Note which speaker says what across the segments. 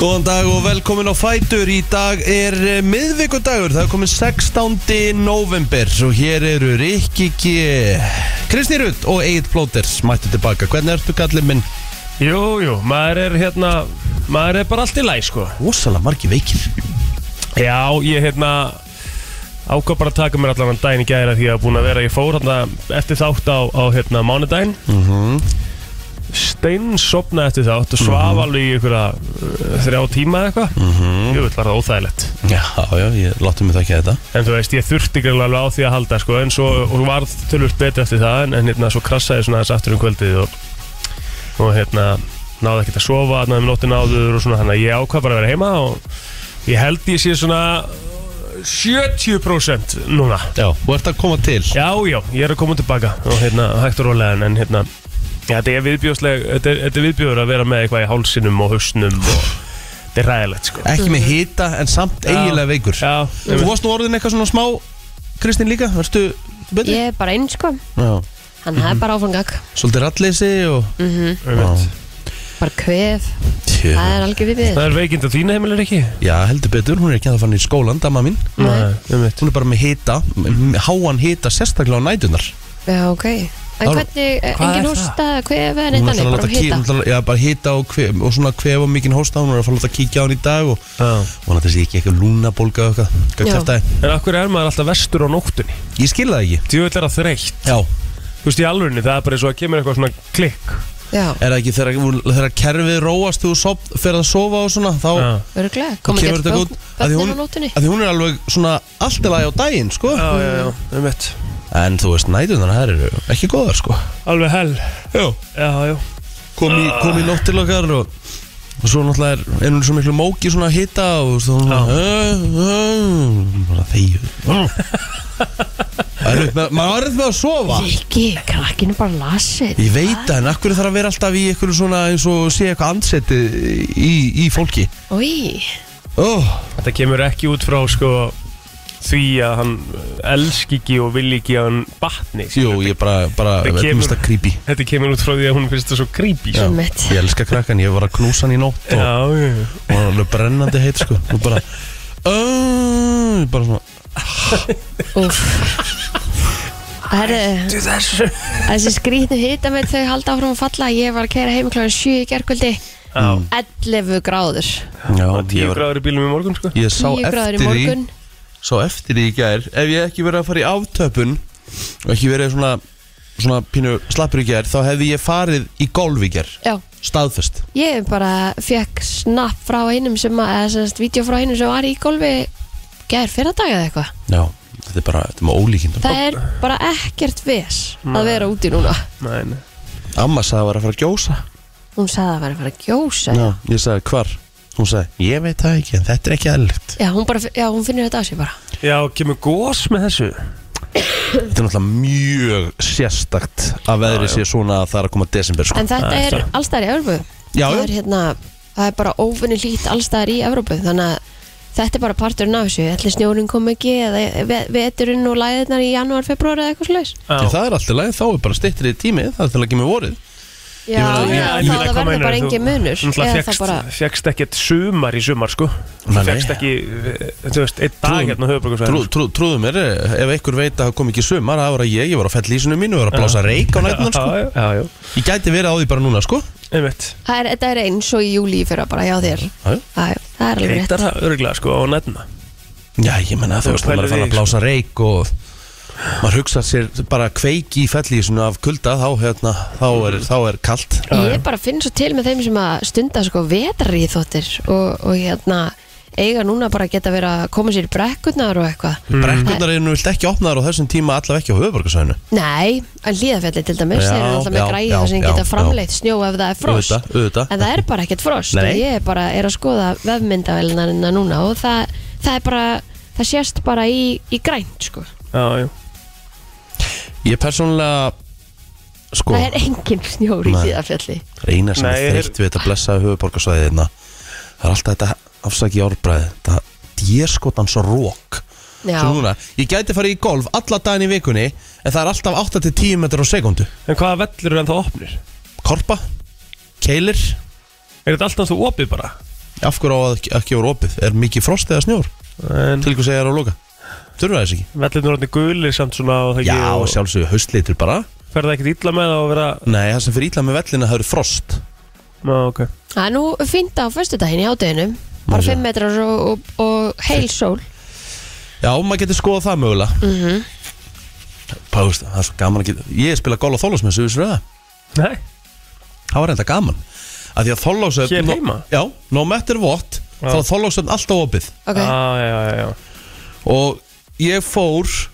Speaker 1: Góðan dag og velkomin á Fætur. Í dag er eh, miðvikudagur, það er komin 16. november og hér eru Rikki G, Kristi Rutt og Egil Plóter mættu tilbaka. Hvernig ertu kallið minn?
Speaker 2: Jú, jú, maður er hérna Maður er bara allt í læg, sko
Speaker 1: Ósalega margi veikir.
Speaker 2: Já, ég hérna Ákvað bara að taka mér allan þann daginn í gæra Því að ég var búin að vera, ég fór hérna Eftir þátt á, á hérna mánudaginn mm -hmm. eftir þátt Og svaf alveg í ykkur að Þrjá tíma eða eitthvað mm -hmm. Jú, það var það óþægilegt
Speaker 1: Já, já, ég láttu mig það ekki að þetta.
Speaker 2: En þú veist, ég þurfti greinlega alveg á því að halda sko, En svo og varð tölvöld betri eftir það En, en hérna, svo krassaði svona þess aftur um kvöldið Og, og hérna, náði ekkert að sofa Náði um nóttin áður og svona Þannig að ég ákvað bara að vera heima Og ég held ég sé svona 70% núna
Speaker 1: Já, þú ert að koma til.
Speaker 2: Já, já, ég er að koma tilbaka Og hérna, hægt og rólega En, en hérna, já, þetta er viðbjóðsleg Þetta er, þetta er viðbjóður að vera með eitthvað í hálsinum og hausnum Og þetta er ræðilegt sko
Speaker 1: Ekki með hita en samt eiginlega veikur.
Speaker 2: Já,
Speaker 1: Þú varst nú orðin eitthvað svona smá, Kristín líka, verðstu betri?
Speaker 3: Ég er bara einn sko
Speaker 1: Já.
Speaker 3: Hann mm -hmm.
Speaker 1: Mhm.
Speaker 3: er bara áfangak
Speaker 1: Svolítið rattleysi og...
Speaker 2: einmitt.
Speaker 3: Bara kvef
Speaker 1: Tjö.
Speaker 3: Það er algjör við
Speaker 2: Það er veikind að þína heimilir ekki?
Speaker 1: Já, heldur betur, hún er ekki að það fann í skólan, dama mín.
Speaker 2: Nei, um mitt
Speaker 1: hún er bara með hita m- háan hita sérstaklega á nætunar
Speaker 3: Já, ok En
Speaker 1: Þá-
Speaker 3: hvernig,
Speaker 2: Hvað er
Speaker 3: engin
Speaker 2: það?
Speaker 3: hósta, kvef eða
Speaker 1: hún er
Speaker 3: neitt annir,
Speaker 1: alltaf að
Speaker 3: bara
Speaker 1: láta
Speaker 3: um
Speaker 1: ki-
Speaker 3: hita
Speaker 1: hún ætlar- já, bara hita og, kvef, og svona kvef og mikinn hósta hún er að fara að láta kíkja á hann í dag og vona þessi ekki eitthvað lúnabólga og eitthvað eitthvað
Speaker 3: Já.
Speaker 1: kjaftaði.
Speaker 2: En af hverju er maður alltaf vestur á nóttunni?
Speaker 1: ég skil það ekki
Speaker 2: Því auðvitað er það þreytt
Speaker 1: já,
Speaker 2: Þú veist, í alvegni, það er bara eins og að kemur eitthvað svona klikk
Speaker 3: Já,
Speaker 1: er það ekki þegar, hún- þegar kerfið róast þú sof, fer að sofa og svona þá
Speaker 2: Já,
Speaker 3: örglega
Speaker 1: þá kemur
Speaker 3: Komið gett
Speaker 1: þetta góð að því
Speaker 3: bönnir á
Speaker 1: hún,
Speaker 3: nótunni
Speaker 1: að því hún er alveg svona allt í lagi á daginn sko
Speaker 2: já, já, já, um mitt
Speaker 1: en þú veist nætunar það eru ekki góðar sko
Speaker 2: Alveg hell
Speaker 1: já.
Speaker 2: Já, já
Speaker 1: kom í,
Speaker 2: Ah.
Speaker 1: kom í nótt til okkar og, og svo náttúrulega er, er hún svo miklu móki svona að hita og svo hún
Speaker 2: Já. Mm.
Speaker 1: "Æ, æ", bara þegju Það er upp með- maður er erfitt með að sofa
Speaker 3: Rikki, krakkinu bara lasið
Speaker 1: ég veit það en akkur þarf að vera alltaf í eitthvað svona eins og sé eitthvað anseti í, í fólki
Speaker 3: Új,
Speaker 1: oh,
Speaker 2: Þetta kemur ekki út frá, sko Því að hann elski ekki og vil ekki að hann batni
Speaker 1: jú ég bara, bara
Speaker 2: Það kemur-
Speaker 1: minnst að creepy
Speaker 2: Þetta kemur út frá því að hún finnst það svo creepy sko.
Speaker 3: Já. Einmitt.
Speaker 1: ég elska krakkan ég var að knúsa hann í nótt og
Speaker 2: já, já, já.
Speaker 1: og hann var alveg brennandi heit sko og bara "Æ", bara svona
Speaker 3: úff Herru,
Speaker 2: Þessu
Speaker 3: þessi skrýtnu hita með þau halda áfram að falla Ég var að kæra heim kláðan 7 í gerkvöldi 11 gráður
Speaker 1: já, ég,
Speaker 2: Tíu
Speaker 1: var,
Speaker 2: gráður í bílum í morgun, sko
Speaker 1: ég sá
Speaker 3: 10
Speaker 1: eftir
Speaker 3: gráður í
Speaker 1: því
Speaker 3: morgun
Speaker 1: sá eftir því í gær ef ég ekki verið að fara í aftöpun og ekki verið svona, svona pínu slappur í gær þá hefði ég farið í golf í gær
Speaker 3: Já,
Speaker 1: staðfest
Speaker 3: Ég bara fekk snapp frá einum sem að, eða semst, vídeo frá einum sem var í golfi gær fyrir dag eða eitthvað.
Speaker 1: já, þetta er bara, þetta er með ólíkindum
Speaker 3: Það er bara ekkert ves að vera úti núna.
Speaker 2: Nei, nei
Speaker 1: amma sagði að var að fara að gjósa
Speaker 3: Hún sagði að vera að fara að gjósa.
Speaker 1: já, ég sagði hvar hún sagði, ég veit það ekki en þetta er ekki aðlikt
Speaker 3: Já, hún bara, já, hún finnur þetta á sig bara.
Speaker 2: Já, kemur gós með þessu
Speaker 1: þetta er náttúrulega mjög sérstakt að veðri sé svona að það er að koma desember sko.
Speaker 3: En þetta
Speaker 2: Það er
Speaker 3: er
Speaker 2: það.
Speaker 3: allstæðar í Evrópu.
Speaker 1: Já,
Speaker 3: það
Speaker 1: já.
Speaker 3: er hérna, það er bara óvinni lít allstæðar í Evrópu. Þannig að þetta er bara parturinn af þessu. Ætli snjórinn kom ekki eða ve- veturinn og læðirnar í janúar, februar eða eitthvað slags.
Speaker 2: Já.
Speaker 1: En það er alltaf læg, þá er bara stittrið tími það er til að ekki með vorið
Speaker 3: Já,
Speaker 1: meina, ég-
Speaker 3: já,
Speaker 1: ég
Speaker 2: meina,
Speaker 3: það, það
Speaker 2: hvað
Speaker 3: verður
Speaker 2: meinar
Speaker 3: bara
Speaker 2: þú?
Speaker 3: engin munur.
Speaker 2: Þú
Speaker 3: Eða það
Speaker 2: fegst, bara... fegst ekkert sumar í sumar sko
Speaker 1: Nei,
Speaker 2: Þú fegst
Speaker 1: nei.
Speaker 2: ekki, eh, þú veist, einn dag
Speaker 1: Trúðum-
Speaker 2: hérna á
Speaker 1: trú,
Speaker 2: höfuborgarsvæðinu
Speaker 1: trú, Trúðu mér, eh, ef einhver veit að það kom ekki sumar það var að ég, ég var á fellísinu mínu og var að blása reik á nætunan sko.
Speaker 2: Já, já, já,
Speaker 1: Ég gæti verið á því bara núna sko
Speaker 2: einmitt
Speaker 3: Það er, þetta er eins og í júli í fyrra bara hjá þér
Speaker 1: Já, já.
Speaker 3: Það er- það er alveg rétt
Speaker 2: Greitar það örglega sko á nætna
Speaker 1: Já, ég menna þú
Speaker 2: Þú
Speaker 1: veist, maður er
Speaker 2: pælir
Speaker 1: farin að
Speaker 2: í því,
Speaker 1: blása reik og maður hugsa sér bara kveiki í fellísinu af kulda þá, hérna, þá, er, þá er kalt
Speaker 3: Ég bara finn svo til með þeim sem að stunda sko vetrarið þóttir og, og hérna eiga núna bara að geta verið að koma sér í brekkurnar og eitthvað
Speaker 1: Hmm. Mm. Brekkurnar eru nú vilt ekki opnaðar á þessum tíma allavega ekki á höfuborgarsvæðinu
Speaker 3: Nei, en hlíðafelli til dæmis
Speaker 1: Já,
Speaker 3: þeir eru alltaf með
Speaker 1: já,
Speaker 3: græði
Speaker 1: já,
Speaker 3: þar sem
Speaker 1: já,
Speaker 3: geta
Speaker 1: já.
Speaker 3: framleitt snjó ef það er frost
Speaker 1: Auðvitað, auðvitað.
Speaker 3: En það er bara ekkert frost
Speaker 1: Nei.
Speaker 3: og ég bara er að skoða vefmyndavelina núna og það, það er bara það sést bara í, í grænt sko
Speaker 2: Já, já,
Speaker 1: Ég persónulega sko,
Speaker 3: Það er engin snjór í
Speaker 1: Nei.
Speaker 3: hlíðafelli
Speaker 1: reyna sem
Speaker 2: Nei,
Speaker 1: er
Speaker 2: ég heyr-
Speaker 1: þreytt við þetta blessaði höfuborgarsvæðina Það er alltaf þetta afsaki árbræði þetta djerskotans rók
Speaker 3: Já,
Speaker 1: Svo núna, ég gæti farið í golf alla daginn í vikunni en það er alltaf 8-10 metrar á sekundu
Speaker 2: en hvaða vellur er ennþá opnir?
Speaker 1: Korpa, keilir
Speaker 2: Er þetta alltaf þú opið bara?
Speaker 1: Af hverju á að ekki- ekki voru opið? Er mikið frost eða snjór?
Speaker 2: En
Speaker 1: Til hvað segja er á loka? Þurfa þess ekki?
Speaker 2: vellirnur orðinni gulir samt svona og það
Speaker 1: Já,
Speaker 2: ekki og
Speaker 1: sjálfsögur haustlitur bara
Speaker 2: fer það ekkert illa með það að vera
Speaker 1: Nei, það sem fyrir ítla með vellina það eru frost
Speaker 2: Ná, ok
Speaker 3: Það er nú fínt á föstudaginn í hádeginu Bara 5 metrar og, og, og heil sól
Speaker 1: Já, maður getur skoðað það mögulega mm -hmm. Páðust, það er svo gaman að geta Ég spila golf á þólásmessu, vissir það?
Speaker 2: Nei,
Speaker 1: Það var enda gaman að Því að þólásöfn
Speaker 2: Hér heima?
Speaker 1: Já, no matter what
Speaker 2: Já.
Speaker 1: Þá er þólásöfn alltaf opið
Speaker 3: Ok,
Speaker 2: okay. ah, já, já, já
Speaker 1: Og ég fór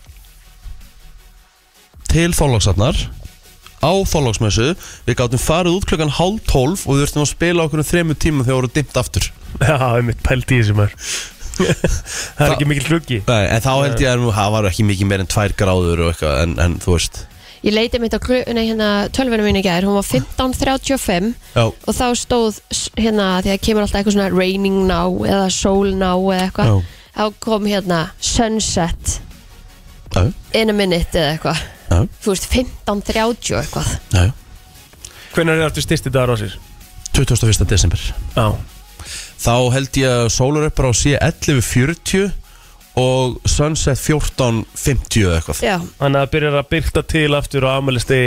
Speaker 1: Til þóláksafnar Á þólásmessu Við gátum farið út klukkan hálf tólf Og við þurftum að spila okkur um þremur tímum Þegar voru dimmt aftur
Speaker 2: Já, það er mitt pælt í þessu maður Það er ekki mikil hlugi
Speaker 1: Nei, En þá held ég að nú- það var ekki mikið meir en tvær gráður og eitthvað En, en þú veist
Speaker 3: ég leiti mitt á klu, nei, hérna, tölvunum minni í gær Hún var 15.35
Speaker 1: Já,
Speaker 3: og þá stóð s- hérna því að kemur alltaf eitthvað svona raining now eða soul now eða eitthvað
Speaker 1: Já.
Speaker 3: þá kom hérna sunset
Speaker 1: já,
Speaker 3: in a minute eða eitthvað
Speaker 1: já,
Speaker 3: þú veist 15.30 og eitthvað
Speaker 1: já, já.
Speaker 2: Hvernig er það aftur styrsti dagar á sér?
Speaker 1: 21. desember
Speaker 2: Já,
Speaker 1: Þá held ég að sólar uppar á sé 11.40 og sunset 14.50 eða eitthvað
Speaker 3: já,
Speaker 2: þannig að það byrjar að byrta til aftur og afmælisti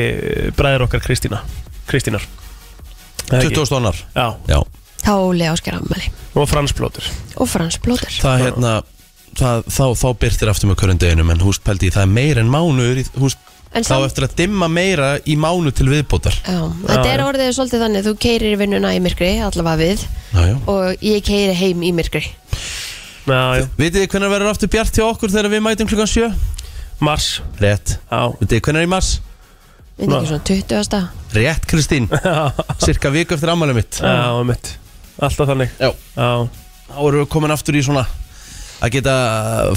Speaker 2: bræðir okkar Kristína Kristínar Það er ekki?
Speaker 1: 20. annar
Speaker 2: Já,
Speaker 1: Já,
Speaker 3: þá Óli Ásker Ammali
Speaker 2: og fransblótur
Speaker 3: og Frans Blóður
Speaker 1: það hérna það, þá, þá byrtir aftur með hverjum deginum en húst pældi ég það er meira en mánuður í, húst,
Speaker 3: en
Speaker 1: þá
Speaker 3: samt,
Speaker 1: eftir að dimma meira í mánu til viðbótar
Speaker 3: já, þetta
Speaker 2: Já,
Speaker 3: er
Speaker 2: já.
Speaker 3: orðið svolítið þannig þú keirir í vinnuna í myrkri allavega við
Speaker 1: Já, já
Speaker 3: og ég keiri heim í myrkri
Speaker 2: Já, já,
Speaker 1: Vitið þið hvenær verður aftur bjart hjá okkur þegar við mætum klukkan 7?
Speaker 2: mars
Speaker 1: Rétt
Speaker 2: Já,
Speaker 1: Vitið þið hvenær í mars?
Speaker 3: við
Speaker 2: Ná.
Speaker 3: ekki svona 20.
Speaker 1: Rétt Kristín Cirka viku eftir ammæli mitt
Speaker 2: já, mitt Alltaf þannig
Speaker 1: Já
Speaker 2: Já
Speaker 1: Þá erum við komin aftur í svona að geta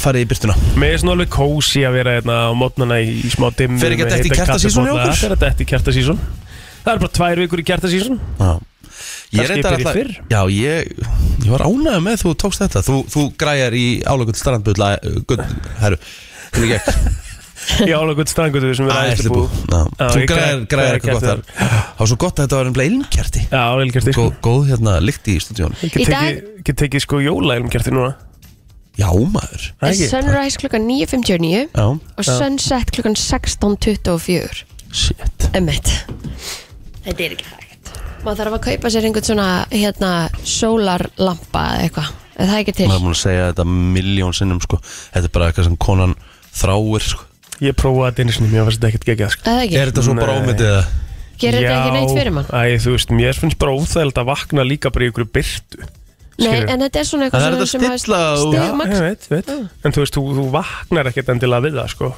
Speaker 1: farið í byrtuna
Speaker 2: Mér er svona alveg kósi að vera hérna á mótnana í smá dimmi
Speaker 1: Fer ekki að detta í kertasísón hjá okkur?
Speaker 2: Það er að detta í kertasísón Það er bara tvær vikur í kertasísón
Speaker 1: Já. Ég
Speaker 2: Kannski
Speaker 1: reyndar
Speaker 2: byrjið
Speaker 1: alltaf
Speaker 2: fyrr?
Speaker 1: Já, ég, ég var ánægð með þú tókst þetta Þú, þú græjar í álökull starrandbulla Gull, herru Hvernig gekk?
Speaker 2: Í álagut strangutu sem við erum
Speaker 1: Æsli
Speaker 2: aðeinslu
Speaker 1: bú
Speaker 2: bú
Speaker 1: Já,
Speaker 2: Já,
Speaker 1: Þú
Speaker 2: ég
Speaker 1: græjar,
Speaker 2: græ-
Speaker 1: græjar eitthvað gott þar
Speaker 2: græjar kerti
Speaker 1: Það var svo gott að þetta var einhverja ilmkerti
Speaker 2: Já, álagut kerti
Speaker 1: Góð, góð hérna lykt í stúdíón
Speaker 3: Í
Speaker 2: Ég
Speaker 3: dag-
Speaker 2: get tekið sko jólailum kerti núna
Speaker 1: Já, maður
Speaker 2: Það
Speaker 3: en
Speaker 2: er ekki?
Speaker 3: sunrise klukkan 9.59
Speaker 1: Já,
Speaker 3: og sunset klukkan 16.24
Speaker 1: shit
Speaker 3: Emmett Þetta er ekki hægt Maður þarf að kaupa sér einhvern svona hérna, sólarlampa eða eitthvað Ef Það er ekki til
Speaker 1: Maður er búin að segja þetta miljón sinnum sko Þetta er bara eitthvað sem konan þráir sko
Speaker 2: Ég prófaði þetta einu sinni, mér fannst þetta ekkert geggjað sko.
Speaker 3: Eða það
Speaker 1: Er
Speaker 3: ekki,
Speaker 1: þetta svo bara
Speaker 2: Nei.
Speaker 1: ómyndið eða?
Speaker 3: gerir þetta ekki neitt fyrir mann
Speaker 2: Æ, þú veist, mér finnst bara óþægild að vakna líka bara í ykkur byrtu
Speaker 3: Nei, en Ah. þetta er svona
Speaker 1: Það
Speaker 3: eitthvað
Speaker 1: er
Speaker 3: svona
Speaker 1: þetta að stilla og-
Speaker 2: Já,
Speaker 3: stig
Speaker 2: ég
Speaker 3: maks
Speaker 2: veit, veit En þú veist, þú, þú vaknar ekkert endilega við það, sko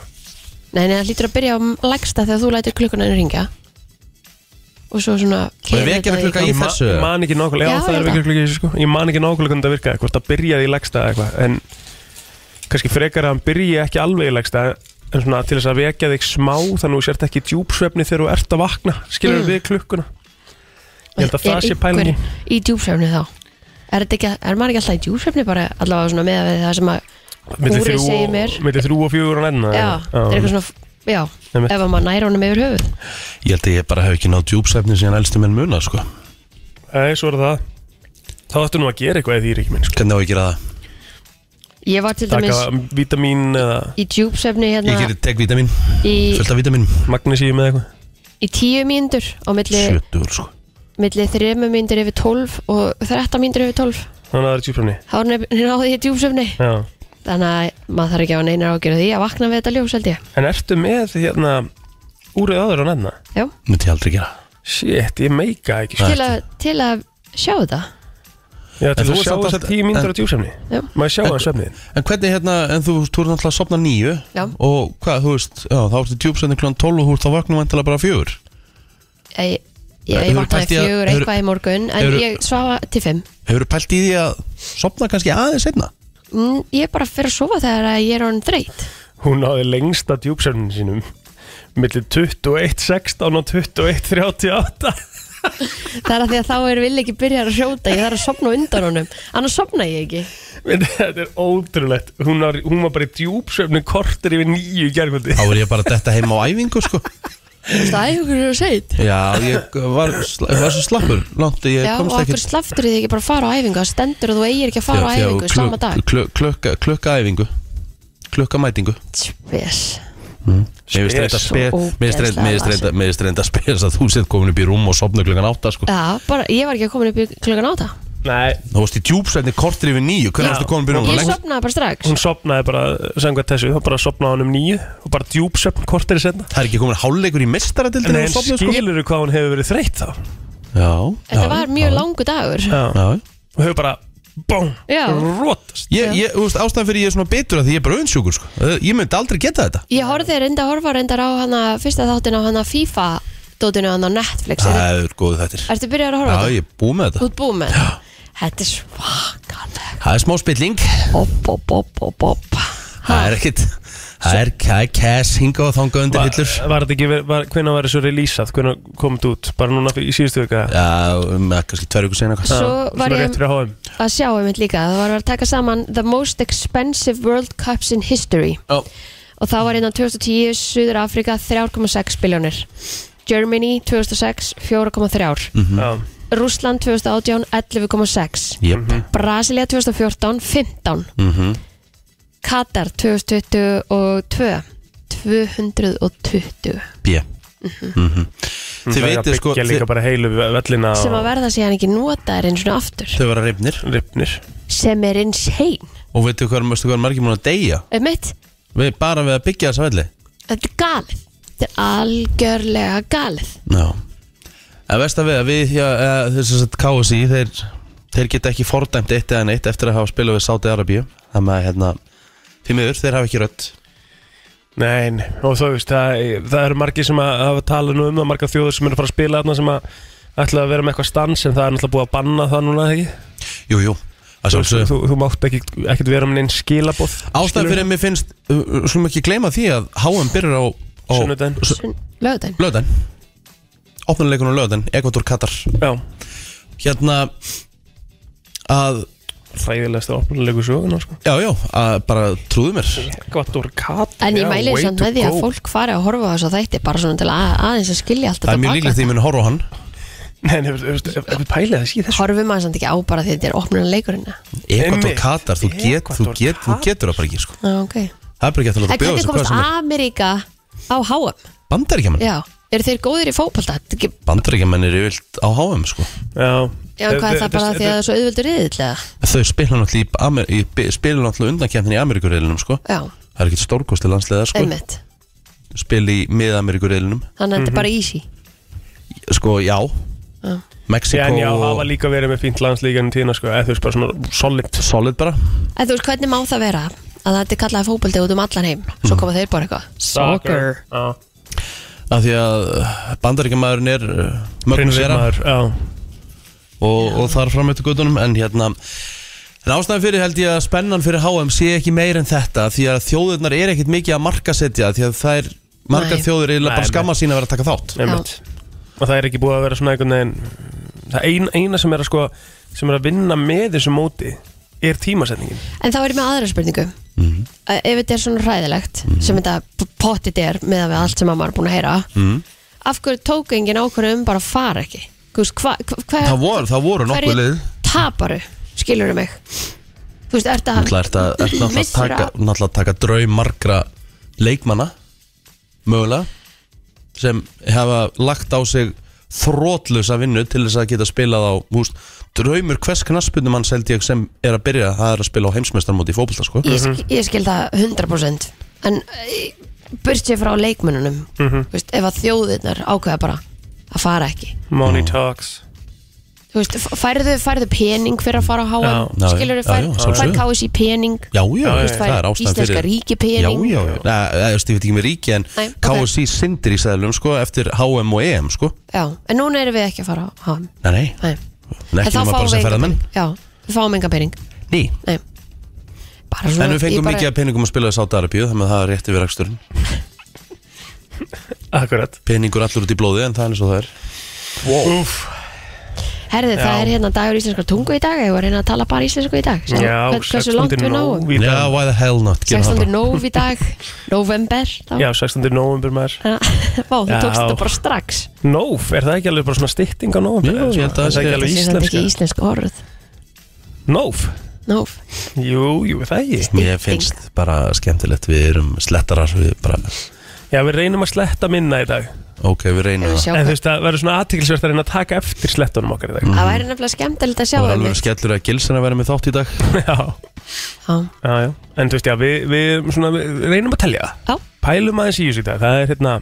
Speaker 3: Nei, nei, það hlýtur að byrja á lægsta þegar þú lætir klukkunan ringja Og svo svona keyrir
Speaker 1: vekja
Speaker 3: þetta
Speaker 1: hana klukkan
Speaker 3: í
Speaker 1: í
Speaker 3: gang.
Speaker 1: ma- Þessu,
Speaker 2: Ég
Speaker 1: ja.
Speaker 2: man ekki nákvæmlega,
Speaker 3: Já,
Speaker 2: já, það
Speaker 3: ég
Speaker 2: er
Speaker 3: veit
Speaker 2: vekjur klukka í þessu, sko Ég man ekki nákvæmlega hvernig þetta virkaði, hvort það byrjaði í legsta eitthvað En kannski frekar að hann byrji ekki alveg í legsta En svona til þess að vekja þig smá Þannig að þú sért ekki í djúpsvefni þegar þú ert að vakna Skilur við klukkuna Ég held að
Speaker 3: Mm. Er
Speaker 2: það sé
Speaker 3: einhver
Speaker 2: pælingin
Speaker 3: Í djúpsefni þá Er, þetta ekki, er maður ekki alltaf í djúpsefni bara allavega svona með það sem að
Speaker 2: Milli
Speaker 3: Úrið
Speaker 2: þrjú
Speaker 3: segir
Speaker 2: og-
Speaker 3: mér.
Speaker 2: milli þrjú og fjögur og nenna
Speaker 3: Já, það er eitthvað svona Já,
Speaker 2: Einmitt.
Speaker 3: ef að maður næra honum yfir höfuð
Speaker 1: Ég held að ég bara hef ekki náð djúpsefni síðan elstu menn muna sko
Speaker 2: Nei, Eh, svo er það Þá ættu nú að gera eitthvað eða því ríkminn sko.
Speaker 1: Hvernig á ég að gera það?
Speaker 3: Ég var til dæmis
Speaker 2: Taka vítamín eða
Speaker 3: í djúpsefni
Speaker 1: Ég
Speaker 3: hérna
Speaker 1: gerir tek vítamin,
Speaker 3: í,
Speaker 1: fullt af vítamin
Speaker 2: magnesíum eða eitthvað
Speaker 3: í tíu mínútur á milli,
Speaker 1: Sjötur sko
Speaker 3: milli þrema mínútur yfir tólf og þretta mínútur yfir tólf
Speaker 2: Þannig að það er tjúprunni
Speaker 3: þá er nef- náði ég djúpsefni
Speaker 2: Já
Speaker 3: þannig að maður þarf ekki að hafa neinar ágjörðu því að vakna við þetta ljós held ég
Speaker 2: En ertu með hérna úrið aður á nenna?
Speaker 3: Já,
Speaker 1: Myndi ég aldrei gera
Speaker 2: Shit, ég meika ekki sko.
Speaker 3: til, að, til að sjá þetta
Speaker 2: Já, til
Speaker 1: En þú
Speaker 2: að
Speaker 1: ert samt
Speaker 2: sjá þess
Speaker 1: alltaf-
Speaker 2: að tíu
Speaker 1: en-
Speaker 2: mínútur á djúpsefni
Speaker 3: Já.
Speaker 2: Má ég sjá það svefnið
Speaker 1: En hvernig hérna, en þú, þú ert náttúrulega að sopna nýju
Speaker 3: Já.
Speaker 1: Og hvað, þú veist, já, þá ertu djúpsefni kl. 12 og þú ert að vakna vantilega bara fjögur
Speaker 3: ég, ég, ég
Speaker 1: Hefurðu
Speaker 3: vaknaði
Speaker 1: pælt í að-
Speaker 3: fjögur
Speaker 1: hefurðu-
Speaker 3: eitthvað í morgun en
Speaker 1: hefurðu-
Speaker 3: ég svafa til fimm
Speaker 1: Hefur þú pælt í því að sopna kannski aðeins einna?
Speaker 3: Mm, ég er bara fyrir að sofa þegar að ég er orðin þreytt
Speaker 2: Hún náði lengsta djúpsefnin sínum Millir 21.16 og 21.38
Speaker 3: það er að því að þá er vil ekki byrjar að sjóta ég þarf að sopna á undan honum annars sopna ég ekki
Speaker 2: Þetta er ótrúlegt Hún var, hún var bara í djúpsefni kortir yfir nýju gerkvöldi
Speaker 1: Þá er ég bara detta heim á æfingu, sko
Speaker 3: Stæðhugur eru sveit
Speaker 1: Já, ég var, sl- var svo slappur Langt, ég
Speaker 3: Já, og
Speaker 1: komst
Speaker 3: okkur
Speaker 1: ekki
Speaker 3: slaftur þig ekki bara að fara á æfingu Það stendur að þú eigir ekki að fara á
Speaker 1: Já, já,
Speaker 3: æfingu
Speaker 1: klukk-
Speaker 3: Sama dag
Speaker 1: klukk- klukka- Klukkaæfingu Klukkamætingu
Speaker 3: Spes
Speaker 1: Mér finnst reynda
Speaker 3: Svo
Speaker 1: spes- mér finnst reynda- mér
Speaker 3: ógeðslega
Speaker 1: finnst reynda- mér finnst reynda spes að þú sett komin upp í rúm og sopna klukkan átta sko.
Speaker 3: Já, bara, ég var ekki að koma upp í klukkan áta
Speaker 2: Nei,
Speaker 1: Þú varst í djúpsætni kortir yfir nýju Hvernig
Speaker 2: Já.
Speaker 1: varstu komin upp í rúm?
Speaker 3: Ég
Speaker 1: Lengt-
Speaker 3: sopnaði bara strax
Speaker 2: hún sopnaði bara Sengvað þessu, þá bara sopnaði hann um nýju Og bara djúpsöfn kortir í senna
Speaker 1: Það er ekki komin hálfleikur í
Speaker 2: En
Speaker 1: mestaradildinu
Speaker 2: en skilur þú hvað hún hefur verið þreytt þá
Speaker 1: sko. Já
Speaker 3: Þetta
Speaker 1: já,
Speaker 3: var
Speaker 1: já.
Speaker 3: mjög langu dagur
Speaker 2: Já,
Speaker 1: Já
Speaker 2: hún hefur bara Bóm,
Speaker 3: Já.
Speaker 2: rótast
Speaker 1: Ég, ég, þú veist, ástæðan fyrir ég er svona bitur að því ég er bara öðinsjúkur sko. Ég myndi aldrei geta þetta
Speaker 3: Ég horfði reynda að horfa reyndar á hana Fyrsta þáttin á hana FIFA Dótinu hana á Netflix Ertu-
Speaker 1: Það er góðu þettir
Speaker 3: Ertu byrjar að horfa á
Speaker 1: Já,
Speaker 3: þetta?
Speaker 1: ég er búið með
Speaker 3: Þú
Speaker 1: þetta
Speaker 3: ert búið með þetta? Þetta er svakalega
Speaker 1: Það er smá spilling
Speaker 3: Hopp, hopp, hopp, hopp, hopp
Speaker 1: Það er ekkit Það er það er cash hinga og þanga undir hillur
Speaker 2: Var þetta ekki, verið- var, hvenær var þessu releasað Hvenær kom þetta út, bara núna í síðustu vika
Speaker 1: Já, með kannski tverju ykkur sena
Speaker 3: Svo var
Speaker 2: Svona
Speaker 3: ég
Speaker 2: rétt fyrir HM
Speaker 3: að sjá um þetta líka Það var að taka saman The most expensive World Cups in history Og þá var innan 2010 Suður Afrika 3,6 biljónir Germany 2006 4,3
Speaker 1: Mhm.
Speaker 2: Já,
Speaker 3: Rússland 2018 11,6
Speaker 1: Jep
Speaker 2: Mhm.
Speaker 3: Brasilia 2014 15
Speaker 1: Mhm.
Speaker 3: Katar 2022 220
Speaker 1: B Mhm. Þið
Speaker 2: það er að
Speaker 1: veitir sko
Speaker 2: byggja líka
Speaker 1: þið-
Speaker 2: bara heilu vellina
Speaker 3: sem að
Speaker 2: og
Speaker 3: verða síðan ekki notaðir eins og aftur
Speaker 1: Þau vera reyfnir
Speaker 2: ripnir
Speaker 3: sem er insane
Speaker 1: Og veitu hvað, veistu hvað er margir múin að deyja
Speaker 3: um mitt,
Speaker 1: við, Bara við að byggja þessa velli
Speaker 3: þetta er galið þetta er algjörlega galið
Speaker 1: Já En veist að við að við hjá, eða, þess að KSI þeir, þeir geta ekki fordæmt eitt eða neitt eftir að hafa spilað við Sáti Arabíu Þannig að hérna Því miður, þeir hafa ekki rödd
Speaker 2: Nei, nei, og þú veist, það, það eru margir sem að hafa talað nú um það, margar þjóður sem eru að fara að spila þarna sem að ætla að vera með eitthvað stans en það er náttúrulega búið að banna það núna eða ekki
Speaker 1: Jú, jú
Speaker 2: Þú,
Speaker 1: Ástæðan
Speaker 2: þú, þú mátt ekki, ekkert vera með neinn skilabóð
Speaker 1: fyrir að mér finnst, uh, uh, skulum ekki gleyma því að HM byrjar á, á
Speaker 2: Sunnudaginn.
Speaker 3: lögðan
Speaker 1: Löðan Opnuleikun á löðan, Ekvator Katar
Speaker 2: Já,
Speaker 1: Hérna að,
Speaker 2: ræðilegast að opna leikur söguna sko.
Speaker 1: já, já, að bara trúðu mér
Speaker 2: Ekvator Kat
Speaker 3: en ég mæli
Speaker 2: way
Speaker 3: samt
Speaker 2: to
Speaker 3: með því að
Speaker 2: go.
Speaker 3: fólk fari að horfa á þess að þætti bara svona til að, aðeins að skilja allt
Speaker 1: Það er
Speaker 3: þetta
Speaker 1: mjög líklegt því
Speaker 3: baka
Speaker 1: að ég mun horfa á hann
Speaker 2: Nei, nei, þú veist, ef ef við pælið það síðan
Speaker 3: horfum maður samt ekki á bara því þetta er opnuna leikurina
Speaker 1: Ekvator
Speaker 2: Einmitt.
Speaker 1: Katar, þú, get, þú,
Speaker 2: Ekvador,
Speaker 1: get, þú
Speaker 2: Katar.
Speaker 1: getur það bara ekki sko.
Speaker 3: Á, ok
Speaker 1: Það er bara ekki hægt að láta
Speaker 3: en
Speaker 1: bjóða
Speaker 3: hvernig
Speaker 1: sig hvað
Speaker 3: komast
Speaker 1: sem er
Speaker 3: Ameríka á HM
Speaker 1: Bandaríkjaman
Speaker 3: já, eru þeir góðir í fótbolta Þetta er ekki-
Speaker 1: Bandaríkjaman er yfirlt á HM sko.
Speaker 2: Já,
Speaker 3: já, en hvað er það bara því að það er svo auðvöldur yðurlega
Speaker 1: Þau spila náttúrulega, í Amer- í, bi- spila náttúrulega undankjæmni í Ameríkureilinum sko.
Speaker 3: já,
Speaker 1: Það er ekkert stórkosti landslega sko.
Speaker 3: einmitt
Speaker 1: Spil í mið-Ameríkureilinum
Speaker 3: þannig að
Speaker 1: Mhm.
Speaker 3: þetta er bara easy
Speaker 1: Sko, já
Speaker 3: Já.
Speaker 1: Mexiko
Speaker 2: En já,
Speaker 1: og
Speaker 2: hafa líka verið með fínt landslíkjanum tíðna sko, eða þú veist bara svona solid
Speaker 1: solid bara
Speaker 3: En þú veist, hvernig má það vera að þetta er kallað fókbaldi út um allan heim Svo koma þeir bara eitthvað
Speaker 2: Já,
Speaker 1: af því að eh, bandaríkjamaðurinn er mögnum vera
Speaker 2: prinsimaður, já
Speaker 1: og, og þar fram eftir gutunum en hérna En ástæðan fyrir held ég að spennan fyrir HM sé ekki meir en þetta því að þjóðurnar er ekkit mikið að markasetja því að það er margar
Speaker 3: Nei.
Speaker 1: þjóður eiginlega
Speaker 2: Nei,
Speaker 1: bara
Speaker 2: nei.
Speaker 1: skamma sín að vera að taka þátt
Speaker 2: Einmitt. og það er ekki búið að vera svona einhvern veginn það ein, eina sem er að sko sem er að vinna með þessu móti er tímasetningin
Speaker 3: En þá er ég með aðra spurningu
Speaker 1: Mhm.
Speaker 3: Að Ef þetta er svona hræðilegt sem þetta p- pottit er meðan við allt sem maður er búin að heyra
Speaker 1: Mhm.
Speaker 3: Af hverju tók engin ákvörðu um bara að fara ekki? Þú veist, hvað hva, hva,
Speaker 1: Það voru, það voru nokkuð lið
Speaker 3: taparu, skilur mig Þú veist, ertu að
Speaker 1: Náttúrulega ert að- ert náttúrulega að
Speaker 3: Vissirðu
Speaker 1: taka,
Speaker 3: að-
Speaker 1: náttúrulega að taka draum margra leikmanna mögulega sem hafa lagt á sig þrótlusa vinnu til þess að geta spilað á húst, draumur hvers knaspunumann held ég sem er að byrja það er að spila á heimsmeistarmóti í fótbolta sko
Speaker 3: ég, sk ég skil það 100% en e, burt sér frá leikmönunum mm
Speaker 1: Mhm.
Speaker 3: veist, ef að þjóðirnar ákveða bara að fara ekki
Speaker 2: Money
Speaker 1: Mm.
Speaker 2: talks
Speaker 3: Þú veist, f- færðu, færðu pening fyrir að fara á HM
Speaker 1: Já,
Speaker 3: já, skilur
Speaker 1: já, já,
Speaker 3: færðu, fær
Speaker 1: sjálfsögðu.
Speaker 3: KSI pening
Speaker 1: Já, já,
Speaker 2: já,
Speaker 1: já,
Speaker 2: já.
Speaker 1: það er ástæðan
Speaker 3: Íslenska
Speaker 1: fyrir
Speaker 3: ríki
Speaker 1: Já,
Speaker 3: pening
Speaker 1: já, já, Nei, eða, þú veist, ég veit ekki með ríki en
Speaker 3: Nei, ok.
Speaker 1: KSC sindir í sæðlum sko eftir HM og EM sko
Speaker 3: Já, en núna erum við ekki að fara á HM
Speaker 1: Nei, nei,
Speaker 3: Nei.
Speaker 1: en
Speaker 3: En
Speaker 1: ekki
Speaker 3: þá
Speaker 1: nema bara
Speaker 3: fáum við
Speaker 1: sem
Speaker 3: engan
Speaker 1: ferðamenn
Speaker 3: pening. já, við fáum enga pening
Speaker 1: Ný,
Speaker 3: Nei. bara
Speaker 1: en
Speaker 3: svona
Speaker 1: við
Speaker 3: ég
Speaker 1: fengum
Speaker 3: bara-
Speaker 1: mikið að peningum að spila í Sátarabíu þannig að það er rétt yfir reksturinn
Speaker 2: Akkurat
Speaker 1: Peningur allur út í blóði en það er eins og það er
Speaker 2: wow. Úf,
Speaker 3: Herði, það
Speaker 2: Já.
Speaker 3: er hérna dagur íslenskar tungu í dag Ég var hérna að tala bara íslensku í dag Sjá
Speaker 2: Já,
Speaker 3: hvern- Hversu langt
Speaker 2: 16.
Speaker 3: við náum
Speaker 2: nóv í
Speaker 1: Já,
Speaker 2: dag
Speaker 1: why the hell not Gerum það
Speaker 3: 16.
Speaker 1: bara.
Speaker 3: nóv í dag November þá.
Speaker 2: Já, 16. november maður
Speaker 3: Þannig að- Vá, þú
Speaker 2: Já.
Speaker 3: tókst þetta bara strax
Speaker 2: Nóf, er það ekki alveg bara svona stytting á nóf?
Speaker 1: Jú, ég held að
Speaker 2: það er
Speaker 1: sé-
Speaker 2: ekki
Speaker 3: Það
Speaker 2: alveg
Speaker 3: sé þetta
Speaker 2: íslenska
Speaker 3: ekki íslensk orð
Speaker 2: Nóf?
Speaker 3: Nóf
Speaker 2: Jú, jú, er það ekki
Speaker 1: Mér finnst bara skemmtilegt Við erum slettarar Við bara
Speaker 2: Já, við reynum að sletta minna í dag
Speaker 1: Ok, við reynum það
Speaker 3: Sjá
Speaker 2: En þú
Speaker 3: hvað-
Speaker 2: veist, það verður svona aðtiklisvert að reyna að taka eftir slettunum okkar í dag
Speaker 3: Það væri nefnilega skemmtilegt að sjá
Speaker 1: Það var
Speaker 3: einmitt.
Speaker 1: alveg skellur að gilsin að vera með þátt í dag
Speaker 2: Já,
Speaker 3: Já,
Speaker 2: já, já En þú veist, já, við, við, svona, við reynum að telja það
Speaker 3: Já.
Speaker 2: Pælum aðeins í þessu í dag, það er hérna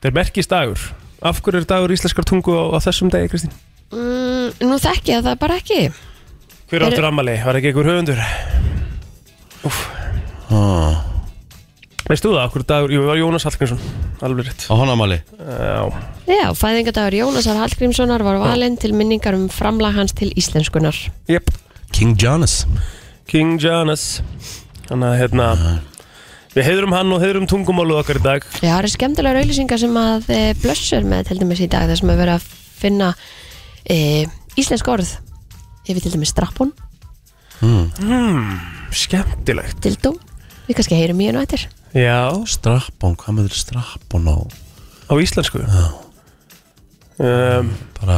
Speaker 2: Það er merkist dagur Af hverju er dagur íslenskar tungu á, á þessum degi, Kristín?
Speaker 3: Mm, Nú þekki ég það bara ekki
Speaker 2: Hver
Speaker 3: Eru-
Speaker 2: áttur ammali? Var ekki einhver höfundur?
Speaker 1: ah.
Speaker 2: Veist þú það, okkur dagur, jú, það var Jónas Hallgrímsson Alveg rétt
Speaker 1: Á honamali
Speaker 2: Já,
Speaker 3: Já, fæðingadagur Jónasar Hallgrímssonar var valinn til minningar um framlag hans til íslenskunar
Speaker 2: jep
Speaker 1: King Janus
Speaker 2: King Janus Þannig að hérna Við heiðrum hann og heiðrum tungumáluð okkar í dag
Speaker 3: Já, það eru skemmtilega auðlýsingar sem að e, blössur með til dæmis í dag þar sem er verið að finna e, íslensk orð yfir til dæmis strappun,
Speaker 2: Skemmtilegt
Speaker 3: dildó við kannski heyrum í hennu eftir
Speaker 2: Já,
Speaker 1: Strappón, hvað með þetta strappón á
Speaker 2: á íslensku um,
Speaker 1: Bara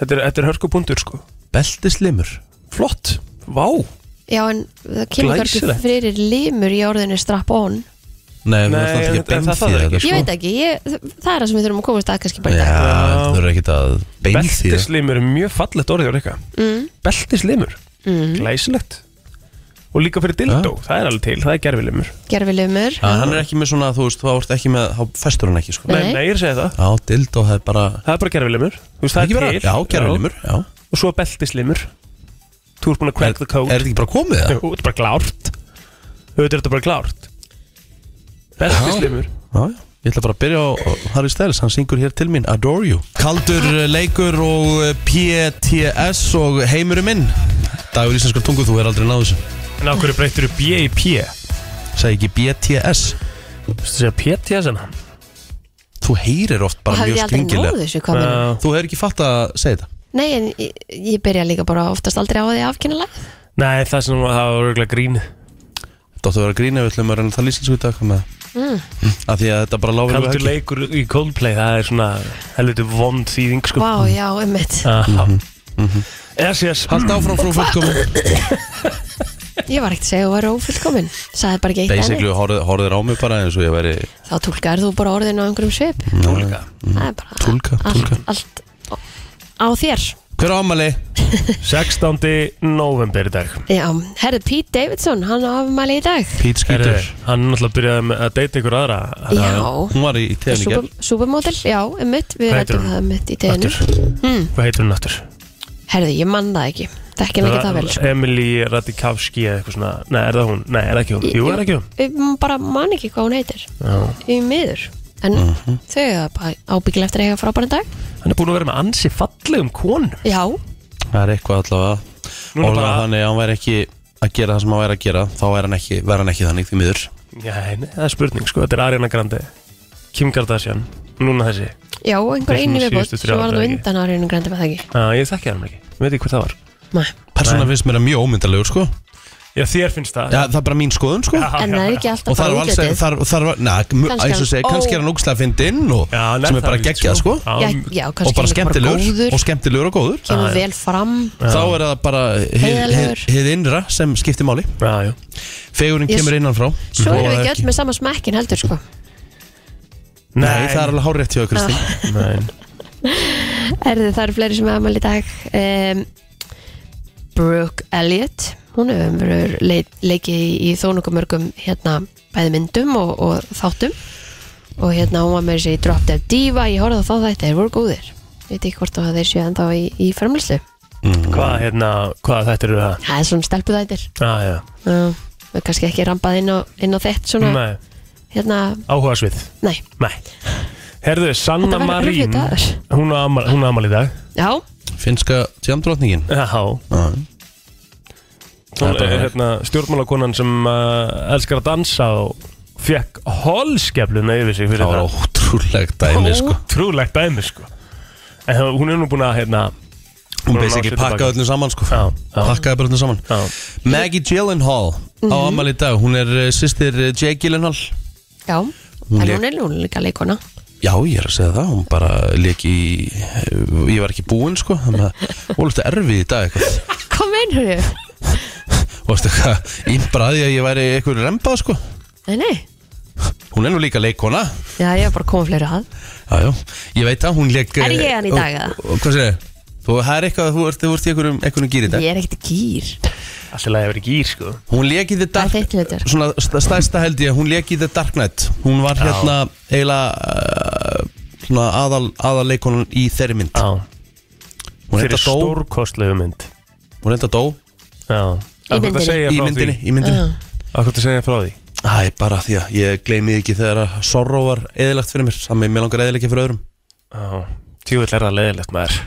Speaker 2: Þetta er, þetta er hörku búndur sko
Speaker 1: beltislimur
Speaker 2: Flott, vá
Speaker 3: Já, en það kemur kannski
Speaker 2: Glæsilegt.
Speaker 3: fyrir limur í orðinu strappun
Speaker 1: Nei, við
Speaker 2: Nei,
Speaker 1: erum alltaf
Speaker 2: en
Speaker 1: ekki
Speaker 2: þetta- en það
Speaker 1: beinþýða
Speaker 2: þarf
Speaker 1: þetta
Speaker 2: ekki.
Speaker 1: sko.
Speaker 3: Ég veit ekki, ég, það er það sem við þurfum að komast að kannski bara í dag
Speaker 1: Já, þú eru ekkert að beinþýða
Speaker 2: Beltislimur er mjög fallegt orðið á reyka mm. Beltislimur, mm. glæsilegt Og líka fyrir dildó, það er alveg til, það er gerfilimur
Speaker 3: Gerfi limur
Speaker 1: Já, Ah, hann er ekki með svona, þú veist, þú ert ekki með, þá festur hann ekki, sko.
Speaker 3: Nei.
Speaker 2: Nei, nei, ég er að segja það
Speaker 1: Já, dildó, það er bara,
Speaker 2: Það er bara gerfilimur, þú veist það
Speaker 1: ekki
Speaker 2: er
Speaker 1: bara,
Speaker 2: til
Speaker 1: já, gerðilimur, já.
Speaker 2: Já. Og svo beltislimur Þú ert búin að crack the
Speaker 1: Er
Speaker 2: code
Speaker 1: þetta ekki bara komið það?
Speaker 2: Jú, Þetta er bara klárt Þetta er þetta bara klárt Beltislimur
Speaker 1: Já, já. Ég ætla bara að byrja á á Harry Styles, hann syngur hér til mín, Adore You. Kaldur eh, leikur og eh, PTS og heimurinn minn. Dagur íslenskar tungu, þú er aldrei náðu þessu.
Speaker 2: En á hverju breytir þú B í P?
Speaker 1: Segð ekki BTS.
Speaker 2: Þú veist að segja PTS en hann
Speaker 1: Þú heyrir oft
Speaker 3: og
Speaker 1: bara
Speaker 3: hafði ég
Speaker 1: mjög
Speaker 3: aldrei náðu
Speaker 1: skringilega.
Speaker 3: þessu hvað uh.
Speaker 1: Þú hefur ekki fatt að segja þetta.
Speaker 3: Nei, en ég, ég byrja líka bara oftast aldrei á því afkynnalag
Speaker 2: Nei, það sem það var örgulega grín
Speaker 1: Þetta áttu að vera að grína, við ætlum að reyna það lýsinsku í dag, hvað með það? Mm. Af því að þetta bara lágur
Speaker 2: Kaldur leikur í Coldplay, það er svona helviti vond þýðing sko
Speaker 3: Vá, já, einmitt
Speaker 2: Yes, yes
Speaker 1: Halt áfram frú fólkomin
Speaker 3: Ég var ekkert að segja að þú væri ófullkomin Saði bara ekki eitt enni
Speaker 1: Basically horfið horfið á mig bara eins og ég væri
Speaker 3: Þá tólkar þú bara orðin á einhverjum svip
Speaker 2: Tólka
Speaker 3: Það er bara
Speaker 1: Túlka, túlka.
Speaker 3: Allt, allt á þér
Speaker 1: Hver á ammali?
Speaker 2: 16. november í dag
Speaker 3: Já, herðu Pete Davidson, hann á afmæli í dag
Speaker 1: Pete
Speaker 2: Herru,
Speaker 1: Skeeter
Speaker 2: Hann náttúrulega byrjaði með að deyta ykkur aðra
Speaker 3: Já,
Speaker 1: Hún var í tegni
Speaker 3: Super,
Speaker 1: gerð
Speaker 3: Supermodel, já, einmitt Við
Speaker 2: Hvað heitir
Speaker 3: rættum
Speaker 2: hún?
Speaker 3: það einmitt í teginu
Speaker 2: Aftur Hvað heitir hún aftur?
Speaker 3: Herðu, Hmm. ég mann það ekki Þekki hann ekki það vel sko.
Speaker 2: Emily Radikavski eða eitthvað svona Nei, er það hún? Nei, er það ekki hún? Jú, er það ekki hún?
Speaker 3: Ég bara man ekki hvað hún heitir
Speaker 2: Já
Speaker 3: Í miður En
Speaker 2: Mhm.
Speaker 3: þau er bara ábyggilega eftir að eiga frábæran dag
Speaker 2: Hann er búin að vera með ansi fallegum konum
Speaker 3: Já,
Speaker 1: Það er eitthvað allavega
Speaker 2: Núna
Speaker 1: Og
Speaker 2: bara-
Speaker 1: þannig að hann væri ekki að gera það sem hann væri að gera Þá væri hann ekki, væri hann ekki þannig því miður
Speaker 2: Nei, nei, það er spurning sko, þetta er Ariana Grande Kim Kardashian, núna þessi
Speaker 3: já, einhver
Speaker 2: Þessum
Speaker 3: einu viðbót
Speaker 2: síðustu
Speaker 3: Svo
Speaker 2: þrjá
Speaker 3: var það
Speaker 2: daga,
Speaker 3: undan árið Grandi var það ekki
Speaker 2: Já, ég þekki hann ekki, ég veit ekki hvað það var
Speaker 3: Nei.
Speaker 1: Persónan finnst mér að mjög ómyndalegur sko
Speaker 2: Já, þér finnst það
Speaker 1: ja, Það er bara mín skoðun sko
Speaker 3: En það er ekki alltaf
Speaker 1: Og það
Speaker 3: bara
Speaker 1: er alls
Speaker 3: útlitið
Speaker 1: þar, þar, var- na,
Speaker 3: Kannski
Speaker 1: eins og
Speaker 3: hann-
Speaker 1: segja, kannski er hann ógslag fyndinn og
Speaker 2: Já, hann
Speaker 1: sem er
Speaker 2: það
Speaker 1: bara
Speaker 2: líka,
Speaker 1: geggjað sko
Speaker 3: Já,
Speaker 2: Já,
Speaker 3: já,
Speaker 1: og
Speaker 3: kannski
Speaker 1: bara
Speaker 3: hann er
Speaker 1: skemmtilegur
Speaker 3: góður
Speaker 1: og skemmtilegur og góður
Speaker 3: Kemur
Speaker 2: Já, já.
Speaker 3: vel fram
Speaker 1: þá er það bara hið- hið
Speaker 3: Heiðarlegur.
Speaker 1: hið innra sem skiptir máli
Speaker 2: já, já.
Speaker 1: fegurinn
Speaker 3: Yes.
Speaker 1: kemur innan frá
Speaker 3: Svo erum við ekki öll með sama smekkin heldur sko
Speaker 1: Nei, það er alveg hárétt hjá Kristi
Speaker 2: Nein.
Speaker 3: Erðu það eru fleiri sem er afmæli í dag um, Brooke Elliot Hún hefur verið leik, leikið í, í þónukumörgum hérna bæði myndum og, og þáttum og hérna hún var með þessi Drop Dead Diva ég horfði á þá þetta, þeir voru góðir ég veit ekki hvort það þeir séu enda í, í framlýslu
Speaker 2: Hvað, hérna, hvað þetta eru það?
Speaker 3: það er svona stelpu þættir
Speaker 2: Já, já,
Speaker 3: uh, kannski ekki rampað inn á, inn á þett svona,
Speaker 2: nei,
Speaker 3: hérna,
Speaker 2: áhuga svið
Speaker 3: nei
Speaker 2: Nei Herðu, Sanna
Speaker 3: Þetta verður
Speaker 2: Marín
Speaker 3: erfiður dagur.
Speaker 2: Hún á amal, hún á amal í dag
Speaker 3: já,
Speaker 1: Mm. Finnska tjamdrottningin
Speaker 2: Já, hún
Speaker 1: Það er bara
Speaker 2: er
Speaker 1: þannig.
Speaker 2: hérna, stjórnmálakonan sem uh, elskar að dansa og fekk holskefluna yfir sig fyrir
Speaker 1: Það var
Speaker 2: það
Speaker 1: ótrúlegt dæmi sko
Speaker 2: Ótrúlegt dæmi sko En hún er nú búin að hérna
Speaker 1: Hún
Speaker 2: Hún
Speaker 1: beins ekki
Speaker 2: ná sér tilbaka.
Speaker 1: pakkaði öllum saman sko
Speaker 2: Já, já.
Speaker 1: Pakkaði bara öllum saman
Speaker 2: Já.
Speaker 1: Maggie Gyllenhaal á amal í dag Hún er uh, sýstir eh, Jake Gyllenhaal
Speaker 3: Já,
Speaker 1: Hún
Speaker 3: en
Speaker 1: lék-
Speaker 3: hún er nú líka leikona
Speaker 1: Já, ég er að segja það, hún bara leik í eh, Ég var ekki búinn sko Þannig að hún lúta erfið í dag eitthvað
Speaker 3: Hvað meinar þau?
Speaker 1: Og veistu hvað, ímbraði að ég væri eitthvað rembað sko
Speaker 3: Nei, nei,
Speaker 1: Hún er nú líka leikona
Speaker 3: já ég var bara að koma fleiri að
Speaker 1: Jájá, ég veit að hún leik
Speaker 3: Er ég hann í dag, eða?
Speaker 1: eða? Hvað segir Þú, það er eitthvað, að þú ert, þú ert í einhverjum, einhverjum gýr í dag
Speaker 3: Ég er ekkert í gýr
Speaker 2: Alltaf lagi að vera í gýr sko
Speaker 1: Hún leik í The Dark
Speaker 3: Það er þitt hlutur.
Speaker 1: Svona st- stærsta held ég Hún leik í The Dark Knight Hún var hérna eiginlega uh, Svona aðal, aðal leikonan í þeirri mynd
Speaker 2: Já,
Speaker 1: Hún
Speaker 2: fyrir
Speaker 1: enda dó
Speaker 2: stórkostlegu mynd
Speaker 1: Hún enda dó
Speaker 2: Já Í
Speaker 3: myndinni.
Speaker 1: Í myndinni Í myndinni
Speaker 2: Akkur að segja frá því
Speaker 1: Það er bara því að ég gleymi ekki þegar að Sorrow var eðilagt fyrir mér Sammi, mér langar eðilegja fyrir öðrum
Speaker 2: Já, tjúvill er það leðilegt maður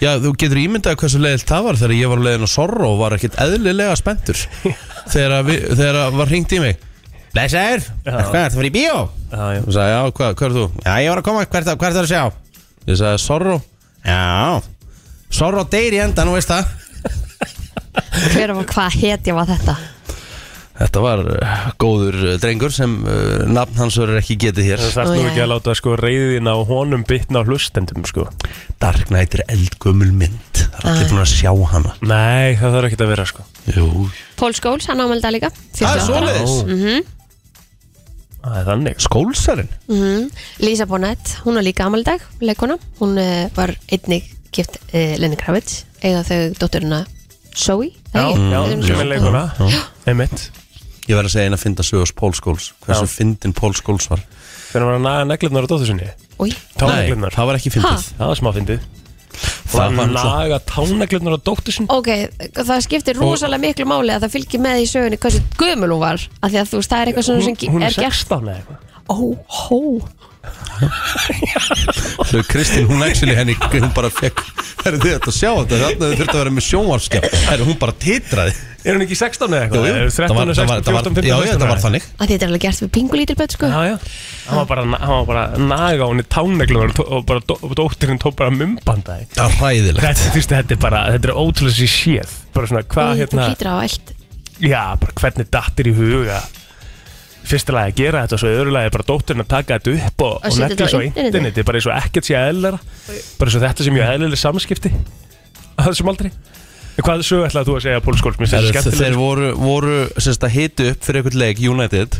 Speaker 1: Já, þú getur ímyndað hversu leiðilt það var þegar ég var á leiðin á Sorro og var ekkert eðlilega spenntur þegar, að við, þegar að var hringt í mig Blessaður, hvað er það fyrir í bíó?
Speaker 2: Já, já.
Speaker 1: Hún sagði, já, hvað, hvað er þú? Já, ég var að koma, hvert, hvert er að sjá? Ég sagði, Sorro Já, Sorro deyr í enda, nú veist það
Speaker 3: Hver var hvað hetja var þetta?
Speaker 1: Þetta var uh, góður uh, drengur sem uh, nafn hans verður ekki getið hér
Speaker 2: Það þarf
Speaker 3: Ó,
Speaker 2: nú
Speaker 3: já,
Speaker 2: ekki að
Speaker 3: já.
Speaker 2: láta sko reyðin á honum bitna á hlustendum sko
Speaker 1: Dark Knight er eldgömmul mynd Það er allir búin að sjá hana
Speaker 2: Nei, það þarf ekki að vera sko
Speaker 1: Jú,
Speaker 3: Pól Skóls, hann ámelda líka
Speaker 1: það er
Speaker 3: 48.
Speaker 1: svoleiðis
Speaker 2: Það er þannig
Speaker 1: Skólsarinn
Speaker 3: Mhm. Lisa Bonet, hún er líka amal dag, leikona Hún uh, var einnig gift uh, Lenny Kravitz Eða þau dótturina Zoe
Speaker 2: Já, já, sem er leikuna Einmitt
Speaker 1: Ég verð að segja eina að finna sögurs Pól Skóls Hversu fyndin Pól Skóls var
Speaker 2: Hvernig var að naga neglirnar á dóttur sinni?
Speaker 3: Új,
Speaker 2: Táneglirnar
Speaker 1: það var ekki fyndið
Speaker 2: Það var smá fyndið
Speaker 1: Það var
Speaker 2: Það var
Speaker 1: náttúrulega-
Speaker 2: naga táneglirnar á dóttur sinni
Speaker 3: Ok, það skiptir rosalega miklu máli að það fylgir með í sögunni hversu gömul hún var af því að þú veist, það er eitthvað svona sem ge-
Speaker 2: Hún er
Speaker 3: er gert
Speaker 2: 16 eða eitthvað
Speaker 3: Ó, hó
Speaker 1: Þau Kristín, hún actually henni Hún bara fekk Herru þið ættu að sjá þetta Þannig að þau þurftu að vera með sjónvarskjaf Herru hún bara titraði
Speaker 2: Er hún ekki 16 eða
Speaker 1: Jú, jú,
Speaker 2: eitthvað? Er hún
Speaker 1: það
Speaker 2: 13,
Speaker 1: var- það var-
Speaker 2: 16,
Speaker 1: það var-
Speaker 2: 14, 15,
Speaker 1: Já, já,
Speaker 2: 16
Speaker 1: þetta var
Speaker 2: eða?
Speaker 1: þannig
Speaker 3: að þetta er alveg gert við pingulítil börn sko
Speaker 2: Já, já Hann var bara, hann var bara að naga á henni táneglunum og bara dó- og dóttirinn tók bara mumbanda
Speaker 1: Það var hræðilegt
Speaker 2: Þetta, þú veist, þetta er bara, þetta er ótrúlega sér séð Bara svona, hvað
Speaker 3: Í, Þú
Speaker 2: hérna
Speaker 3: hlýtur á allt
Speaker 2: Já, bara hvernig dattir í huga Fyrsta lagi að gera þetta og Svo öðru lagi bara dóttirinn að taka þetta upp Og,
Speaker 3: Og
Speaker 2: og
Speaker 3: setja
Speaker 2: negla
Speaker 3: þetta á
Speaker 2: svo á
Speaker 3: internetið.
Speaker 2: interneti Bara eins og ekkert sé eðlera Bara eins og þetta sem ég eðlileg samskipti Að þessum aldrei Hvað sög ætlaði þú að segja Pól Skóls? Mér finnst
Speaker 1: Herru,
Speaker 2: þetta
Speaker 1: Þeir
Speaker 2: skemmtilega
Speaker 1: voru, voru sérst að hiti upp fyrir einhvern leik United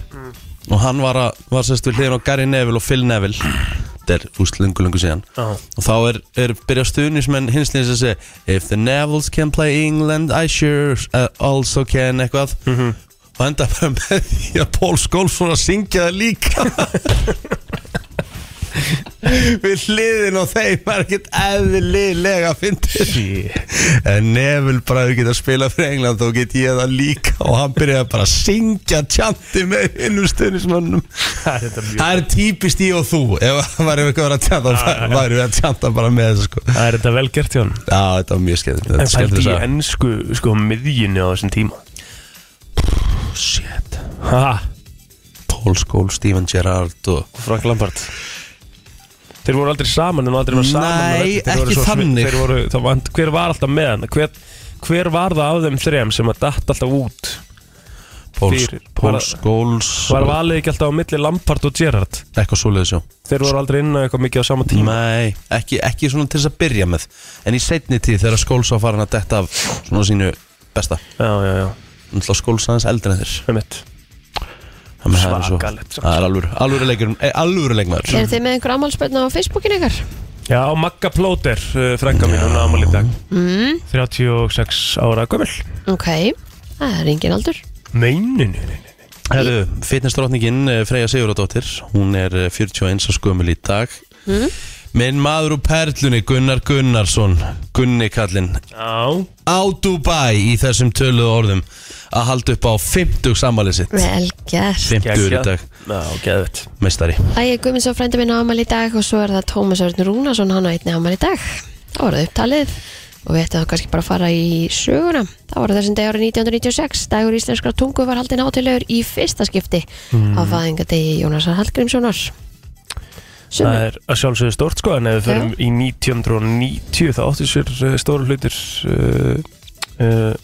Speaker 1: Og hann var, að, var sérst við hliðin á Gary Neville og Phil Neville Þetta er úst lungu lungu síðan
Speaker 2: Já.
Speaker 1: Og þá er, er byrja stuðnismenn hins liðs að segja If the Nevilles can play England I sure uh, also can eitthvað Og enda bara með því að Pól Skólfsson að syngja það líka Við hliðin og þeim var ekkert eðlilega fyndið En Neville bræður geta að spila fyrir England þá get ég það líka og hann byrjaði bara að syngja tjanti með hinnum stuðnismönnum
Speaker 2: Það er þetta mjög
Speaker 1: Það er típist ég og þú ef það var eitthvað að vera að tjanta þá væri við að tjanta bara með þessu sko Já,
Speaker 2: Það er þetta vel gert hjá hann
Speaker 1: þetta var mjög skemmt Þetta er
Speaker 2: En pældi
Speaker 1: skemmtileg
Speaker 2: í
Speaker 1: saga.
Speaker 2: ennsku sko miðjunni á þessum tíma
Speaker 1: Shit
Speaker 2: Ha,
Speaker 1: Paul Scholes, Steven Gerrard og
Speaker 2: Frank Lampard Þeir voru aldrei saman en aldrei var saman á
Speaker 1: Nei,
Speaker 2: velli. Þeir voru
Speaker 1: ekki
Speaker 2: svo svi-
Speaker 1: þannig.
Speaker 2: þeir voru, það var, Hver var alltaf með hann? Hver, hver var það af þeim þrem sem að datt alltaf út?
Speaker 1: Paul,
Speaker 2: Fyrir-
Speaker 1: Paul
Speaker 2: var-
Speaker 1: Scholes
Speaker 2: Var valið ekki alltaf á milli Lampard og Gerrard?
Speaker 1: Eitthvað svoleiðis já
Speaker 2: Þeir voru aldrei inn á eitthvað mikið á sama tíma
Speaker 1: Nei, ekki, ekki svona til þess að byrja með En í seinni tíð þegar Scholes var farin að detta af svona sínu besta
Speaker 2: Já, já, já,
Speaker 1: Náttúrulega Scholes aðeins eldri en þér
Speaker 2: með mitt
Speaker 1: Það með það er svo-
Speaker 2: Svakalegt, samt.
Speaker 1: Það er alvöru, alvöru leikur Alvöru leikmaður
Speaker 3: Eru þið með einhver amalspörn á Facebookin ykkar?
Speaker 2: Já, Magga Plóter, uh, frænka mín, hún ámali í dag mm. 36 ára gömul
Speaker 3: Ok, það er engin aldur
Speaker 2: Meininu, neinu
Speaker 1: Herru, fitnessdrottningin eh, Freyja Sigurðardóttir Hún er eh, 41 á skömmul í dag Minn maður úr perlunni Gunnar Gunnarsson Gunni kallinn
Speaker 2: Já,
Speaker 1: Á Dubai í þessum töluðu orðum Að halda upp á 50 sammálið sitt
Speaker 3: Vel gert
Speaker 1: 50 í
Speaker 2: Geggjað.
Speaker 1: dag,
Speaker 2: Já, geðvitt
Speaker 1: meistari
Speaker 3: Ægir Guðmunds og frændi minn á amal í dag og svo er það Tómas Örn Rúnason, hann á einni amal í dag Það voruð upptalið og við ættum þá kannski bara að fara í söguna Það voru þessum dag árið 1996 dagur íslenskra tungu var haldin átilegur í fyrsta skipti á fæðingadegi Jónasar Hallgrímssonar Sumir.
Speaker 2: Það er að sjálfsögðu stórt sko en ef við
Speaker 3: Já.
Speaker 2: förum í 1990 þá áttu sér uh, stóru hlutir uh, uh,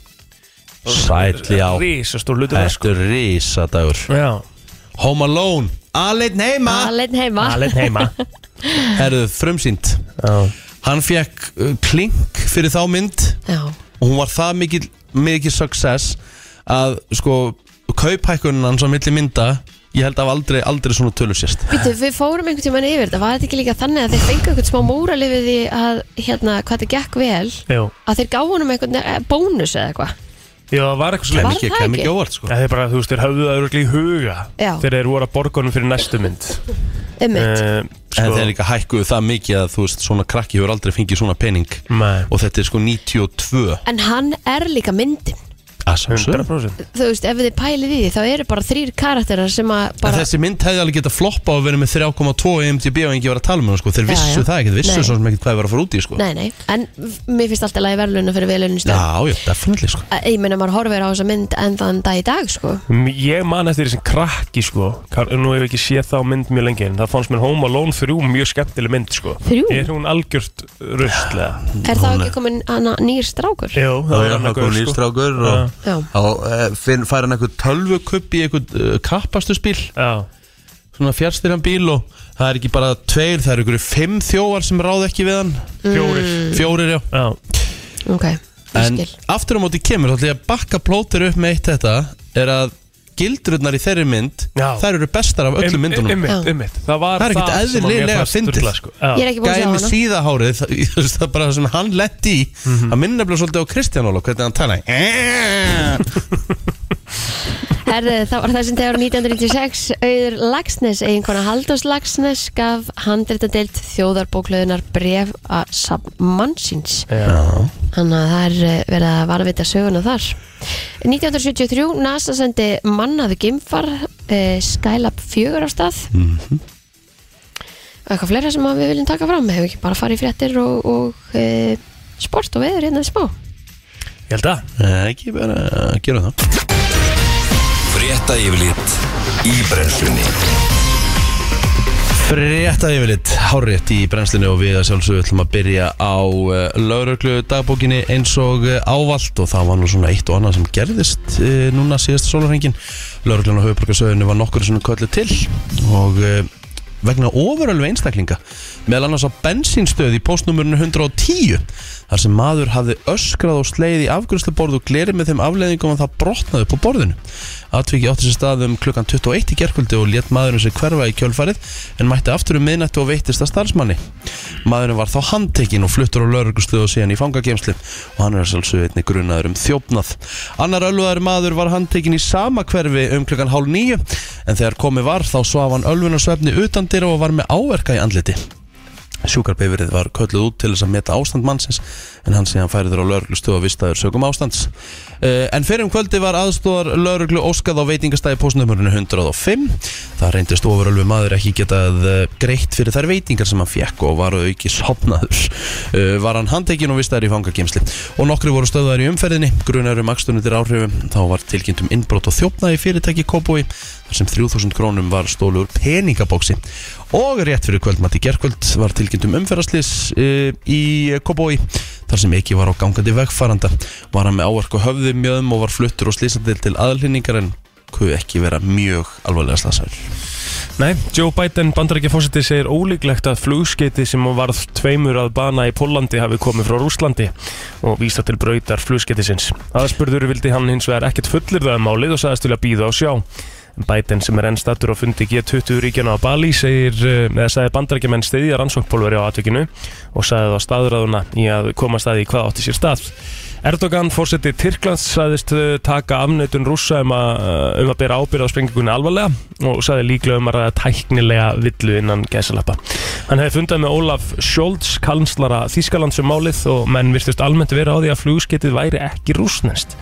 Speaker 1: Sæll, já.
Speaker 2: Rísa stóru hlutir þar, sko.
Speaker 1: Þetta er risadagur
Speaker 2: Já
Speaker 1: Home Alone Aleinn heima
Speaker 3: Alinn heima
Speaker 2: Alinn heima
Speaker 1: Herðu frumsýnd
Speaker 2: Já
Speaker 1: Hann fekk uh, klink fyrir þá mynd
Speaker 3: Já,
Speaker 1: og hún var það mikil, mikil success að sko kauphækkunin hans á milli mynda ég held að hafa aldrei, aldrei svona tölu sérst
Speaker 3: Býtu, við fórum einhvern tímann yfir þetta, var þetta ekki líka þannig að þeir fengu einhvern smá múrali við því að hérna, hvað þetta gekk vel
Speaker 2: Jú
Speaker 3: að þeir gáðu honum einhvern eh, bónus eða eitthvað
Speaker 2: Já, það var eitthvað
Speaker 1: kem
Speaker 3: Var
Speaker 2: slegum
Speaker 1: ekki,
Speaker 3: það
Speaker 1: kem
Speaker 3: ekki?
Speaker 1: ekki óvart sko
Speaker 2: Það er bara, þú veist, þeir höfðu það örgli í huga
Speaker 3: Já.
Speaker 2: Þeir eru voru að borgunum fyrir næstu mynd
Speaker 3: Einmitt.
Speaker 2: uh,
Speaker 1: en þeir líka hækkuðu það mikið að þú veist svona krakki hefur aldrei fengið svona pening
Speaker 2: Nei,
Speaker 1: og þetta er sko 92
Speaker 3: En hann er líka myndin
Speaker 1: að sjálfsögðu.
Speaker 2: 100%
Speaker 3: Þú veist, ef þið pælið í því, þá eru bara þrýr karakterar sem að
Speaker 1: En
Speaker 3: bara
Speaker 1: þessi mynd hefði alveg getað floppa og verið með 3,2 í IMDb og engi var að tala með hún sko. þeir
Speaker 3: Já,
Speaker 1: vissu
Speaker 3: já.
Speaker 1: það ekkert, vissu
Speaker 3: Nei.
Speaker 1: svo sem ekkert hvað þeir var að fara út í sko.
Speaker 3: Nei, nei, en mér finnst alltaf lagi verðluna fyrir velunumstöð
Speaker 1: já, já, definitely sko.
Speaker 3: Ég meina maður horfir á þessa mynd en þann dag í dag sko.
Speaker 2: M- Ég man eftir þessum krakki sko Kar- Nú hef ég ekki séð þá mynd mjög lengi En það fannst mér Home Alone 3 mjög skemmtileg mynd sko
Speaker 3: Þrjú?
Speaker 2: Er hún algjört rustlega?
Speaker 3: Er það ekki komin hana, nýr strákur?
Speaker 2: Jú,
Speaker 1: Já, já,
Speaker 2: það er hann
Speaker 1: það kom
Speaker 2: eitthvað
Speaker 1: nýr
Speaker 2: sko
Speaker 1: strákur
Speaker 2: Já.
Speaker 1: og
Speaker 3: Já,
Speaker 1: þá eh, fær hann eitthvað tölvukupp í eitthvað uh, kappastu spil
Speaker 2: Já,
Speaker 1: svona fjárstyrjan bíl og það er ekki bara tveir, það eru ykkur fimm þjófar sem ráð ekki við hann,
Speaker 2: fjórir
Speaker 3: Mm.
Speaker 1: fjórir já
Speaker 2: Já,
Speaker 3: ok, ég
Speaker 1: en
Speaker 3: skil
Speaker 1: aftur á móti kemur, þá ætlum ég að bakka plótir upp með eitt þetta, er að gildrurnar í þeirri mynd,
Speaker 2: Já.
Speaker 1: þær eru bestar af öllum
Speaker 2: Em-
Speaker 1: myndunum,
Speaker 2: Einmitt,
Speaker 3: Já.
Speaker 2: einmitt Það var
Speaker 1: Það er ekkert
Speaker 2: sem að mér
Speaker 1: eðlilega
Speaker 2: fannst
Speaker 1: fyndið.
Speaker 2: drullað, sko. Já.
Speaker 3: Ég er ekki búin að
Speaker 1: gæði
Speaker 3: sjá
Speaker 1: með
Speaker 3: hana
Speaker 1: síðahárið það, ég veist, það er bara það sem hann lett í
Speaker 2: Mhm.
Speaker 1: það minna blóð svolítið á Kristján Óla hvernig hann talaði
Speaker 3: Herðu, það var það sem tegur 1996 Auður Lagsnes, eiginkona Haldós Lagsnes gaf handreitadeild þjóðarbóklöðunar bref að sammannsins
Speaker 2: Já.
Speaker 3: Þannig að það er eh, verið að varvita söguna þar 1973, NASA sendi mannaðu gimfar eh, Skylab 4 á stað
Speaker 1: Mhm.
Speaker 3: Eitthvað fleira sem að við viljum taka fram hefur ekki bara farið í fréttir og, og eh, sport og veður hérna smá
Speaker 2: Ég held að
Speaker 1: ekki bara að gera það
Speaker 4: Frétta yfirlit í brennslunni
Speaker 1: Frétta yfirlit, hárétt í brennslinu og við að sjálfsögum ætlum að byrja á uh, lauruglu dagbókinni eins og uh, ávallt og það var nú svona eitt og annað sem gerðist uh, núna síðasta sólarhengin. Lauruglan á höfuborgarsöðinu var nokkur svona köllu til og uh, vegna ofurölvi einstaklinga meðal annars á bensínstöð í postnumurinu 110 þar sem maður hafði öskrað og sleið í afgrunnsluborð og glerið með þeim afleiðingum að það brotnaði upp á borðinu. Atvikið átti sér stað um klukkan 21 í gerkvöldi og létt maðurinn sér hverfa í kjölfarið en mætti aftur um miðnættu og veittist að starfsmanni. Maðurinn var þá handtekinn og fluttur á lauruglustöðu og síðan í fangagemsli og hann er sjálfsög einnig grunaður um þjófnað. Annar ölvaður maður var handtekinn í sama hverfi um klukkan hálf níu en þegar komið var þá svaf hann ölvunarsvefni utan dyra og var með áverka í andliti. Sjúkarbifrið var kölluð út til þess að meta ástand mannsins en hann síðan færiður á lauruglustu og vistaður sögum ástands. Eh, En fyrir um kvöldi var aðstóðar lauruglu óskað á veitingastæði postnumurinu 105. Það reyndist ofurölvi maður ekki getað eh, greitt fyrir þær veitingar sem hann fekk og var að auki sopnaður. Eh, Var hann handtekinn og vistaður í fangagemsli. Og nokkri voru stöðaður í umferðinni, grunar um akstunundir áhrifum. Þá var tilkynnt um innbrot og þjófnaði í fyrirtæki Kópói þar sem 3000 krónum var stólu úr peningabóksi og rétt fyrir kvöldmatt í gerkvöld var tilkynnt um umferðarslis uh, í Kobói þar sem ekki var á gangandi vegfaranda var hann með áarku höfði mjöðum og var fluttur og slísandil til aðlýningar en kuð ekki vera mjög alvarlega slasaður
Speaker 2: Nei, Joe Biden, bandarækja fósiti, segir ólíklegt að flugskeiti sem varð tveimur að bana í Pólandi hafi komið frá Rúslandi og vísa til brautar flugskeitisins. Aðspurður vildi hann hins vegar ekkert fullirðaði málið og sagðist vilja býða og sjá. Biden sem er enn stattur á fundi G20 ríkjana á Bali segir, eh, eða sagði bandarækjumenn stiðja rannsóknpólveri á atvikinu og sagði þá staðræðuna í að koma staði í hvað átti sér stað. Erdogan, fórseti Tyrklands, sagðist eh, taka afnöðun rússa um að, um að bera ábyrða á sprengingunni alvarlega og sagði líklega um að ræða tæknilega villu innan gæsalappa. Hann hefði fundað með Ólaf Scholz, kanslara Þískalands um málið og menn virtust almennt vera á því að flugsketið væri ekki rúsnest.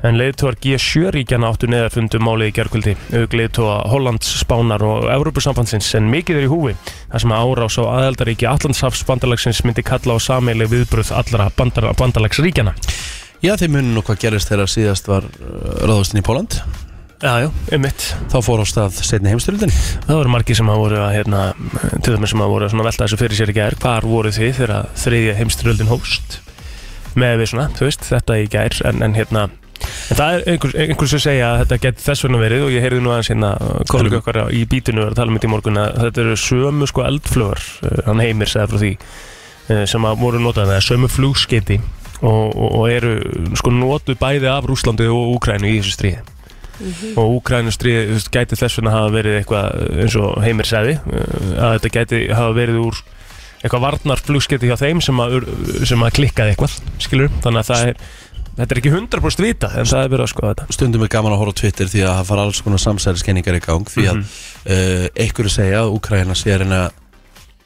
Speaker 2: En leiðtóar G7-ríkjana áttu neða fundum málið í gerkvöldi, auk leiðtóa Hollands, Spánar og Evrópusambandsins en mikið er í húfi, þar sem að árás á aðeldaríki Allandshafsbandalagsins myndi kalla á sameileg viðbröð allra bandar, bandalagsríkjana.
Speaker 1: Já, þeir munum nú hvað gerist þegar síðast var uh, ráðustinn eh, í Póland
Speaker 2: Já, já, einmitt
Speaker 1: Þá fór á stað setni heimstyrildin
Speaker 2: Það voru margir sem að voru að, hérna, til dæmis sem að voru svona að velta þessu fyrir sér í gær Hvar voru þið þegar að þriðja heimströldin hóst með við svona, þú veist, þetta í gær en, en hérna, en það er einhver, einhver sem segja að þetta geti þess vegna verið og ég heyrði nú aðeins hérna, kollega okkar á- í bítinu var að tala um þetta í morgun að þetta eru sömu sko eldflögar eh, hann heimir segði frá því eh, sem að voru notað, það er sömu flugskeiti og, og, og eru sko notu bæði af Rúslandi og Úkrænu í þessu stríði og Úkrænustríð gæti þess vegna hafa verið eitthvað eh, eins og Heimir sagði uh, að þetta gæti hafa verið úr eitthvað varnar hjá þeim sem að, ur- sem að klikkaði eitthvað skilur, þannig að það er þetta er ekki 100% vita en það er verið að skoða þetta
Speaker 1: Stundum er gaman að horfa á Twitter því að það fara alls konar samsæðiskenningar í gang Því að
Speaker 3: Mhm.
Speaker 1: mm einhverju segja að Ukraina sé að reyna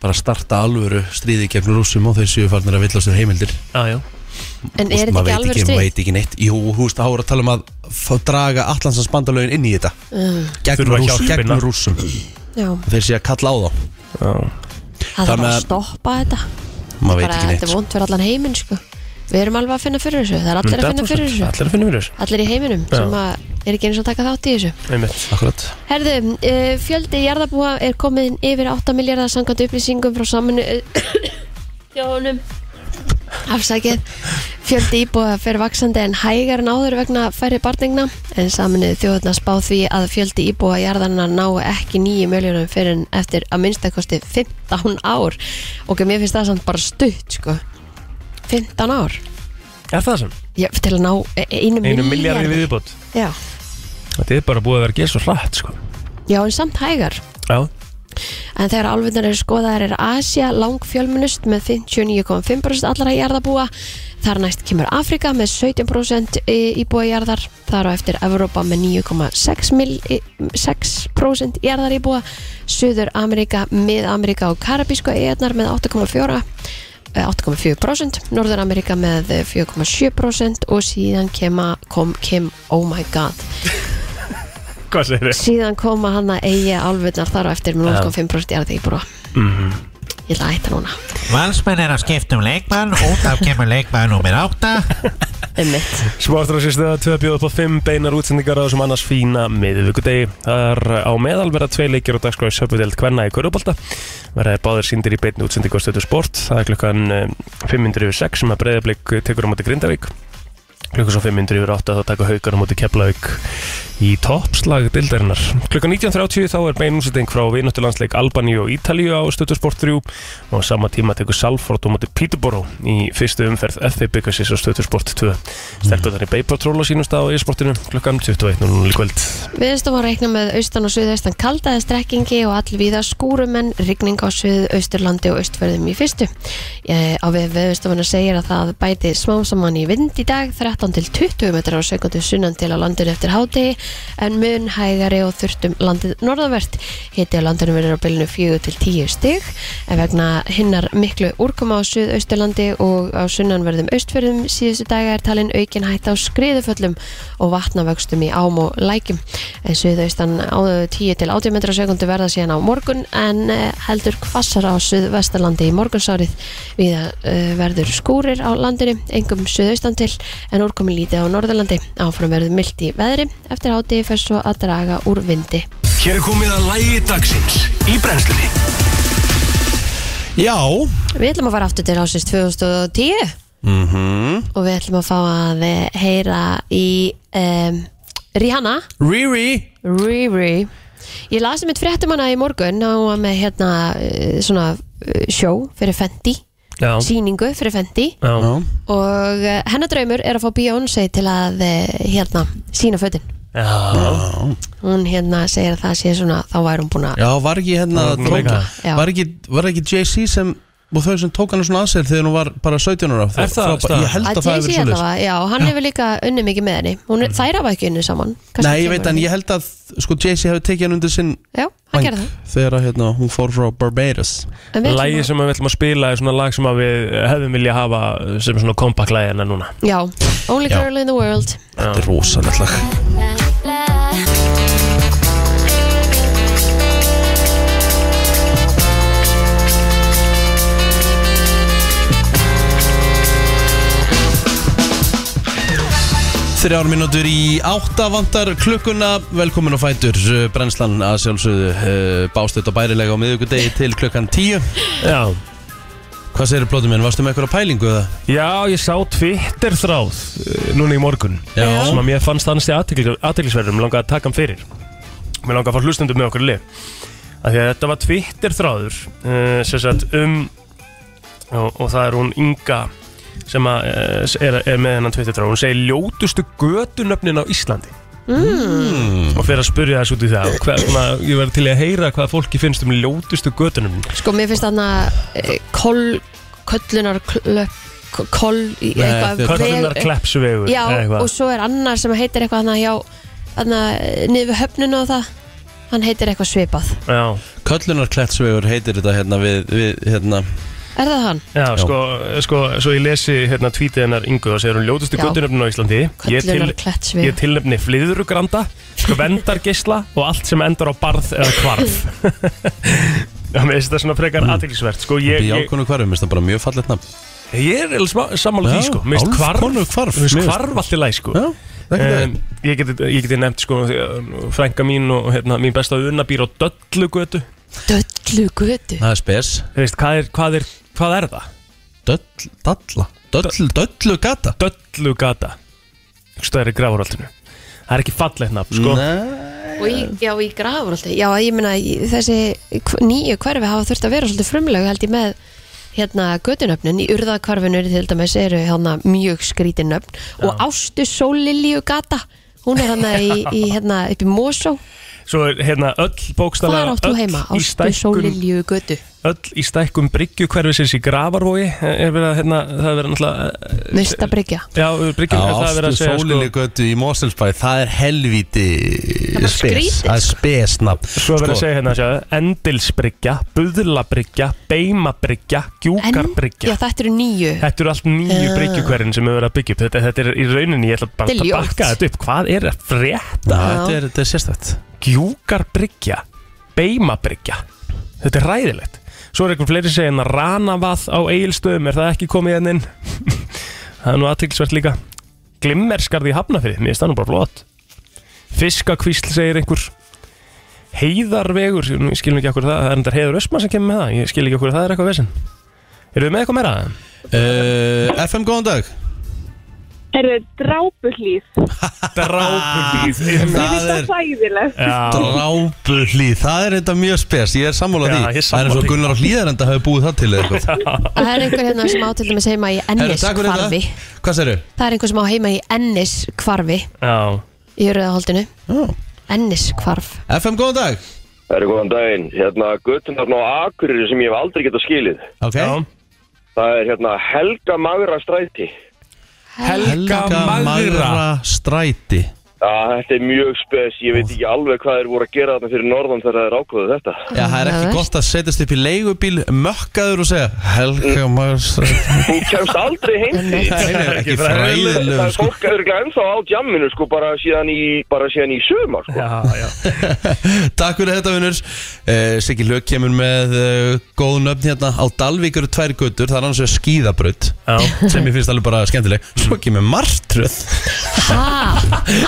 Speaker 1: bara að starta alvöru stríði gegn rússum og þau séu farnir að villast um heimildir
Speaker 2: aðjó
Speaker 1: Þú
Speaker 3: En er
Speaker 1: veist,
Speaker 3: þetta
Speaker 1: maður
Speaker 3: ekki
Speaker 1: veit
Speaker 3: alveg
Speaker 1: maður
Speaker 3: stríð?
Speaker 1: veit ekki neitt Jú, þú veist, þá er að tala um að fá draga allansans bandalögin inn í þetta gegn,
Speaker 2: Þurfa
Speaker 1: rúss,
Speaker 2: hjálpina.
Speaker 3: hérna.
Speaker 1: gegn rússum
Speaker 3: Mm. Já,
Speaker 1: Þeir sé að kalla á þá
Speaker 3: það þarf
Speaker 1: Þannig
Speaker 3: að
Speaker 1: að-
Speaker 3: stoppa þetta
Speaker 1: Maður veit
Speaker 3: bara
Speaker 1: ekki
Speaker 3: þetta
Speaker 1: neitt Mm,
Speaker 3: er vond fyrir allan heiminn sko. Við erum alveg að finna fyrir þessu Það er allir að finna fyrir þessu
Speaker 2: allir að finna fyrir þessu
Speaker 3: Allir í heiminum
Speaker 2: Já.
Speaker 3: sem að er ekki eins og taka þátt í þessu
Speaker 2: einmitt
Speaker 1: Akkurat
Speaker 3: Herðu, uh, fjöldi jarðabúa er komin yfir 8 miljardar sangant upplýsingum frá saminu Jónum Afsakið Fjöldi íbúa fer vaksandi en hægar en áður vegna færri barningna en saminuð þjóðarna spá því að fjöldi íbúa jarðarna ná ekki nýju miljónum fyrir en eftir að minnstakosti 15 ár og mér finnst það samt bara stutt sko 15 ár
Speaker 2: er það sem?
Speaker 3: Já, til að ná eh, einu
Speaker 2: einu miljardi
Speaker 3: milljarði
Speaker 2: viðbót
Speaker 3: Já.
Speaker 2: þetta er bara búið að vera að gera svo hratt sko
Speaker 3: Já, en samt hægar
Speaker 2: já
Speaker 3: En þegar álfunnar eru skoðaðar er Asia langfjölmunust með 59,5% allra jarðabúa. Þar næst kemur Afrika með 17% í- íbúa jarðar. Þar á eftir Evrópa með 9,6% mil- í- 6% jarðar íbúa. Suður Amerika, Mið-Amerika og Karabísku eigarnar með 8,4%. eh, 8,4%, Norður Amerika með eh, 4,7% og síðan kema, kom, kem, oh my god
Speaker 2: hvað segir þið?
Speaker 3: síðan koma hann að eiga álfunnar þar á eftir með
Speaker 2: Já.
Speaker 3: 0,5% jarði íbúa ég ætla að hætta núna
Speaker 5: Valsmenn er að skipta um leikmann út af kemur leikmann nummer 8
Speaker 3: Einmitt.
Speaker 2: Smástrásistu að tvö bjóða upp á fimm beinar útsendingar á þessum annars fína miðvíkudegi. Það er á meðal vera tvei leikir á dagskráði söpudeld Kvenna í Körubólta. Verða er báðir síndir í beinni útsendingu á stötu sport. Það er klukkan eh, 500 yfir 6 sem að breyðablík tekur á móti Grindavík. Klukkan svo 500 yfir 8 þá taka haukar á móti Keflavík í toppslag dildarinnar. Klukkan 19.30 þá er bein útsending frá vináttulandsleik Albaníu og Ítalíu á stötu sport 3 og á sama tíma tekur Salford á móti Peterborough í fyrstu umferð FB byggasins á stötu sport 2. Stelpunar í Bay Patrol á sínum stað á e-sportinu klukkan 21.00 í kvöld.
Speaker 3: Viðstofan reikna með austan og suðaustan kaldaði strekkingi og allvíða skúrum en rigning á suðausturlandi og austförðum í fyrstu. Ég, á við viðstofana segir að það bæti smám saman í vind í dag 13 til 20 metrar á sekundu sunnan til á landinu eftir hádegi en mun hægari og þurftum landið norðavert. Hiti á landinu verður á bylnu 4 til 10 stig en vegna hinnar miklu úrkoma á suðausturlandi og á sunnanverðum austförðum síðustu daga er talin aukin hætta á skriðuföllum og vatnavöxtum í ám og lækjum en suðaustan á 10 til 80 metra sekundu verða síðan á morgun en eh, heldur hvassar á suðvestalandi í morgunsárið við að verður skúrir á landinu engum suðaustan til en úrkomi lítið á norðalandi áfram verður mildt í veðri eftir hátí fer svo að draga úr vindi
Speaker 4: Hér er komið að lægi dagsins í brennslunni
Speaker 1: Já
Speaker 3: Við ætlum að fara aftur til ásins 2010
Speaker 1: Mhm.
Speaker 3: og við ætlum að fá að eh, heyra í um, Rihanna
Speaker 1: Riri
Speaker 3: Riri Ég lasi mitt fréttum hana í morgun og hún var með hérna eh, svona eh, sjó fyrir Fendi
Speaker 2: Já.
Speaker 3: sýningu fyrir Fendi
Speaker 2: Já.
Speaker 3: og eh, hennar draumur er að fá Beyoncé til að eh, hérna sína fötin
Speaker 2: Já.
Speaker 3: hún hérna segir að það sé svona þá væri hún búin að
Speaker 1: Já, var ekki hérna
Speaker 2: Var hún að
Speaker 1: tók,
Speaker 2: leika?
Speaker 3: Já.
Speaker 1: var ekki, var ekki Jay-Z sem og þau sem tók hann svona að sér þegar hún var bara 17 ára Þau-
Speaker 2: Er það
Speaker 1: frá-
Speaker 2: staðan?
Speaker 1: Ég held að það hefur
Speaker 3: Jay-Z
Speaker 1: verið svoleiðis Mm.
Speaker 3: allavega, já, hann hefur líka unni mikið með henni hún, er, Þær hafa ekki unni saman Kannski
Speaker 1: Nei, ég
Speaker 3: kemur
Speaker 1: veit en
Speaker 3: henni.
Speaker 1: ég held að sko Jay-Z hefur tekið hann undir sinn
Speaker 3: Já, hann
Speaker 1: væng
Speaker 3: gerði
Speaker 1: þegar að, hérna, hún fór frá Barbados
Speaker 3: það En við ætlum
Speaker 2: Lægi
Speaker 3: að-
Speaker 2: sem við ætlum að spila er svona lag sem að við hefðum vilja hafa sem svona compact lægi hennar núna.
Speaker 3: Já, Only
Speaker 1: Já.
Speaker 3: Girl in the World
Speaker 1: Þetta er rosalegt lag Þrjár mínútur í átta vantar klukkuna Velkomin og fætur uh, Brennslan að sjálfsögðu uh, Bástuðt og bærilega á miðvíkudegi til klukkan tíu
Speaker 2: Já,
Speaker 1: Hvað segir plótum minn? Varstu með eitthvað pælingu eða?
Speaker 2: Já, ég sá Twitter þráð eh, núna í morgun
Speaker 1: Já.
Speaker 2: sem að mér fannst þannig að aðteglisverðum langaði að taka hann fyrir Mér langaði að fá hlustundum með okkur í lið af því að þetta var Twitter þráður uh, sem sagt um og, og það er hún Inga sem að, uh, er, er með hennan Twitter þráð hún segir ljótustu götunöfnin á Íslandi mm. og fyrir að spyrja þessu út í það hver, svona, ég verði til í að heyra hvað fólki finnst um ljótustu götunöfnin
Speaker 3: Sko, mér finnst þarna eh, kol, köllunar klöpp, kol, í eitthvað
Speaker 1: þetta-
Speaker 2: Köllunar
Speaker 3: veg-
Speaker 2: kleppsvegur
Speaker 3: Já,
Speaker 2: eða eitthvað.
Speaker 3: og svo er annar sem heitir eitthvað hann hjá hann niður við höfnun og það hann heitir eitthvað svipað
Speaker 2: Já.
Speaker 1: Köllunarklettsvegur heitir þetta hérna við, við hérna
Speaker 3: Er það hann?
Speaker 2: Já, sko, sko, svo ég lesi hérna tvítið hennar Ingu og segir hún ljótustu
Speaker 3: Já.
Speaker 2: göttunöfnin á Íslandi Ég
Speaker 3: Köllunar
Speaker 2: til- Ég tilnefni flyðrugranda, kvendargisla og allt sem endur á barð eða kvarf Já, mér finnst þetta svona
Speaker 1: Mm.
Speaker 2: frekar aðtilsvert sko, ég, ég,
Speaker 1: Bjálkonu hvarfum, minnst það bara mjög fallet nafn
Speaker 2: ég er eiginlega smá- sammála því
Speaker 1: Já,
Speaker 2: sko Mér finnst
Speaker 1: Álfkonur hvarf,
Speaker 2: hvarf, mér
Speaker 1: mér
Speaker 2: finnst
Speaker 1: finnst-
Speaker 2: hvarf allt í læg sko
Speaker 1: Já,
Speaker 2: Um, ég geti, ég geti nefnt sko frænka mín og hérna, mín besta unna býr á Döllugötu
Speaker 3: Döllu götu
Speaker 1: Það er spes
Speaker 2: Þú veist, hvað er, hvað er, hvað er það?
Speaker 1: Döll, dalla Döll, döllu gata
Speaker 2: Döllugata Stöðri gráðuraltinu Það er ekki fallegt nafn sko
Speaker 3: Og í, já, í grafur alltaf Já, ég meina, í- þessi hv- nýju hverfi hafa þurft að vera svolítið frumlegu held ég með hérna götunöfnin í urðakvarfinu til dæmis eru hérna mjög skrítin nöfn og Ástu Sólilju gata hún er hérna í, í hérna upp í Mosó
Speaker 2: Svo er hérna öll
Speaker 3: Hvar
Speaker 2: bókstala
Speaker 3: átt þú heima?
Speaker 2: í
Speaker 3: Ástu
Speaker 2: stækkun,
Speaker 3: Sólilju götu
Speaker 2: öll í stækkun bryggju hverfisins í Gravarvogi er verið að hérna, það er verið náttúrulega eh,
Speaker 3: Nösta bryggja
Speaker 2: Já, bryggju,
Speaker 1: Já,
Speaker 2: það er verið
Speaker 1: ástu
Speaker 2: að segja sko.
Speaker 1: sólinni götu í Moselsbæ Það er helvíti
Speaker 3: Það er
Speaker 1: spes
Speaker 3: skrítið,
Speaker 1: Það er spes nafn
Speaker 2: sko Svo er verið að
Speaker 1: Sko,
Speaker 2: segja hérna, sjáðu, endilsbryggja, buðlabryggja, beimabryggja,
Speaker 3: Já,
Speaker 2: gjúkarbryggja
Speaker 3: þetta eru nýju
Speaker 2: Þetta eru allt nýju
Speaker 3: Eh.
Speaker 2: bryggjuhverfin sem hefur verið að byggja upp þetta, þetta er í rauninni, ég ætla bara
Speaker 3: Þetta er
Speaker 2: að
Speaker 3: ljótt.
Speaker 2: bakka þetta upp Hvað er að frétta?
Speaker 1: Já,
Speaker 3: Já.
Speaker 1: þetta er- þetta er sérstætt
Speaker 2: gjúkarbryggja, beimabryggja þetta er ræðilegt svo er einhver fleiri sem segja en að ranavað á eigilstöðum, er það ekki komið henn inn það er nú aðtilsvert líka glimmerskarði í hafnafrið, mér finnst það nú bara flott fiskakvísl segir einhver heiðarvegur nú, ég skil nú ekki okkur það, það er endar heiður ösma sem kemur með það, ég skil ekki okkur það er eitthvað vesinn eru við með eitthvað meira?
Speaker 1: Uh, FM, góðan dag
Speaker 6: Herru, drápuhlýð.
Speaker 2: drápulíð
Speaker 6: Það
Speaker 1: Það
Speaker 6: er
Speaker 1: er
Speaker 6: svæðilegt.
Speaker 1: drápuhlýð Það er þetta mjög spes, ég er sammála
Speaker 2: Já,
Speaker 1: því
Speaker 2: ég er
Speaker 1: Það er eins
Speaker 2: sammála
Speaker 1: og
Speaker 2: því.
Speaker 1: Gunnar á hlýðarenda hafi búið það til eða eitthvað
Speaker 3: Það er einhver hérna sem á til dæmis heima í
Speaker 1: Herru,
Speaker 3: Ennis
Speaker 1: takk fyrir
Speaker 3: kvarfi
Speaker 1: þetta. Hvað segirðu?
Speaker 3: Það er einhver sem á heima í Ennis kvarfi
Speaker 2: já,
Speaker 3: í Jörðaholdinu Ennis kvarf
Speaker 1: FM, góðan dag
Speaker 7: Það eru góðan daginn. Hérna, göttunarn á Akureyri sem ég hef aldrei getað skilið.
Speaker 1: okay.
Speaker 2: já.
Speaker 7: Það er hérna Helga Magra stræti.
Speaker 2: Helga Magra
Speaker 1: stræti
Speaker 7: Já, þetta er mjög spes. Ég veit ekki alveg hvað þeir voru að gera þarna fyrir norðan þegar þeir ákvöðu þetta.
Speaker 1: Já, það er ekki
Speaker 3: Maður.
Speaker 1: gott að setjast upp í leigubíl mökkaður og segja Helga Magra stræti
Speaker 7: Þú kemst aldrei heim til því.
Speaker 1: Það er ekki
Speaker 7: Það
Speaker 1: fræðilegur
Speaker 7: er
Speaker 1: sko
Speaker 7: fólk auðvitað ennþá á djamminu sko bara síðan í, bara síðan í sömar sko.
Speaker 2: já, já.
Speaker 1: Takk fyrir þetta vinnur uh, Siggi Hlög kemur með uh, góð nöfn hérna á Dalvík eru tvær göttur það er annars vegar skíðabraut
Speaker 2: Já.
Speaker 1: sem ég finnst alveg bara skemmtileg svo kemur martröð
Speaker 3: Ha,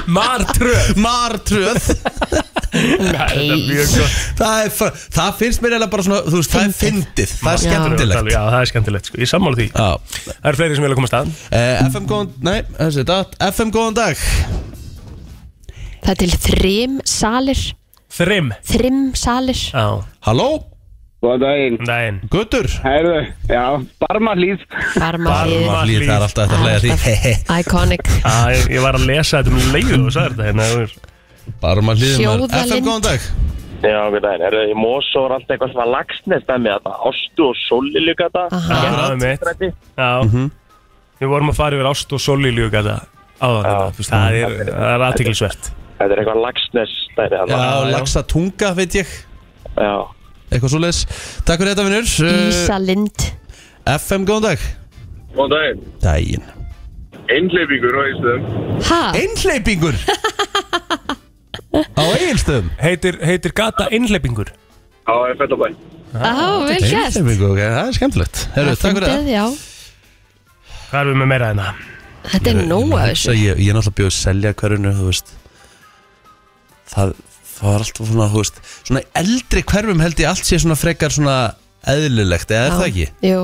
Speaker 2: Martröð
Speaker 1: martröð
Speaker 2: Það er mjög gott
Speaker 1: það, er, fr- það finnst mér eða bara svona þú veist, það er fyndið það er
Speaker 3: Já.
Speaker 1: skemmtilegt
Speaker 2: Já, það er skemmtilegt sko. Ég sammála því
Speaker 1: Já.
Speaker 2: Það eru fleiri sem vilja komast að
Speaker 1: Eh, FM góðan nei, þessi er datt FM góðan dag
Speaker 3: það er til þrim salir
Speaker 2: Þrim
Speaker 3: Þrim salir
Speaker 2: Já,
Speaker 1: Halló
Speaker 8: Góðan daginn.
Speaker 2: næin
Speaker 1: göttur
Speaker 8: Herðu, já, barmahlýð.
Speaker 3: Barmahlið
Speaker 2: Barmahlíð.
Speaker 1: Lýð, það er alltaf þetta að hlæja því Hehe.
Speaker 3: Iconic
Speaker 2: ah, ég, ég var að lesa þetta um leiðu og sagði þetta hérna þú veist.
Speaker 1: bara maður hlýðum
Speaker 3: Hljóðalind.
Speaker 1: FM góðan dag
Speaker 7: Já, hvað það er. Í Mosó er alltaf eitthvað svona lagsnest með þetta. Ástu og Sólli líka þetta.
Speaker 3: Aha.
Speaker 2: Já, það er mitt
Speaker 7: Stræti.
Speaker 2: Já
Speaker 1: Mhm.
Speaker 2: Við vorum að fara yfir ást og soli ljúk að það Áðan þetta, þú veist, það er, það er aðtiklisvert
Speaker 7: Þetta er eitthvað lagsnest stæði
Speaker 1: Já,
Speaker 7: þetta.
Speaker 2: já.
Speaker 1: lagsa tunga veit ég
Speaker 7: Já.
Speaker 1: eitthvað svo Takk fyrir þetta vinnur
Speaker 3: Ísalind
Speaker 1: FM góðan dag
Speaker 7: Góðan daginn.
Speaker 1: Dægin
Speaker 7: Einhleipingur á Ísland.
Speaker 3: Ha,
Speaker 1: Einhleipingur Á eigilstöðum
Speaker 2: Heitir, heitir gata innleipingur
Speaker 7: Já, ég fætt á bæ.
Speaker 3: á, vel gæst
Speaker 1: Einhleipingur, ok, það er skemmtilegt Heru, Takk fyrir það
Speaker 3: Já,
Speaker 2: Hvað erum við með meira hérna?
Speaker 3: Þetta er nóg af þessu
Speaker 1: Ég, ég er náttúrulega bjóð að selja hverjunu, þú veist Það, það var alltaf svona, þú veist Svona eldri hverfum held ég allt sé svona frekar svona eðlilegt, eða er það ekki?
Speaker 3: Jú,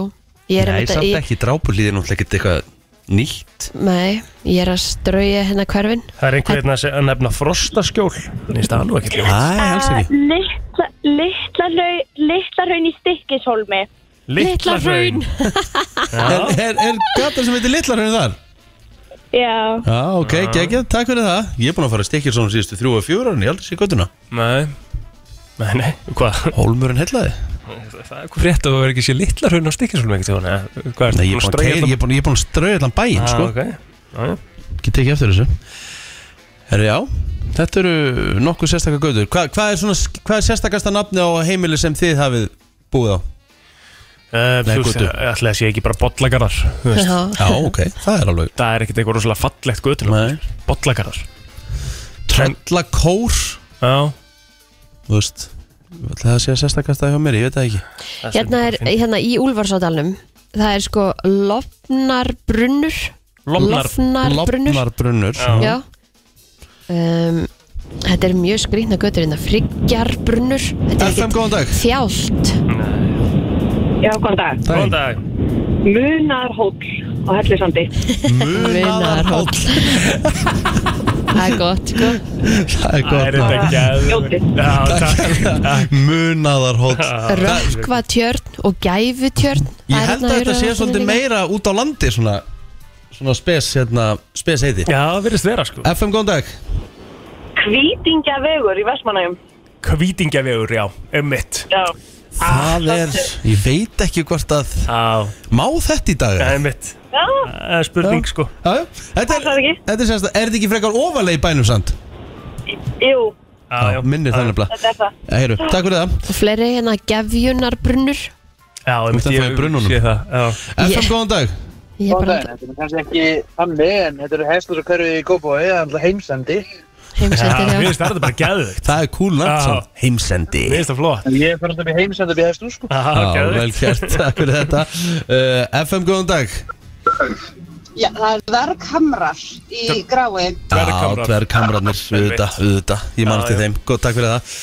Speaker 3: ég er
Speaker 1: Nei,
Speaker 3: einmitt
Speaker 1: samt
Speaker 3: að ég,
Speaker 1: ekki, drápulíði náttúrulega ekkert eitthvað nýtt
Speaker 3: nei, ég er að strauja hérna hverfin
Speaker 2: Það er einhvern veginn að se- að nefna frostaskjól Nýst það nú ekki
Speaker 1: Nei, alls
Speaker 6: Uh, litla,
Speaker 1: ekki
Speaker 6: litla, hraun, litla hraun í Stykkishólmi.
Speaker 3: Litla hraun.
Speaker 1: Er, er, er gata sem heitir Litlarhraun þar?
Speaker 6: Já,
Speaker 1: Já, ok, geggjað, takk fyrir það Ég er búin að fara að stikkja svona síðustu þrjú og fjóra en ég aldrei sé göttuna
Speaker 2: Nei Nei, nei, hvað?
Speaker 1: Hólmurinn hellaði
Speaker 2: Það er hvað frétt að það verður ekki sé litla hraun á stikkisvölum ekkert svona Hvað er
Speaker 1: Nei, ég er búin að keyra- ég er búin- ég er búin að strauja allan
Speaker 2: Ah,
Speaker 1: bæinn, sko
Speaker 2: sko
Speaker 1: Ekki tekið eftir þessu Herru já, þetta eru nokkuð sérstakar götur Hva, Hvað er, svona, hvað er sérstakasta nafni á heimili sem þið hafið búið á? Nei,
Speaker 2: Þú veist,
Speaker 1: götu.
Speaker 2: ætlaði að eh, sé ekki bara bollagarðar þú veist.
Speaker 3: Já,
Speaker 1: Já, ok, það er alveg
Speaker 2: Það er ekkert eitthvað rosalega fallegt götur
Speaker 1: Nei.
Speaker 2: Bollagarðar
Speaker 1: Tröllakór
Speaker 2: Já
Speaker 1: Þú veist, ætli það sé að sérstakasta hjá mér, ég veit það ekki
Speaker 3: Hérna er, hérna í Úlfarsadalnum Það er sko lofnarbrunnur
Speaker 2: Lofnar.
Speaker 3: Lofnarbrunnur
Speaker 1: Lofnarbrunnur
Speaker 3: Já um, Þetta er mjög skrýtna götur hérna Friggarbrunnur Þetta er
Speaker 1: FM,
Speaker 3: ekkert
Speaker 1: góðan dag
Speaker 3: fjált
Speaker 6: já, góðan dag.
Speaker 2: Góðan dag
Speaker 6: Munarhóll á Hellisandi.
Speaker 1: Munaðarhóll
Speaker 3: Það er gott, sko
Speaker 1: Það er
Speaker 2: Það
Speaker 1: gott
Speaker 2: er þetta
Speaker 6: Ljótið.
Speaker 2: ekki Já, takk
Speaker 1: nafn. Munaðarhóll
Speaker 3: Rökkvatjörn og gæfutjörn hérna
Speaker 1: Ég held að þetta sé svolítið meira út á landi Svona, svona spes, hérna, spes heiti
Speaker 2: Já, það verðist vera sko
Speaker 1: FM, góðan dag
Speaker 6: Kvítingjavegur í Vestmanægum.
Speaker 2: Kvítingjavegur, já, um mitt
Speaker 6: Já.
Speaker 1: Það er, ég veit ekki hvort að
Speaker 2: Já,
Speaker 1: Má þetta í dag? eða?
Speaker 2: um mitt
Speaker 6: Já,
Speaker 2: Það er spurning
Speaker 1: Já.
Speaker 2: sko
Speaker 1: Já, já. Þetta
Speaker 6: Passar
Speaker 1: er,
Speaker 6: ekki.
Speaker 1: þetta er semst að, er þetta ekki frekar ofalega í bænum samt?
Speaker 6: jú,
Speaker 2: Já, já.
Speaker 1: Minni
Speaker 2: Já,
Speaker 1: þannig blá
Speaker 6: þetta er það.
Speaker 1: Heyru, Eh, takk fyrir það
Speaker 3: Og fleiri hérna gefjunarbrunnur
Speaker 2: Já, um mitt
Speaker 1: Þetta
Speaker 2: ég
Speaker 1: fæði brunnunum.
Speaker 2: sé það Já
Speaker 1: FM, góðan dag
Speaker 3: Ég er bara
Speaker 9: Þetta er kannski ekki þannig, en þetta eru hestur og körfið í Kópói, það er alltaf heimsendi.
Speaker 2: Já,
Speaker 3: heimsendir hjá
Speaker 2: mér finnst þetta bara gæðugt
Speaker 1: Það er cool
Speaker 2: Já.
Speaker 1: nafn samt Heimsendi
Speaker 2: Mér finnst það flott
Speaker 9: En ég fer alltaf í heimsendi upp í hestur, sko.
Speaker 2: Já,
Speaker 1: Já, vel
Speaker 2: gæðugt
Speaker 1: kert, takk fyrir þetta uh, FM, góðan dag
Speaker 10: Já, það er dverghamrar í grái.
Speaker 2: Dverghamrar.
Speaker 1: Dverghamrarnir, auðvitað, auðvitað Ég man
Speaker 2: Já,
Speaker 1: eftir
Speaker 2: já.
Speaker 1: þeim, góð, takk fyrir það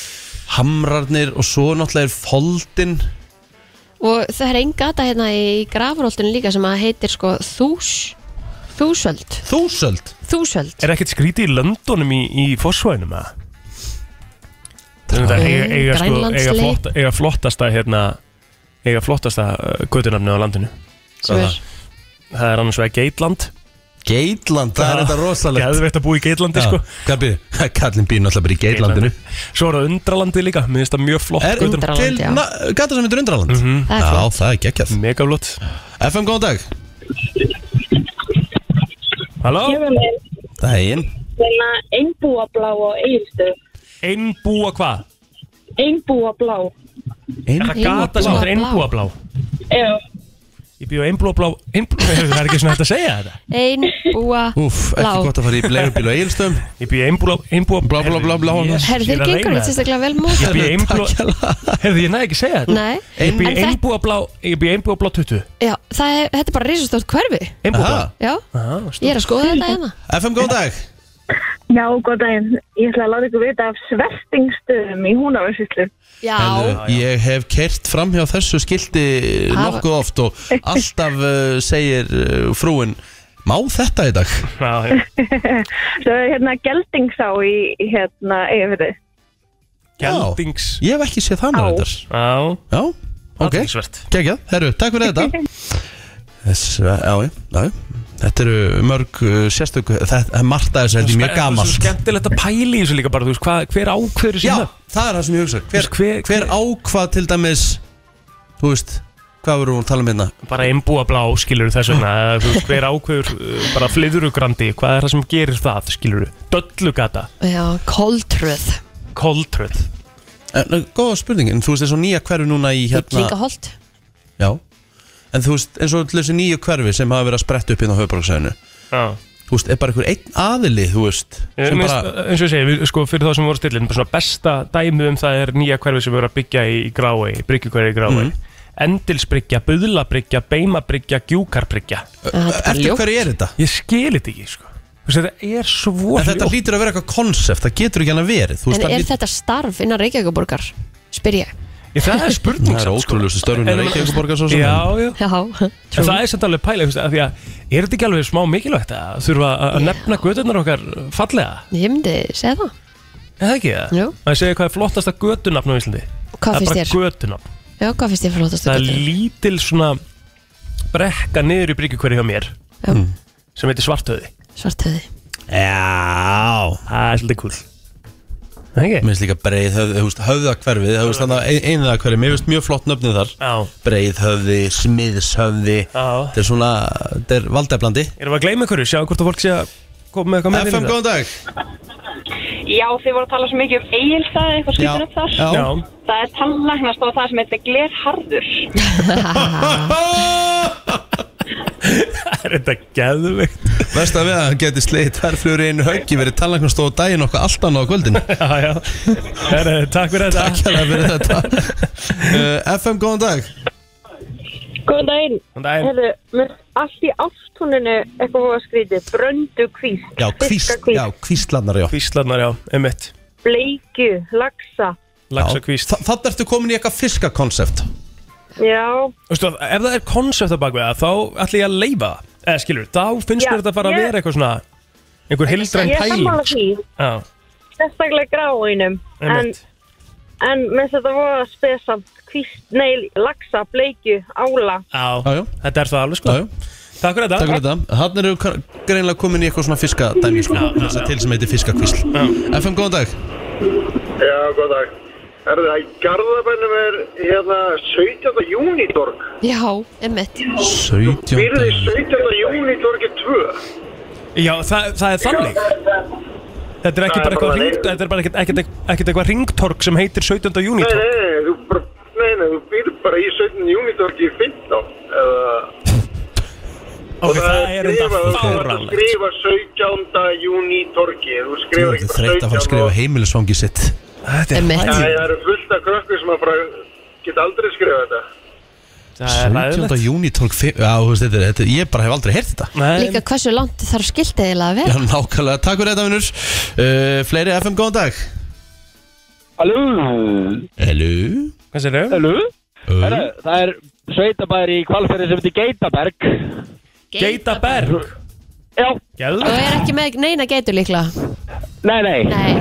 Speaker 1: Hamrarnir og svo náttúrulega er foldin
Speaker 3: Og það er ein gata hérna í grafaroltinu líka sem að heitir sko þús Þúsöld
Speaker 1: Þúsöld
Speaker 3: Þúsöld
Speaker 2: Er ekkert skrítið í löndunum í, í fórsvæðinum eða? Það er
Speaker 3: Nei,
Speaker 2: eiga, eiga, sko, eiga,
Speaker 3: Grænlandsleið.
Speaker 2: flott, eiga flottasta hérna eiga flottasta uh, götunafni á landinu
Speaker 1: Hvað er
Speaker 3: Svör.
Speaker 1: það?
Speaker 2: Það er annars vega Geitland
Speaker 1: Geitland, það er
Speaker 2: Já.
Speaker 1: þetta rosalegt
Speaker 2: Geðveitt að búa í Geitlandi sko
Speaker 1: Hvað byrði? Kallin býr náttúrulega bara í Geitlandinu
Speaker 2: Svo er það Undralandi líka, mér finnst það mjög flott
Speaker 1: Er
Speaker 2: götur
Speaker 3: Undraland,
Speaker 1: til,
Speaker 3: já. Mhm.
Speaker 1: na, gata sem heitir Undraland
Speaker 3: Það er
Speaker 1: Já,
Speaker 3: flott
Speaker 1: það er geggjað
Speaker 2: Mega flott
Speaker 1: FM, góðan dag
Speaker 2: Halló,
Speaker 1: Dæin
Speaker 6: Þannig að einbúablá á Egilstöð.
Speaker 2: einbúa hvað?
Speaker 6: Einbúablá.
Speaker 2: Er það
Speaker 3: Einbúa
Speaker 2: gata sem
Speaker 3: blá.
Speaker 2: er einbúa blá?
Speaker 6: Já.
Speaker 2: Ég býð á einbúa blá einbúa, Það er ekki svona hægt að segja þetta
Speaker 3: Ein búa
Speaker 1: Úff, ekki
Speaker 3: Blá.
Speaker 1: gott að fara í bleirubíl og eigilstöðum
Speaker 2: Ég býð á einbúa einbúa
Speaker 1: Blá, blá, blá, blá.
Speaker 2: Yes,
Speaker 3: Herðu
Speaker 2: ég er
Speaker 3: þeir
Speaker 2: að
Speaker 3: gengur
Speaker 2: reyna
Speaker 3: þetta
Speaker 2: þetta.
Speaker 3: sérstaklega vel mót
Speaker 2: Ég býð einbúa Herðu, ég næði ekki að segja þetta
Speaker 3: Nei
Speaker 2: Ég býð
Speaker 3: En þetta,
Speaker 2: einbúa blá Ég býð einbúa blá 20
Speaker 3: já, það er, þetta er bara risastórt hverfi
Speaker 2: Einbúa blá
Speaker 1: Aha.
Speaker 3: Já,
Speaker 2: Aha,
Speaker 3: ég er að skoða þetta hérna
Speaker 1: FM, góðan dag
Speaker 6: Já, góð daginn. Ég ætla að láta ykkur vita af svertingstöðum í Húnaversitlu.
Speaker 1: Herðu,
Speaker 3: Já,
Speaker 1: Ég hef kert fram hjá þessu skilti
Speaker 3: Hafa-
Speaker 1: nokkuð oft og alltaf uh, segir uh, frúin Má þetta í dag?
Speaker 2: Já, já.
Speaker 6: Svo er hérna Geldingsá í hérna Eyjafjörði.
Speaker 2: Gjaldings
Speaker 1: Ég hef ekki séð þannig
Speaker 6: Á.
Speaker 1: þetta
Speaker 2: Já,
Speaker 1: Já, ok,
Speaker 2: athyglisvert.
Speaker 1: geggjað, herru, takk fyrir þetta Þess, já, já, já, já Þetta eru mörg uh, sérstök Þetta er margt að þessu, þetta er mjög
Speaker 2: Það er svo
Speaker 1: gamalt
Speaker 2: skemmtilegt að pæla í þessu líka bara, þú veist, hvað, hver ákveður
Speaker 1: Já,
Speaker 2: sína?
Speaker 1: það er það sem ég hugsa Hver,
Speaker 2: Þú veist, hver-
Speaker 1: hver ákvað til dæmis Þú veist, hvað vorum við að tala um hérna?
Speaker 2: Bara einbúa blá, skilur þess vegna, eða þú veist, hver ákveður uh, bara flyðurugrandi, hvað er það sem gerir það, skilur Döllugata,
Speaker 3: já, Koltröð
Speaker 2: koltröð,
Speaker 1: En, eh, Góða spurning, en þú veist eins og nýja hverfi núna í hérna
Speaker 3: Líka holt
Speaker 1: Já En þú veist, eins og allir þessi nýju hverfi sem hafa verið að spretta upp hérna á höfbruksæðinu
Speaker 2: já.
Speaker 1: Þú veist, er bara einhver einn aðili, þú veist
Speaker 2: Sem
Speaker 1: Sem bara,
Speaker 2: eins og ég segi, við, sko, fyrir þá sem voru
Speaker 1: Mhm.
Speaker 2: stillin bara svona besta dæmi um það er nýja hverfi sem við erum að byggja í Grái, bryggjukverfi í Grái endilsbryggja, buðlabryggja, beimabryggja, gjúkarbryggja
Speaker 1: bara Eftir ljótt. hverju er þetta?
Speaker 2: Ég skil þetta ekki, sko Þú veist, Þetta er svo
Speaker 1: En þetta hlýtur að vera eitthvað konsept, það getur ekki hann að verið þú
Speaker 3: En
Speaker 1: veist, það
Speaker 3: er
Speaker 1: hlýtur-
Speaker 3: þetta starf innan Reykjavíkuborgar? Spyr ég
Speaker 2: Ég, það er spurning sko.
Speaker 1: Það er ótrúlegustu störfin í Reykjavíkurborgar svo sem.
Speaker 2: Já, já
Speaker 3: Já,
Speaker 2: En það er samt alveg pæla, þú veist, af því að er þetta ekki alveg smá mikilvægt að þurfa að að nefna gödurnar okkar fallega?
Speaker 3: Ég myndi segja það
Speaker 2: Eða ekki það?
Speaker 3: Jú.
Speaker 2: Að segja hvað er flottasta gödunafn á Íslandi?
Speaker 3: Hvað finnst
Speaker 2: Það er bara gödunafn.
Speaker 3: Já, hvað finnst ég fyrir lótast
Speaker 2: Það er lítil svona brekka niður í bryggjukverju hjá mér
Speaker 3: Já.
Speaker 2: sem heitir svartöði.
Speaker 3: Svartöði
Speaker 1: Já
Speaker 2: Það er svolítið kúl Mér
Speaker 1: finnst líka breiðhöfði, höfði, höfðakverfið Það veist þannig að einðakverfið, mér finnst mjög flott nöfnið þar
Speaker 2: Já.
Speaker 1: Breiðhöfði, smiðshöfði Þetta er svona, þetta er valdeflandi
Speaker 2: Erum við að gleyma ykkur, sjá hvort að fólk sé að koma með eitthvað með
Speaker 1: FM, góðan dag
Speaker 11: Já, þið voru að tala svo mikið um eigilstaði, eitthvað
Speaker 1: Já,
Speaker 11: skýtur upp þar.
Speaker 1: já. Já.
Speaker 11: Það er tannlæknast og það sem heitir glerharður.
Speaker 2: Það er þetta geðveikt
Speaker 1: Verst að við að hann geti slegið tverflugur í einu höggi verið talangastóð daginn okkar allt annað á kvöldin
Speaker 2: Já, já Herre, Takk fyrir þetta
Speaker 1: Takk hérna fyrir þetta uh, FM, góðan dag
Speaker 12: Góðan daginn.
Speaker 2: Góðan daginn.
Speaker 12: Herðu, mér finnst allt í ástúninu eitthvað voru að skrítið. Bröndu kvíst.
Speaker 1: Já, kvísl, já, kvíslarnar, já
Speaker 2: Kvíslarnar, já, emitt
Speaker 12: Bleikju, laxa.
Speaker 2: Laxakvíst
Speaker 1: Þannig ertu komin í eitthvað fiskakonsept
Speaker 12: Já.
Speaker 2: Þú veistu, ef það er konsept að bakvega þá ætla ég að leifa það. eða skilur, þá finnst
Speaker 12: Já,
Speaker 2: mér þetta bara að
Speaker 12: ég-
Speaker 2: vera eitthvað svona einhver hildræn
Speaker 12: Ég er sammála
Speaker 2: pæling
Speaker 12: því.
Speaker 2: Já,
Speaker 12: Sérstaklega gráinum. En,
Speaker 2: Einmitt.
Speaker 12: en mér finnst þetta voru að spesamt. Kvíst, nei, laxa, bleikju, ála.
Speaker 2: já, þetta er það alveg sko Takk fyrir þetta
Speaker 1: Takk fyrir þetta Þannig eru kar- greinlega komin í eitthvað svona fiskadæmi sko,
Speaker 2: Já, já,
Speaker 1: þessa til sem heitir fiskakvísl FM, góðan dag
Speaker 13: Já, góð dag. Er það í Garðabænum er hérna 17. júnitorg.
Speaker 3: Já, emmitt
Speaker 1: 17.
Speaker 13: Býrði 17. júnitorgi 2.
Speaker 2: Já, það, það er þannig Þetta er ekki
Speaker 13: Það er
Speaker 2: bara
Speaker 13: bara
Speaker 2: eitthvað ringt,
Speaker 13: þannig.
Speaker 2: þetta er bara ekkert- ekkert ekkert eitthvað ringtorg sem heitir 17. júni
Speaker 13: Nei, nei, nei, þú, bara- nei, nei, þú býrði bara í 17. júnitorgi 15. Eða...
Speaker 2: Ok, það er enda
Speaker 13: fáralegt. Þú skrifa 17. júnitorgi. Þú skrifa
Speaker 1: Þú þreyt að fara að skrifa heimilisvangi sitt
Speaker 2: Þetta
Speaker 13: Já, það eru fullt af krökkur sem að bara geta aldrei skrifa þetta.
Speaker 2: Það er ræðilegt.
Speaker 1: 17. júni tólk 5 Já, þú veist, þetta, er- þetta, er- ég bara hef aldrei heyrt þetta
Speaker 3: Líka hversu langt þarf skiltið eiginlega að
Speaker 1: Já,
Speaker 3: vera
Speaker 1: nákvæmlega, takk fyrir þetta vinnur uh, Fleiri FM, góðan dag
Speaker 9: Halló
Speaker 1: Hello
Speaker 2: Hvað sér þau?
Speaker 9: Halló Herra, það er sveitabæri í kvalferði sem heitir Geitaberg
Speaker 2: Geitaberg?
Speaker 9: Já
Speaker 2: Gæðu
Speaker 3: Þú er ekki með neina geitur líklega
Speaker 9: Nei, nei
Speaker 3: Nei.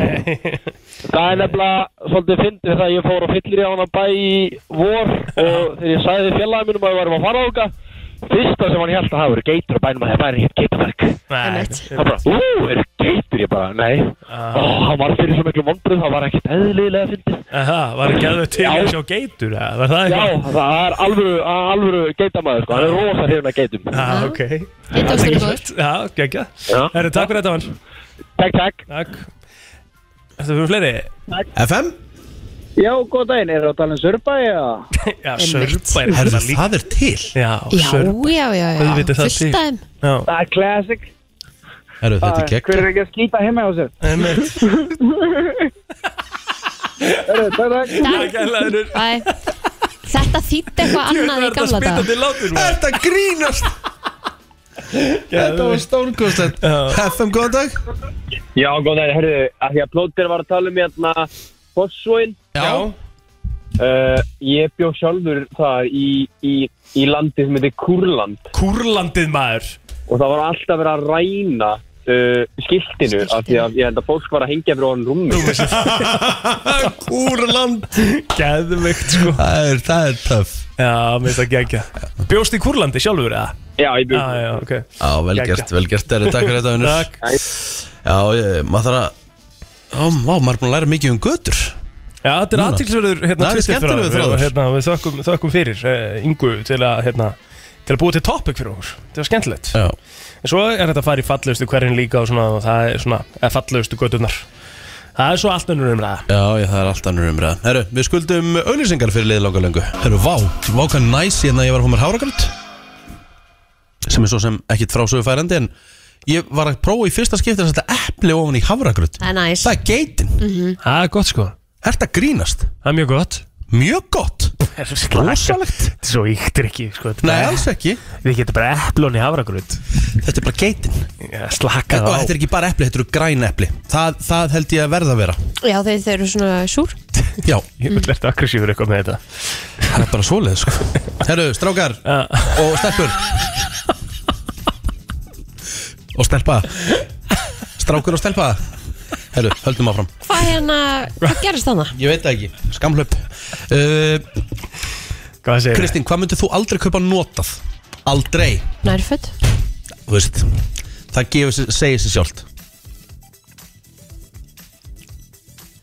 Speaker 9: Það er nefnilega svolítið fyndið það að ég fór á fyllir í ána bæ í vor og þegar ég sagði félagum mínum að við varum að fara á okkar fyrsta sem hann held að hafa verið geitur á bænum að það væri hér geitaberg Það bara, ú, er geitur ég bara, nei Ó, hann var fyrir svo miklu vonbröð, það var ekkert eðlilega fyndið
Speaker 2: Aha, var það gæðu til að
Speaker 9: Já.
Speaker 2: sjá geitur? eða? Var það
Speaker 9: Já,
Speaker 2: eitthvað?
Speaker 9: það er alvöru, alvöru geitamæður, sko, hann er rosa hrifin að geitum
Speaker 2: Já, Ah, ok Geitaostur er góður Já, geggja Herru, takk fyrir þetta mann
Speaker 9: Takk, takk
Speaker 2: Takk Þetta fyrir fleiri
Speaker 1: FM?
Speaker 9: Já, góð daginn, er það að tala um surba, já?
Speaker 2: Já, sörpa er
Speaker 1: Herðu,
Speaker 2: hérna líka
Speaker 1: það er til
Speaker 2: Já,
Speaker 9: Já,
Speaker 2: sörpa
Speaker 9: já, já, já.
Speaker 2: Auðvitað er það
Speaker 9: Fullt af þeim.
Speaker 2: Já
Speaker 9: Það er classic
Speaker 1: Herru, þetta er gegn
Speaker 9: Hver er ekki að skýta heima á sér?
Speaker 2: Einmitt
Speaker 9: Herru, takk, takk
Speaker 3: Bæ. Þetta þýtti eitthvað
Speaker 2: Hérna
Speaker 3: annað í gamla dag
Speaker 2: látur
Speaker 1: Þetta grínast Þetta var stórkostlegt FM, góðan dag
Speaker 9: Já, góð daginn, herru, að því að plótir var að tala um hérna Fossvóin
Speaker 1: Já
Speaker 9: uh, Ég bjó sjálfur það í, í, í landi sem heitir Kúrland
Speaker 2: Kúrlandið maður
Speaker 9: Og það var alltaf verið að ræna uh, skiltinu af því að ég held að fólk var að hengja fyrir honum rúmi
Speaker 1: Kúrland
Speaker 2: Geðveikt sko
Speaker 1: Það er, það er töff
Speaker 2: Já, mér finnst það geggja Bjóst í Kúrlandi sjálfur eða?
Speaker 9: Já, ég
Speaker 2: bjóst Ah, Já, já, ok
Speaker 1: Já, vel
Speaker 2: Geggjað.
Speaker 1: gert, vel gert Herru, takk fyrir þetta vinnur
Speaker 2: Takk.
Speaker 1: Já, ég, maður þarf að Já, vá, maður er búin að læra mikið um götur
Speaker 2: Já, þetta er
Speaker 1: Núna.
Speaker 2: aðtilsverður
Speaker 1: Það
Speaker 2: hérna,
Speaker 1: er
Speaker 2: Twitter-þráður
Speaker 1: skemmtilegur
Speaker 2: og,
Speaker 1: þráður.
Speaker 2: hérna, Við þökkum, þökkum fyrir eh, Ingu til að, hérna, til að búa til topic fyrir okkur Þetta var skemmtilegt
Speaker 1: Já.
Speaker 2: En svo er þetta að fara í fallegustu hverjum líka og svona, og það er svona, eða fallegustu göturnar Það er svo allt önnur umræða
Speaker 1: Já, ég, það er allt annur umræða Herru, við skuldum auðlýsingar fyrir liðið langa löngu Herru, vá, vá hvað næs hérna ég var að hómar háragröld Sem er svo sem ekkit frásögufærandi En ég var að prófa í fyrsta skipti að setja epli ofan í háragröld
Speaker 3: Það er næs
Speaker 1: Það er geitin
Speaker 3: Mhm.
Speaker 2: Það er gott sko
Speaker 1: Er þetta grínast?
Speaker 2: Það er mjög gott
Speaker 1: Mjög gott
Speaker 2: Rosalegt Þetta er svo yktir ekki sko, þetta er
Speaker 1: Nei,
Speaker 2: bara-
Speaker 1: alls ekki
Speaker 2: Þetta er ekki- þetta er bara eplón í hafragröð
Speaker 1: Þetta er bara geitin
Speaker 2: Já, slaka
Speaker 1: Og þetta er ekki bara epli, þetta eru græn epli það, það held ég að verða að vera
Speaker 3: Já, þeir, þeir eru svona súr
Speaker 1: Já
Speaker 2: Ég vil lert aggressífur eitthvað með þetta
Speaker 1: Það er bara svoleið sko Herru, strákar og stelpur Og stelpa Strákur og stelpa Herru, höldum áfram
Speaker 3: Hvað hérna, hvað gerist þannig?
Speaker 1: Ég veit það ekki, skamhlaup uh,
Speaker 2: Hvað segir
Speaker 1: Kristín, hvað myndir þú aldrei kaupa notað? Aldrei,
Speaker 3: Nærföld
Speaker 1: þú veist Það gefur, sig- segir sér sjálft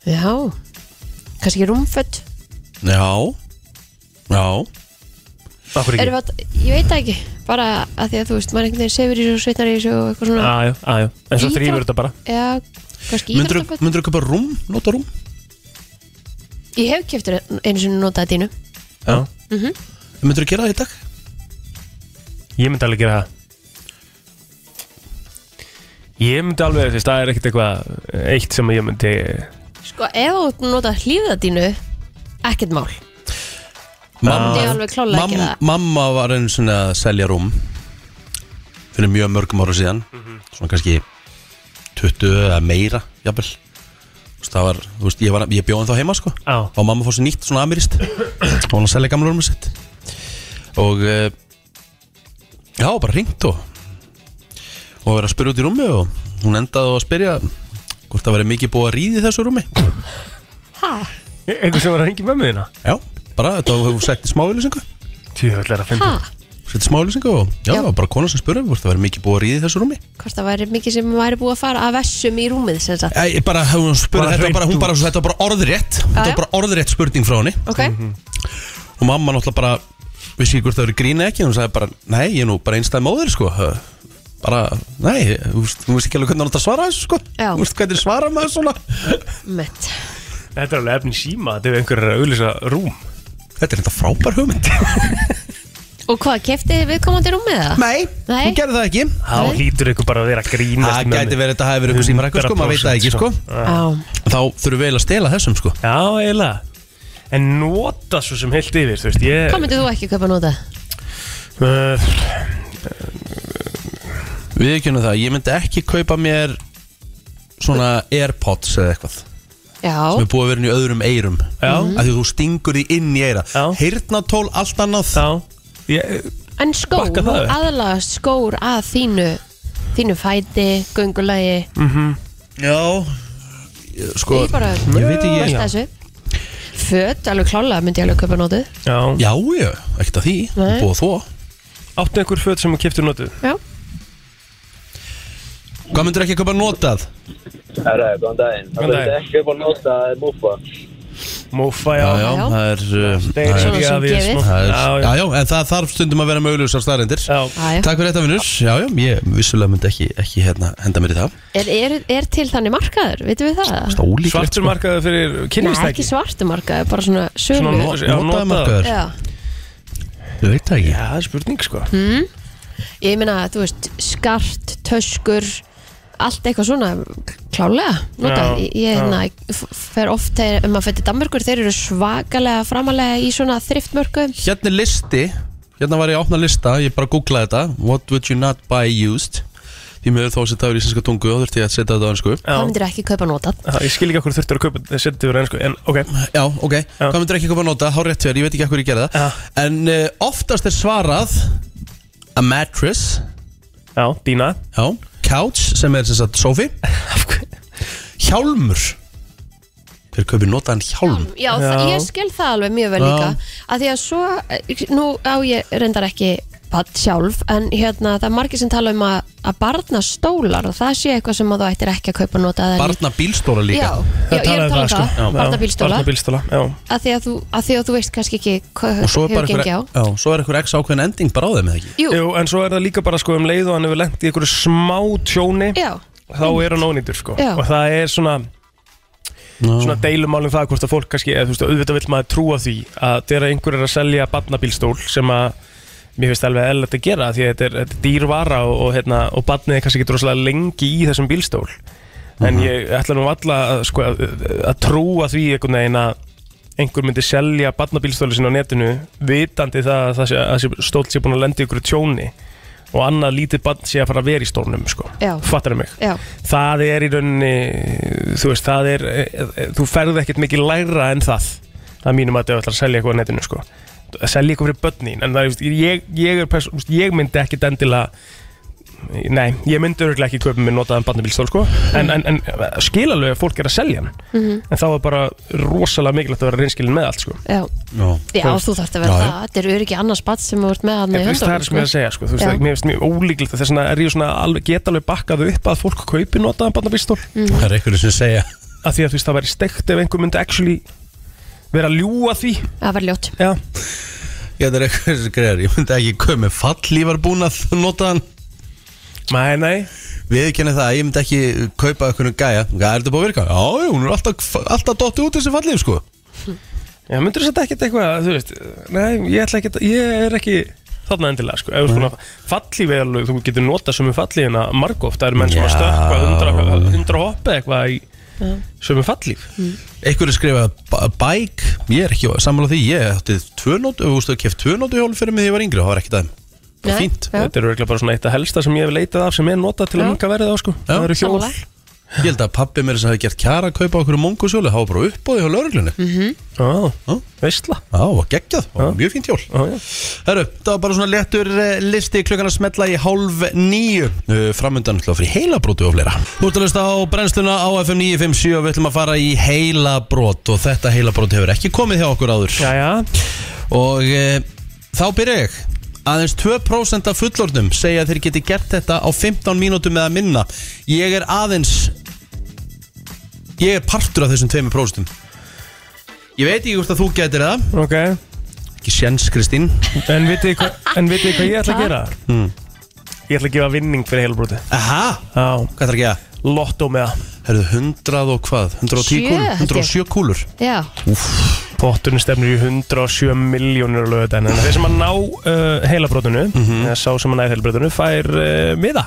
Speaker 3: Já Kannski ekki rúmföld
Speaker 1: Já Já
Speaker 2: Akkur
Speaker 3: Erum við að, ég veit það ekki Bara að því að þú veist, maður einhvern veginn sefur í þessu og sveitnar í þessu og eitthvað svona
Speaker 2: Aðjó, aðjó En svo
Speaker 3: Íþrótt-
Speaker 2: þrýfur þetta bara
Speaker 3: Já, kannski
Speaker 1: Myndirðu-
Speaker 3: íþróttaföld
Speaker 1: Myndirðu kaupa rúm, nota rúm?
Speaker 3: Ég hef keftur einu sinni notaði dínu
Speaker 1: Já
Speaker 3: mm
Speaker 1: Myndirðu gera það í dag?
Speaker 2: Ég myndi alveg gera það Ég myndi alveg, þú veist, það er ekkert eitthvað eh, Eitt sem ég myndi
Speaker 3: Sko, ef þú notaði hlýða dínu Ekkert mál Myndi ég alveg klálega
Speaker 1: Mam-
Speaker 3: ekki það.
Speaker 1: Mamma var einu svona að selja rúm fyrir mjög mörgum ára síðan svona kannski 20 eða meira, jafnvel Þú veist, það var, þú veist, ég, var, ég bjóði þá heima sko
Speaker 2: ah.
Speaker 1: og mamma fór sér nýtt svona amirist og hún að selja gamla rúmið sitt og eh, já, bara ringt og og verið að spyrja út í rúmi og hún endaði á að spyrja hvort það verið mikið búið að ríði þessu rúmi
Speaker 3: Hæ?
Speaker 2: eh, Einhver sem var að ringi með mig þina
Speaker 1: Já, bara þetta var sett í smávílusingu
Speaker 2: Tjóðvill er að
Speaker 3: Ha,
Speaker 1: Sett í smávílusingu og já, það var bara kona sem spurði um hvort það verið mikið búið að ríði þessu rúmi
Speaker 3: hvort það væri mikið sem væri búið að fara að vessum í rúmið sem sagt
Speaker 1: Æ, bara, hún spurði
Speaker 2: Bara
Speaker 1: þetta, var bara, hún
Speaker 2: hreint
Speaker 1: bara, þetta var bara orðrétt
Speaker 3: Já,
Speaker 1: Þetta
Speaker 3: já.
Speaker 1: var bara orðrétt spurning frá henni
Speaker 3: Ok,
Speaker 1: Og mamma náttúrulega bara Vissi ekki hvort það verið grín eða ekki Hún sagði bara, nei, ég er nú bara einstæð móðir sko Bara, nei, þú veist þú veist ekki alveg hvernig hann átt að svara þessu sko
Speaker 3: Já.
Speaker 1: Þú veist hvernig svara maður svona
Speaker 3: mitt
Speaker 2: Þetta er alveg efni síma Þetta er einhver að auðlýsa rúm
Speaker 1: Þetta er þetta frábær hugmynd
Speaker 3: Og hvað, kefti viðkomandi rúmið það?
Speaker 1: Nei,
Speaker 3: Nei.
Speaker 1: hún gerði það ekki
Speaker 2: Þá hlýtur einhver bara að vera að grínast
Speaker 1: Það
Speaker 2: með
Speaker 1: gæti
Speaker 2: mig.
Speaker 1: verið þetta hafi verið einhver símarækkur, sko, maður veit það ekki, sko.
Speaker 2: 100%
Speaker 3: Já,
Speaker 1: Þá þurfum við eiginlega að stela þessum sko
Speaker 2: Já, eiginlega En nota svo sem heilt yfir, þú veist, ég...
Speaker 3: hvað myndið þú ekki kaupa nota?
Speaker 2: Uh,
Speaker 1: Við ekki henni það, ég myndi ekki kaupa mér svona Airpods eða eitthvað sem
Speaker 3: Já,
Speaker 1: er búið að vera inn í öðrum eyrum
Speaker 2: Já.
Speaker 1: að því þú stingur því inn í eyra Heyrnatól allt annað
Speaker 2: Já, ég,
Speaker 3: en skór,
Speaker 1: Bakka það upp.
Speaker 3: aðlagast skór að þínu þínu fæti, göngulagi
Speaker 1: mm -hmm. Já Ég- Sko,
Speaker 3: Ég bara-
Speaker 1: ég veit ekki
Speaker 3: Besta þessu Föt, alveg klálega myndi ég alveg kaupa nota
Speaker 2: Já,
Speaker 1: já, já ekkert að því,
Speaker 3: Nei.
Speaker 1: búið þó
Speaker 2: áttu einhver föt sem að kipta notuð?
Speaker 3: Já,
Speaker 1: Hvað myndir ekki kaupa notað?
Speaker 14: Herra, góðan daginn.
Speaker 2: Góðan
Speaker 14: Það
Speaker 2: daginn.
Speaker 14: verður ekki upp á nota að múfa.
Speaker 2: Mófa, já,
Speaker 1: já, það er uh,
Speaker 2: Þeir
Speaker 1: það er-
Speaker 2: svona sem
Speaker 1: það er-
Speaker 2: gefið.
Speaker 1: það er-
Speaker 2: Já, já.
Speaker 1: Já, já, en það þarf stundum að vera mögulegsar staðrendir
Speaker 3: já.
Speaker 1: Takk fyrir þetta, vinnur Já, já, ég vissulega myndi ekki, ekki hérna, henda mér í það
Speaker 3: er, er, er til þannig markaður, veitum við það?
Speaker 1: Ólíklegt,
Speaker 2: Svartur
Speaker 1: sko.
Speaker 2: markaður fyrir
Speaker 3: Nei, ekki
Speaker 2: kynlistæki
Speaker 3: svartu markaður, bara svona sölu
Speaker 2: Svona no- já,
Speaker 1: Notaður
Speaker 2: notaður.
Speaker 1: markaður,
Speaker 3: Já,
Speaker 1: ég veit það ekki
Speaker 2: Já, það er spurning, sko
Speaker 3: mm. Ég meina, þú veist, skart, töskur Allt eitthvað svona Klálega, notað
Speaker 2: Já,
Speaker 3: Ég, ég hérna, f- fer oft þegar um að fætti Danmörkur, þeir eru svakalega framalega Í svona þriftmörkum
Speaker 1: Hérna er listi, hérna var ég að opna lista Ég bara googlaði þetta What would you not buy used Því miður þó að setja það er íslenska tungu og þurfti ég að setja þetta á ennsku
Speaker 3: Það myndir ekki kaupa notað
Speaker 2: Já, Ég skil ekki okkur þurftur að kaupa þetta setið úr ennsku sko. En, ok,
Speaker 1: Já, ok, hvað myndir ekki koma að nota, há rétt fyrir, ég veit ekki hvað ég gerði það En uh, oftast er svarað A mattress
Speaker 2: já, dýna
Speaker 1: Já, couch sem er sem sagt sofi Hjálmur Hver kaupir notaðan hjálm?
Speaker 3: Já, já. ég skil það alveg mjög vel
Speaker 1: Já.
Speaker 3: líka að Því að svo, eh, nú á ég reyndar ekki patt sjálf En hérna, það er margir sem tala um að, að barna stólar Og það sé eitthvað sem að þú ættir ekki að kaupa notað en-
Speaker 1: Barna bílstóla líka
Speaker 3: Já, já, ég er að tala
Speaker 2: sko.
Speaker 3: um það,
Speaker 1: Já.
Speaker 3: barnabílstóla
Speaker 2: Barnabílstóla, já
Speaker 3: að því að þú, að því að þú veist kannski ekki hvað
Speaker 1: Og svo er bara
Speaker 3: hefur gengið á
Speaker 1: einhver, já, svo er einhver x ákveðin ending bara á þeim eða ekki
Speaker 3: Jú.
Speaker 2: en svo er það líka bara sko um leið og hann hefur lent í einhverju smá tjóni
Speaker 3: Já,
Speaker 2: Þá er hann ónýtur, sko
Speaker 3: Já.
Speaker 2: Og það er svona Svona deilumálum það hvort að fólk kannski eða, þú veist, auðvitað vill maður trúa því að þegar einhver er að selja barnabílstól sem að mér finnst alveg eðlert að gera því að þetta er, þetta er dýrvara og, og, hérna, og barnið er kannski ekki droslega lengi í þessum bílstól en ég ætla nú alla að, sko, að, að trúa því einhvern veginn að einhver myndi selja barnabílstóli sinna á netinu vitandi það að það sé, að sé stól sé búin að lenda í ykkur tjóni og annað lítið barn sé að fara að vera í stólnum sko.
Speaker 3: Já.
Speaker 2: fattar mig
Speaker 3: Já.
Speaker 2: það er í rauninni þú veist, það er eh, eh, þú ferð ekkert mikið lægra en það að mínum að þau ætlar að selja eitthvað á netinu sko. að selja eitthvað fyrir börnin en það er, þú veist, ég, ég, er perso- þú veist, ég myndi ekkert endilega Nei, ég myndi örgulega ekki kaupa mér notaðan barnabílstól sko En, en, en skilalög að fólk er að selja hann
Speaker 3: Mhm.
Speaker 2: En þá er bara rosalega mikilvægt að vera reynskilin með allt sko
Speaker 3: Já,
Speaker 1: no.
Speaker 3: já þú þarfst að vera það Þetta er öryggi annars bat sem þú ert með hann í
Speaker 2: En þú veist, það er
Speaker 3: höndunum
Speaker 2: sem ég er að segja sko Þú veist,
Speaker 3: Já.
Speaker 2: það- mér finnst mjög ólíklegt Þess vegna er ég svona alveg, get alveg bakkað upp að fólk kaupi notaðan barnabílstól
Speaker 3: Mhm.
Speaker 1: Það er einhverju sem segja
Speaker 2: Af því að þú veist, það væri steikt ef einhver myndi actually vera að ljúa því
Speaker 3: Það var ljótt
Speaker 2: Já
Speaker 1: Ég þetta er eitthvað sem greiðar, ég myndi ekki köpa með fallívar búnað notaðan
Speaker 2: Nei, nei
Speaker 1: Við kennum það, ég myndi ekki kaupa eitthvað gæja Hvað er þetta búið að virka? Já, jú, hún er alltaf, alltaf dotti út þessi fallíf sko
Speaker 2: Já, myndur þetta ekkert eitthvað, þú veist Nei, ég ætla ekkert, ég er ekki þarna endilega, sko, ef þú svona fallífi alveg, þú getur notað sömu fallífina margóft, það eru menn sem að
Speaker 1: Já.
Speaker 2: stökkva hundra, hundra hoppa eitthvað í
Speaker 3: Já.
Speaker 2: sömu fallíf
Speaker 1: Einhverju skrifa bæk, ég er ekki sammála því Ég átti tvö nótu, þú veist, ég keft tvö nótu hjól fyrir mig því ég var yngri og Það var ekki dæm
Speaker 3: Nei,
Speaker 1: Það fínt
Speaker 3: já.
Speaker 2: Þetta eru eiginlega bara svona eitt að helsta sem ég hef leitað af sem er notað til
Speaker 3: Já.
Speaker 2: að minka verðið á, sko Það eru hjól
Speaker 3: Sammála.
Speaker 1: Ég held að pabbi mér sem hafi gert kjara að kaupa okkur mongosjóli, það var bara uppbóði hjá lauruglunni
Speaker 3: Mhm.
Speaker 2: Já, veistla
Speaker 1: Já, það var geggjað, það var mjög fínt hjól Herru, það var bara svona léttur eh, listi klukkan að smetla í hálf Eh, nýju Framöndan ætla að fyrir heilabrótu og fleira Þú ert að hlusta á brennsluna á FM 957 og við ætlum að fara í heilabrót og þetta heilabrót hefur ekki komið hjá okkur áður
Speaker 2: Jæja
Speaker 1: Og e, þá byrja ég Aðeins 2% af fullornum segja að þeir geti gert þetta á 15 mínútum eða minna Ég er aðeins Ég er partur af þessum 2% Ég veit ekki hvort að þú getur það
Speaker 2: Ok
Speaker 1: Ekki sjens Kristín
Speaker 2: En vitið þið hvað- en vitið þið hvað ég ætla að gera?
Speaker 1: Mm.
Speaker 2: Ég ætla að gefa vinning fyrir heilbrúti
Speaker 1: Aha,
Speaker 2: Já
Speaker 1: hvað ætlar að gefa?
Speaker 2: Lotto með það
Speaker 1: Herðu 100 og hvað? 110
Speaker 3: Sjö,
Speaker 1: kúlur?
Speaker 3: held ég.
Speaker 1: 107 kúlur
Speaker 3: Já,
Speaker 2: Potturinn stefnir í 107 miljónir á lögudaginn en þeir sem að ná uh, heilabrótinu eða sá sem að næði heilabrótinu fær uh, miða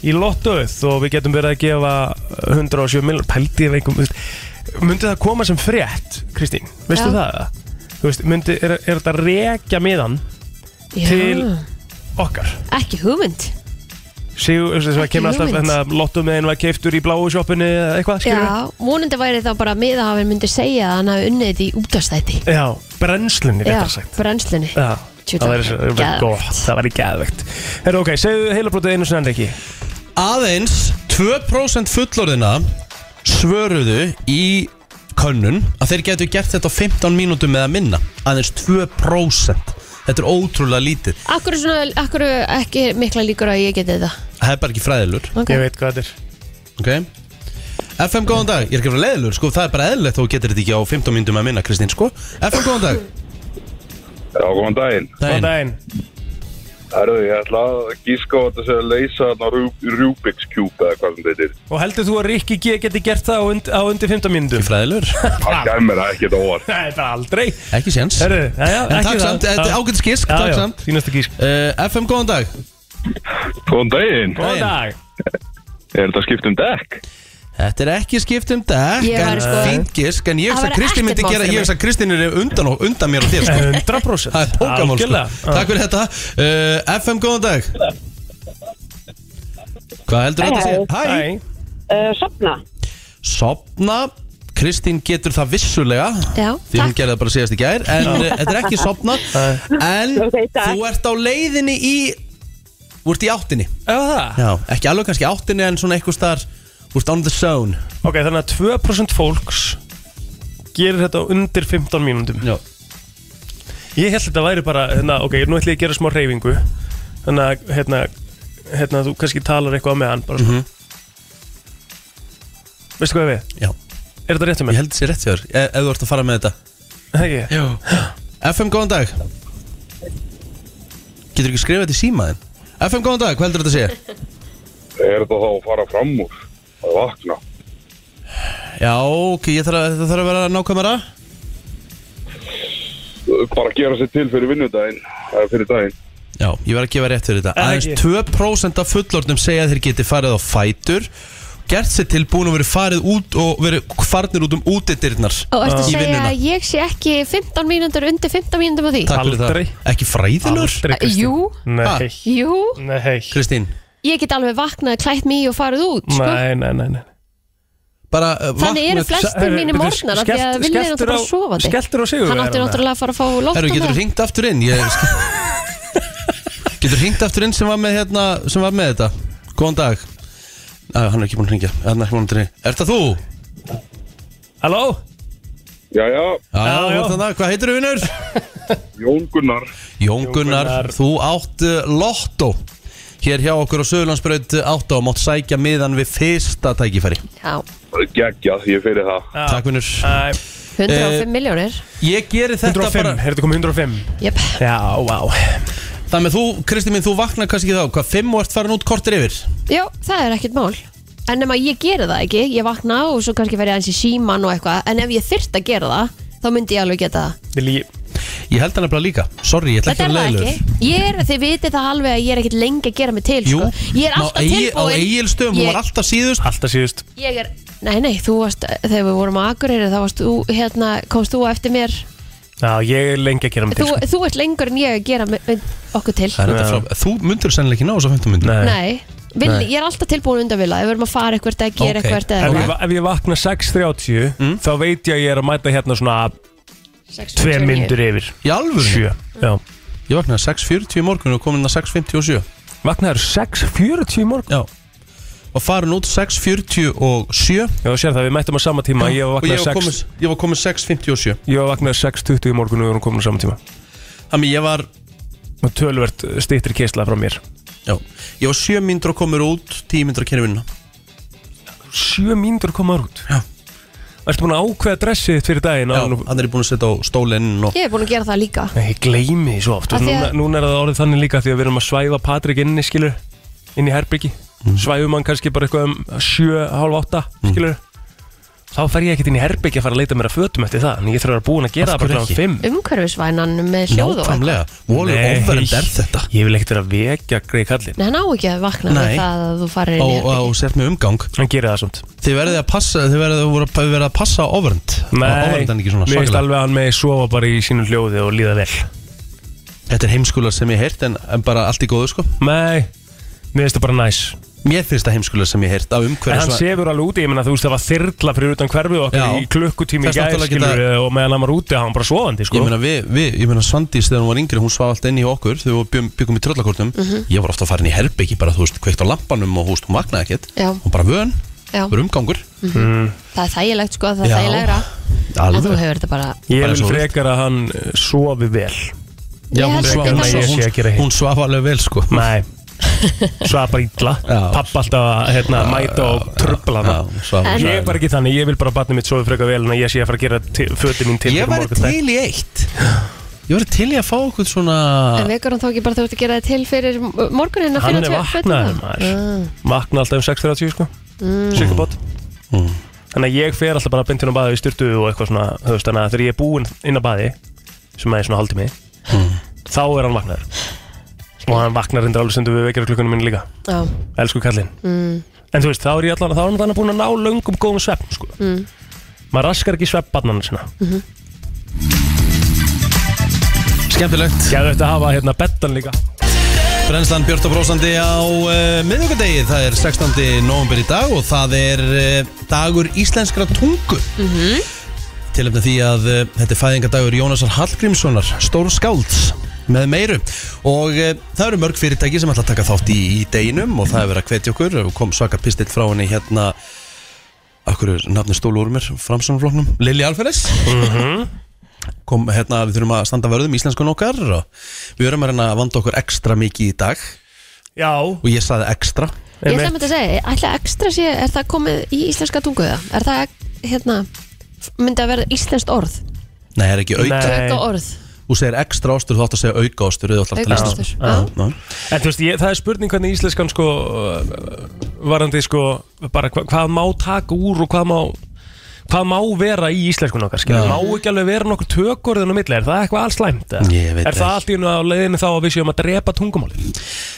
Speaker 2: í lottuð og við getum verið að gefa 107 miljónir pældi ef einhver veist, myndi það koma sem frétt Kristín, veistu
Speaker 3: Já.
Speaker 2: það? eða? Þú veist, myndi, er, er þetta að rekja miðan
Speaker 3: Já.
Speaker 2: til okkar
Speaker 3: ekki hugmynd
Speaker 2: Sigur, þess að
Speaker 3: Ekki
Speaker 2: kemur alltaf
Speaker 3: hugmynd.
Speaker 2: hérna, lottumiðin var keiftur í bláu sjoppinu eða eitthvað skilur
Speaker 3: Já, vonandi væri þá bara að miðahafinn myndi segja að hann hafi unnið því útastæti
Speaker 2: Já, brennslunni
Speaker 3: Já,
Speaker 2: réttar sagt
Speaker 3: brennslunni
Speaker 2: Já,
Speaker 3: Tjúta.
Speaker 2: það væri svo- það væri
Speaker 3: Geðveikt.
Speaker 2: gott, það væri gæðvegt Herra, ok, segðu heilabrótið einu sinni enn ekki
Speaker 1: Aðeins 2% fullorðina svöruðu í könnun að þeir getur gert þetta á 15 mínútum eða minna aðeins 2% Þetta er ótrúlega lítið
Speaker 3: Akkur, er svona, akkur er ekki mikla líkur á að ég geti þetta
Speaker 1: Það er bara ekki fræðilur
Speaker 3: Ok. Ég
Speaker 2: veit hvað
Speaker 1: þetta er FM góðan dag, ég er ekki að vera leiðilur sko, það er bara eðlilegt þú getur þetta ekki á 15 mínútum eða minna Kristín sko FM góðan dag
Speaker 15: Já, góðan daginn.
Speaker 1: Góðan
Speaker 2: daginn.
Speaker 15: Herru, ég ætla að gíska á Sko, þetta sem að leysa þarna Ru- Rubik's Cube eða hvað sem þetta er.
Speaker 2: Og heldur þú að Rikki G geti gert það á, und, á undir 15 mínútum?
Speaker 1: Fræðilur
Speaker 15: Það kemur það ekkert á óvart.
Speaker 2: Það er bara aldrei
Speaker 1: Ekki séns
Speaker 2: Herru, já, já,
Speaker 1: En
Speaker 2: ekki
Speaker 1: takk
Speaker 2: það.
Speaker 1: samt, þetta er
Speaker 2: Já.
Speaker 1: ágætis gisk,
Speaker 2: Já,
Speaker 1: takk
Speaker 2: já,
Speaker 1: samt.
Speaker 2: Þínasta gísk
Speaker 1: uh, FM góðan dag
Speaker 15: Góðan daginn.
Speaker 1: Góðan
Speaker 2: dag
Speaker 15: Er þetta skipt um dekk?
Speaker 1: Þetta er ekki skipt um dag
Speaker 15: Ég
Speaker 1: en
Speaker 15: væri sko-
Speaker 1: fínt gisk En ég
Speaker 15: Það
Speaker 1: veist að
Speaker 15: væri
Speaker 1: Kristín myndi
Speaker 15: ekkert mál
Speaker 1: gera
Speaker 15: fyrir
Speaker 1: Ég
Speaker 15: mig.
Speaker 1: veist að Kristín er undan, og- undan mér og þér sko.
Speaker 2: 100%
Speaker 1: Það er pókamál sko.
Speaker 2: Algjörlega. Já.
Speaker 1: Takk fyrir þetta uh, FM, góðan dag Hvað heldur þetta að segja? Hæ,
Speaker 11: Uh, sopna.
Speaker 1: sopna Kristín getur það vissulega
Speaker 11: Já,
Speaker 1: Því hún gerði það bara síðast í gær En
Speaker 11: Já.
Speaker 1: uh, þetta er ekki sopna En þú ert á leiðinni í Þú ert í áttinni
Speaker 2: Já, það
Speaker 1: Já, ekki alveg kannski áttinni en svona eitthvað starf Þú ert on the zone
Speaker 2: Ok, þannig að 2% fólks gerir þetta á undir 15 mínútum
Speaker 1: Já
Speaker 2: Ég held að þetta væri bara, hérna, ok, nú ætlum ég að gera smá reyfingu Þannig að, hérna, hérna, þú kannski talar eitthvað á meðan bara, mm Veistu hvað ég við?
Speaker 1: Já
Speaker 2: Er þetta rétt hjá mér?
Speaker 1: Ég held þessi rétt hjá þér, e- ef þú ert að fara með þetta
Speaker 2: Hegi?
Speaker 1: Jú FM, góðan dag Getur ekki skrifað þetta í símaðin FM, góðan dag, hvað heldur þetta að segja?
Speaker 15: Er þetta þá að fara fram úr? Að vakna?
Speaker 1: Já, ok, ég þarf að, það þarf að vera nákvæmara
Speaker 15: Bara gera sér til fyrir vinnudaginn, eða fyrir daginn.
Speaker 1: Já, ég verð að gefa rétt fyrir þetta
Speaker 15: Er það
Speaker 1: Aðeins 2% af fullornum segja að þeir geti farið á fætur gert sér tilbúin og verið farið út og verið farnir út um útidyrnar
Speaker 3: Og ertu að
Speaker 1: í
Speaker 3: segja
Speaker 1: vinnuna.
Speaker 3: að ég sé ekki 15 mínútur undir 15 mínútum á því?
Speaker 1: Takk fyrir það. Ekki fræðilur?
Speaker 3: Aldrei, Kristín. Jú.
Speaker 2: Nei.
Speaker 3: Jú,
Speaker 2: Nei.
Speaker 1: Kristín.
Speaker 3: ég get alveg vaknað, klætt mig í og farið út, sko.
Speaker 2: Nei, nei, nei, nei.
Speaker 1: Bara, eh,
Speaker 3: Þannig eru flestir mínir morgnar af því að vinnir er náttúrulega sofandi.
Speaker 2: Skelltur á hérna. sig
Speaker 3: Hann átti náttúrulega að fara að fá lótt
Speaker 1: Herru, getur þú ringt aftur inn? Ég, getur ringt aftur inn sem var með, hérna, sem var með þetta? Góðan dag Æ, Hann er ekki búin að ringja Hann er ekki búin að ringja Er það þú?
Speaker 2: Halló?
Speaker 15: Já, já
Speaker 1: Já, já, já. Þannig, hvað heitir þú vinnur?
Speaker 15: Jón Gunnar
Speaker 1: Jón Gunnar, þú átt eh, Lotto Hér hjá okkur á Söðurlandsbraut 8 og mátt sækja miðan við fyrsta tækifæri
Speaker 3: Já,
Speaker 15: Geggjað, ég fyrir það
Speaker 1: Takk vinnur
Speaker 3: 105 miljónir.
Speaker 1: Ég geri þetta
Speaker 2: 105,
Speaker 1: bara
Speaker 2: Er þetta komið 105?
Speaker 3: Jöp.
Speaker 2: Já, vá
Speaker 1: Þannig að þú, Kristi mín, þú vaknar kannski þá Hvað, 5 og ert farin út kortir yfir?
Speaker 3: Já, það er ekkert mál. En nema ég gera það ekki, ég vakna og svo kannski fer ég aðeins í síman og eitthvað, en ef ég þyrt að gera það, þá myndi ég alveg geta það.
Speaker 1: Ég held hann nefnilega líka Sorry, ég ætla ekki
Speaker 3: Þetta er
Speaker 1: að
Speaker 3: það
Speaker 1: leiðlur
Speaker 3: ekki. Ég er, þið vitið það alveg að ég er ekkert lengi að gera mig til,
Speaker 1: Jú,
Speaker 3: sko. Ég er
Speaker 1: á
Speaker 3: alltaf
Speaker 1: Eigi- á
Speaker 3: tilbúin.
Speaker 1: Egilstöðum, hún
Speaker 3: Ég-
Speaker 1: var alltaf síðust
Speaker 2: Alltaf síðust
Speaker 3: Ég er, nei, nei, þú varst, þegar við vorum á Akureyri, þá varst þú, hérna, komst þú á eftir mér.
Speaker 2: Já, ég er lengi að gera mig til sko.
Speaker 3: Þú, þú ert lengur en ég að gera mig- mig- okkur til.
Speaker 1: Það er þetta frá, þú myndur sennilega ekki ná þessu 15 myndur
Speaker 3: Nei, Vinn, ég er alltaf tilbúin undan vilja, ef við erum að fara eitthvað eða gera okay. eitthvað eða
Speaker 2: ef, ég,
Speaker 3: eitthvað.
Speaker 2: va- ef ég vakna 6.30
Speaker 1: Mm.
Speaker 2: þá veit ég að ég er að mæta hérna svona 2 myndur yfir
Speaker 1: Í alvöru?
Speaker 2: Sjö, já
Speaker 1: Ég vaknaði 6.40 í morgun og kom inn að 6.57
Speaker 2: Vaknaður 6.40 í morgun?
Speaker 1: Já Og farin út 6.47 Já,
Speaker 2: þú sér það, við mættum á sama tíma Ég
Speaker 1: og
Speaker 2: var
Speaker 1: ég var
Speaker 2: vaknaður
Speaker 1: komin,
Speaker 2: 6
Speaker 1: ég var komin 6.57
Speaker 2: Ég var vaknaður 6.20 í morgun og við vorum komin á sama tíma
Speaker 1: Þannig ég var
Speaker 2: Og tölvert stýttir kisla frá mér
Speaker 1: Já, ég var 7 myndur og komur út 10 myndur að kynna vinna
Speaker 2: 7 mínútur komaður út
Speaker 1: Já
Speaker 2: Ertu búin að ákveða dressið þitt fyrir daginn?
Speaker 1: Já, hann er búin að setja á stólinn og
Speaker 3: Ég er búin að gera það líka.
Speaker 2: Nei, ég gleymi því svo oft
Speaker 3: Af því
Speaker 2: núna,
Speaker 3: að-
Speaker 2: núna er það orðið þannig líka því að við erum að svæfa Patrik inni, skilur Inni í herbyggi
Speaker 1: Mm.
Speaker 2: Svæfum hann kannski bara eitthvað um 7, hálf 8, skilur Þá fer ég ekkert inn í herbyggi að fara að leita mér að fötum eftir það En ég þarf að vera búin að
Speaker 1: Af
Speaker 2: gera það bara
Speaker 1: hverju
Speaker 2: kláðan 5
Speaker 3: Umhverfisvænan með hljóð og eitthvað.
Speaker 1: Voru overend er
Speaker 2: þetta Ég vil ekkert vera að vekja greið kallinn
Speaker 3: Nei, hann á ekki að vakna
Speaker 1: Nei.
Speaker 3: með það að þú farir inn í
Speaker 1: og, og, og sért með umgang
Speaker 2: Hann gerir það samt
Speaker 1: Þið verðið að passa, þið verðið að, voru- þið verðið að passa á overend Overend er ekki svona
Speaker 2: mér veist
Speaker 1: svakalega
Speaker 2: alveg að hann megi sofa bara í sínu hljóði og líða vel
Speaker 1: Þetta er heimskular sem ég heirt en, en bara allt í góðu sko
Speaker 2: Nei, mér finnst það bara næs
Speaker 1: Mér finnst það heimskular sem ég heirt á
Speaker 2: En
Speaker 1: umhverju
Speaker 2: hann sefur alveg úti, ég menna þú veist það var þyrla fyrir utan hverfið okkar
Speaker 1: Já.
Speaker 2: í klukkutími í
Speaker 1: Þess
Speaker 2: gæð
Speaker 1: náttúrulega geta-
Speaker 2: skilur og meðan hann var úti hann var bara sofandi sko
Speaker 1: Ég meina, við, við, ég meina Svandís þegar hún var yngri, hún svaf allt inn í okkur þegar við byggum, byggum í tröllakortum
Speaker 3: Mhm.
Speaker 1: Ég var ofta að fara inn í herbyggi bara, þú veist, kveikt á lampanum og þú veist, hún vaknaði ekkert
Speaker 3: Já.
Speaker 1: Hún bara vön,
Speaker 3: Já.
Speaker 1: bara umgangur
Speaker 3: Mhm. Það er þægilegt sko, það er
Speaker 1: Já.
Speaker 3: þægilegra En þú
Speaker 1: Alveg
Speaker 3: hefur þetta bara
Speaker 2: Ég
Speaker 1: Bara
Speaker 2: vil
Speaker 1: svo vilt.
Speaker 2: frekar að hann eh, sofi vel
Speaker 1: Já,
Speaker 3: Ég
Speaker 1: hún
Speaker 3: held
Speaker 1: svaf,
Speaker 3: ekki
Speaker 1: hún,
Speaker 3: það.
Speaker 1: hún,
Speaker 2: Ég sé
Speaker 1: hún,
Speaker 2: ekki
Speaker 1: hún svaf alveg vel, sko
Speaker 2: Nei Svaf bara illa Papp alltaf að hérna, mæta og tröfla
Speaker 1: svaf-
Speaker 2: það Ég er bara ekki þannig, ég vil bara að batni mitt sofi frekar vel en að ég sé að fara að gera föti mín til
Speaker 1: Ég
Speaker 2: fyrir
Speaker 1: væri
Speaker 2: morgundaginn.
Speaker 1: til í eitt Ég var til í að fá okkur svona
Speaker 3: En vekur hann þá ekki bara þú ert að gera það til fyrir morguninn að
Speaker 2: Hann
Speaker 3: finna
Speaker 2: er
Speaker 3: tvö-
Speaker 2: vaknaður,
Speaker 3: fötin?
Speaker 2: maður. Vakna alltaf um 6.30 sko
Speaker 3: Mm.
Speaker 2: Sjökkubot
Speaker 1: Mm.
Speaker 2: Þannig að ég fer alltaf bara beint inn á baði í styrtu og eitthvað svona þú veist, Þannig að þegar ég er búinn inn á baði sem er svona haldið mig
Speaker 1: Mm.
Speaker 2: þá er hann vaknaður og hann vaknar reyndar alveg stundu við vekjara klukkunum minni líka
Speaker 3: Ah, Já.
Speaker 2: elsku kallinn
Speaker 3: Mm.
Speaker 2: en þú veist þá er ég allan þá er hann þannig búin að ná löngum góðum svepp sko.
Speaker 3: Mm.
Speaker 2: maður raskar ekki svepp barnana sinna
Speaker 1: Mm.
Speaker 3: Mhm.
Speaker 1: Skemmtilegt
Speaker 2: Gæðvegt að hafa hérna bettan líka
Speaker 1: Brennslan Björn og Brósandi á uh, miðvíkudegi, það er 16. november í dag og það er uh, dagur íslenskra tungu mm -hmm. Tilöfni því að uh, þetta er fæðingadagur Jónasar Hallgrímssonar, stór skálds með meiru og uh, það eru mörg fyrirtæki sem ætla að taka þátt í, í deginum og það er verið að hvetja okkur og kom svaka pistill frá henni hérna Akkur er nafni stólu úr mér, framsónafloknum Lili Alferes Kom hérna, við þurfum að standa vörðum íslenskun okkar og Við erum að reyna að vanda okkur ekstra mikið í dag
Speaker 2: Já
Speaker 1: Og ég saði ekstra
Speaker 3: Ég ætla með þetta að segja, ætla ekstra sé, er það komið í íslenska tungu það? Er það, hérna, myndi að verða íslenskt orð?
Speaker 1: Nei, það er ekki auka
Speaker 3: Auka orð?
Speaker 1: Þú segir ekstra ástur, þú átt að segja auka ástur
Speaker 2: Aukaostur, já. en þú veist ég, það er spurning hvernig íslenskan sko uh, varandi sko bara hva, hvað má taka úr og hvað má hvað má vera í íslenskun okkar skilur, má ekki alveg vera nokkur tökorðin á milli er það eitthvað alls slæmt? eða?
Speaker 1: Ég veit
Speaker 2: er það allt í unna á leiðinu þá að við séum að drepa tungumáli?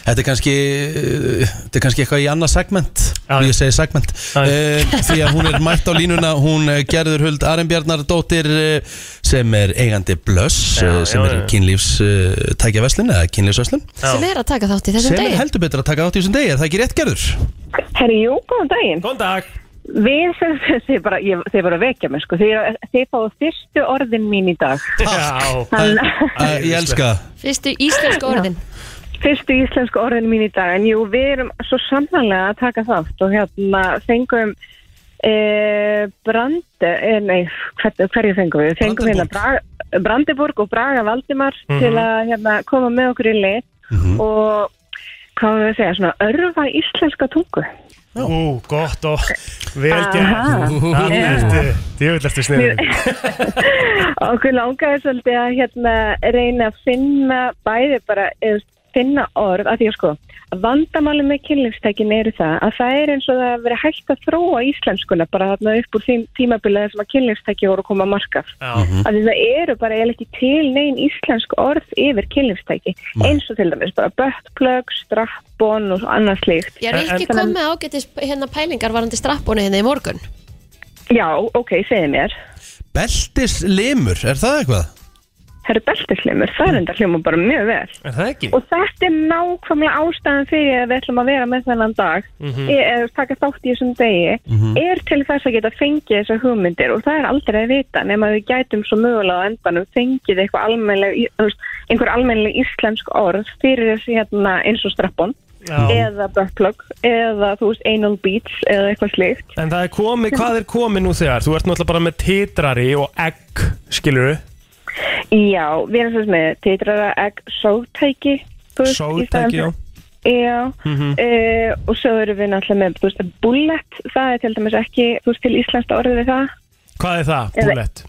Speaker 1: Þetta er kannski uh, Þetta er kannski eitthvað í annað segment Ég segi segment uh, Því að hún er mætt á línuna Hún uh, gerður huld Arnbjarnardóttir uh, sem er eigandi Blöss
Speaker 2: Já,
Speaker 1: uh, sem
Speaker 2: já,
Speaker 1: er
Speaker 2: já.
Speaker 1: kynlífstækjaverslun eða kynlífsverslun
Speaker 3: sem er að taka þátt í þessum
Speaker 1: sem er
Speaker 3: degi
Speaker 1: heldur betur að taka átt í þessum degi Er það ekki rétt gerður?
Speaker 16: Herri, jú, góðan daginn.
Speaker 2: Góðan dag.
Speaker 16: Við, þið bara, ég, þið bara vekja mig, sko. Þið, þið fáið fyrstu orðin mín í dag.
Speaker 2: Já.
Speaker 16: Hann-
Speaker 1: Uh, ég elska það.
Speaker 3: Fyrstu íslensku orðin.
Speaker 16: Fyrstu íslensku orðin mín í dag, en jú, við erum svo samanlega að taka þátt og hérna fengum e, brandi, e, nei, hver, hverju fengum við? Við Fengum hérna Braga, Brandiborg og Braga Valdimar
Speaker 17: Mhm.
Speaker 16: til að hérna, koma með okkur í lið og hvað var við að segja, svona örfa íslenska tungu.
Speaker 2: Ú, gott og vel
Speaker 16: Aha.
Speaker 2: gert Þannig
Speaker 16: Já.
Speaker 2: ertu, djöfull ertu sniður
Speaker 16: Okkur langaði svolítið að hérna, reyna að finna bæði bara eh, finna orð að því að sko vandamáli með kynlífstækin eru það að það er eins og það að vera hægt að þróa íslenskuna bara þarna upp úr þeim tímabilið sem að kynlífstæki voru að koma að markað
Speaker 2: að
Speaker 16: því það eru bara eða ekki til negin íslensk orð yfir kynlífstæki eins og til dæmis bara böttplögg, strappbón og annað slíkt
Speaker 3: Ég er ekki
Speaker 16: Þannig að-
Speaker 3: komið ágættis hérna pælingar varandi strappbónu hérna í morgun.
Speaker 16: Já, ok, segið mér
Speaker 1: Beltislimur, er það eitthvað?
Speaker 16: Það eru beltislimur, það er enda hljóma bara mjög vel.
Speaker 2: Er það ekki?
Speaker 16: Og þetta er nákvæmlega ástæðan fyrir að við ætlum að vera með þennan dag, mm
Speaker 2: Mhm.
Speaker 16: eða taka þátt í þessum degi,
Speaker 2: Mhm.
Speaker 16: er til þess að geta fengið þessar hugmyndir og það er aldrei að vita nema að við gætum svo mögulega á endanum fengið eitthvað almennileg, þú veist, einhver almennileg íslensk orð fyrir þessi hérna eins og strappon
Speaker 2: Já.
Speaker 16: eða bökplögg eða þú veist anal beats eða eitthvað slíkt.
Speaker 2: En það er komið, hvað er komið nú þegar? Þú ert náttúrulega bara með titrari og egg, skilur
Speaker 16: Já, við erum svolítið með titrara egg sótæki þú veist, í staðinn
Speaker 2: Sóttæki, já.
Speaker 16: fyrir- Já,
Speaker 2: Mhm.
Speaker 16: eh, og svo erum við náttúrulega með þú veist, bullet, það er til dæmis ekki þú veist til íslenskt orðið við það
Speaker 2: Hvað er það?
Speaker 16: Eða-
Speaker 2: Bullet?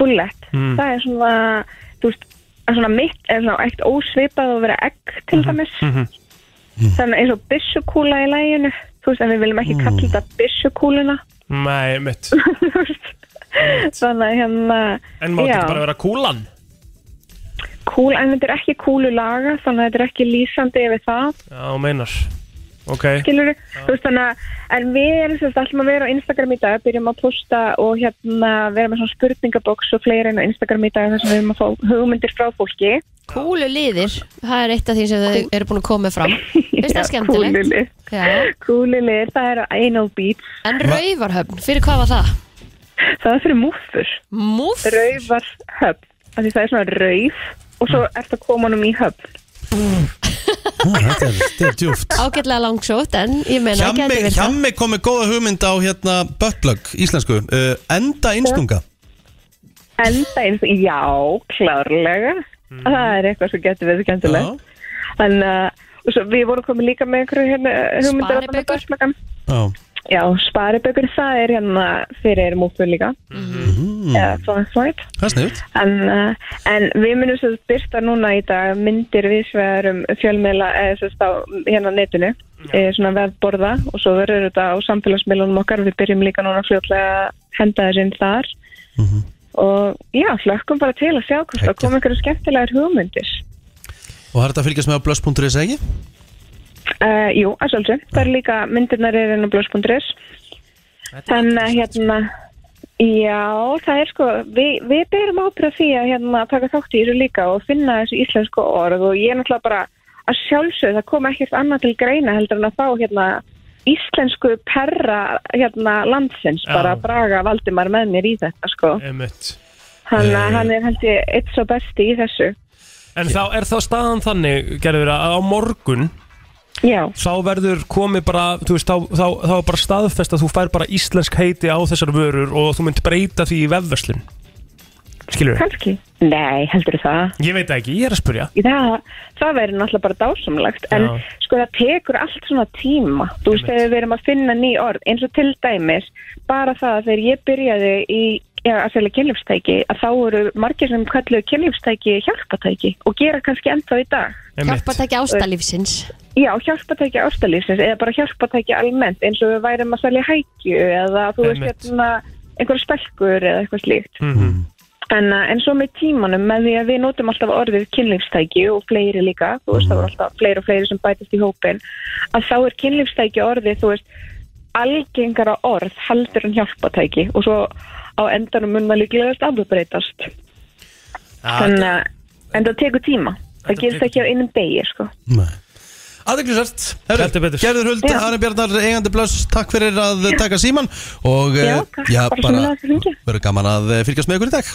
Speaker 16: bullet,
Speaker 2: Mm.
Speaker 16: það er svona þú veist, að svona mitt er svona eitt ósvipað að vera egg
Speaker 2: Mhm,
Speaker 16: til dæmis þannig eins og byssukúla í læginu þú veist, en við viljum ekki kalla
Speaker 2: Mm.
Speaker 16: þetta byssukúluna
Speaker 2: Nei, mitt
Speaker 16: þannig að hérna
Speaker 2: En má þetta
Speaker 16: já.
Speaker 2: ekki bara vera kúlan?
Speaker 16: Kúl, en þetta er ekki kúlu laga, þannig að þetta er ekki lýsandi yfir það.
Speaker 2: Já, þú meinar Ok
Speaker 16: skilur þú veist þannig að en við erum sérst alltaf að vera á Instagram í dag byrjum að posta og hérna vera með svona spurningaboks og fleiri en á Instagram í dag þar sem við erum að fá hugmyndir frá fólki
Speaker 3: Kúlu liðir, það er eitt af því sem þau eru búin að koma fram. Veist það skemmtilegt?
Speaker 16: kúlulir,
Speaker 3: Já.
Speaker 16: kúlulir, það er anal beats
Speaker 3: En rauvarhöfn, fyrir hvað var það?
Speaker 16: það er fyrir múffur
Speaker 3: múffur?
Speaker 16: raufarhöfn, af því það er svona rauf og svo ert að koma honum í höfn
Speaker 1: Þetta er, þetta er djúft
Speaker 3: Ágætlega langsótt, en ég menna ekki að
Speaker 1: Hjammi,
Speaker 3: þetta verið það.
Speaker 1: hjammi kom með góða hugmynd á hérna Böttblögg, íslensku uh, Enda einstunga
Speaker 16: enda eins og já, klárlega það er eitthvað sem getur við skemmtilegt þannig að uh, og svo við vorum komið líka með einhverju hérna hugmyndir að
Speaker 3: Sparibaukur.
Speaker 16: börnmagan Já, sparibökur, það er hérna fyrir múfur líka eða svona svært
Speaker 1: Það er sniðut
Speaker 16: en, uh, en við munum svo byrta núna í dag myndir við svegarum fjölmiðla eða svo stá hérna á netinu e, svona vefborða og svo verður þetta á samfélagsmiðlunum okkar við byrjum líka núna fljótlega að henda þess inn þar
Speaker 1: Mhm.
Speaker 16: og já, hlökkum bara til að sjá hvort það koma einhverju skemmtilegar hugmyndir
Speaker 1: Og það er þetta að fylgjast með á blöss.is ekki?
Speaker 16: uh, Jú, að svolítið, það er líka myndirnar er inn á blöss.is Þannig að hérna Já, það er sko, við, við berum ábyrða því að hérna taka þátt í þessu líka og finna þessu íslensku orð og ég er náttúrulega bara að sjálfsögðu, það kom ekkert annað til greina heldur en að fá hérna íslensku perra hérna landsins,
Speaker 2: Já.
Speaker 16: bara Braga Valdimar með mér í þetta sko.
Speaker 2: Emmett
Speaker 16: Þannig að hann er held ég eitt svo besti í þessu.
Speaker 2: En þá er þá staðan þannig, gerður að á morgun
Speaker 16: Já.
Speaker 2: Þá verður komið bara, þú veist, þá, þá, þá er bara staðfest að þú fær bara íslensk heiti á þessar vörur og þú mynd breyta því í vefverslun Skilur
Speaker 16: Kanski. Nei, heldur það?
Speaker 2: Ég veit það ekki, ég er að spurja
Speaker 16: Það, það verður náttúrulega bara dásamlegt en
Speaker 2: Já.
Speaker 16: sko það tekur allt svona tíma þú veist þegar við erum að finna ný orð eins og til dæmis bara það að þegar ég byrjaði í já, að selja kynlífstæki að þá eru margir sem kalluðu kynlífstæki hjálpatæki og gera kannski ennþá í dag
Speaker 3: Hjálpartæki ástalífsins.
Speaker 16: Já, hjálpatæki ástalífsins eða bara hjálpatæki almennt eins og við værum að selja hækju eða þú veist
Speaker 3: Einmitt.
Speaker 16: hérna einhverja spelkur eða eitthvað slíkt.
Speaker 2: Mhm.
Speaker 16: En, uh, en svo með tímanum, með því að við notum alltaf orðið kynlífstæki og fleiri líka, þú veist, það voru alltaf fleiri og fleiri sem bætist í hópin, að þá er kynlífstæki orðið, þú veist, algengara orð heldur en hjálpatæki og svo á endanum mun maður líklegast afbreytast.
Speaker 2: Ah,
Speaker 16: En, uh, en það tekur tíma. Það gerist ekki á einum degi, sko.
Speaker 1: Aðeinklisvært, Gerður Huld,
Speaker 16: Já.
Speaker 1: Ari Bjarnar, eigandi blöss, takk fyrir að taka síman og
Speaker 16: Já,
Speaker 1: eh,
Speaker 16: takk,
Speaker 1: já,
Speaker 16: bara
Speaker 1: bara
Speaker 16: sömuleiðis fyrir hringið.
Speaker 1: verður gaman að eh, fylgjast með ykkur í dag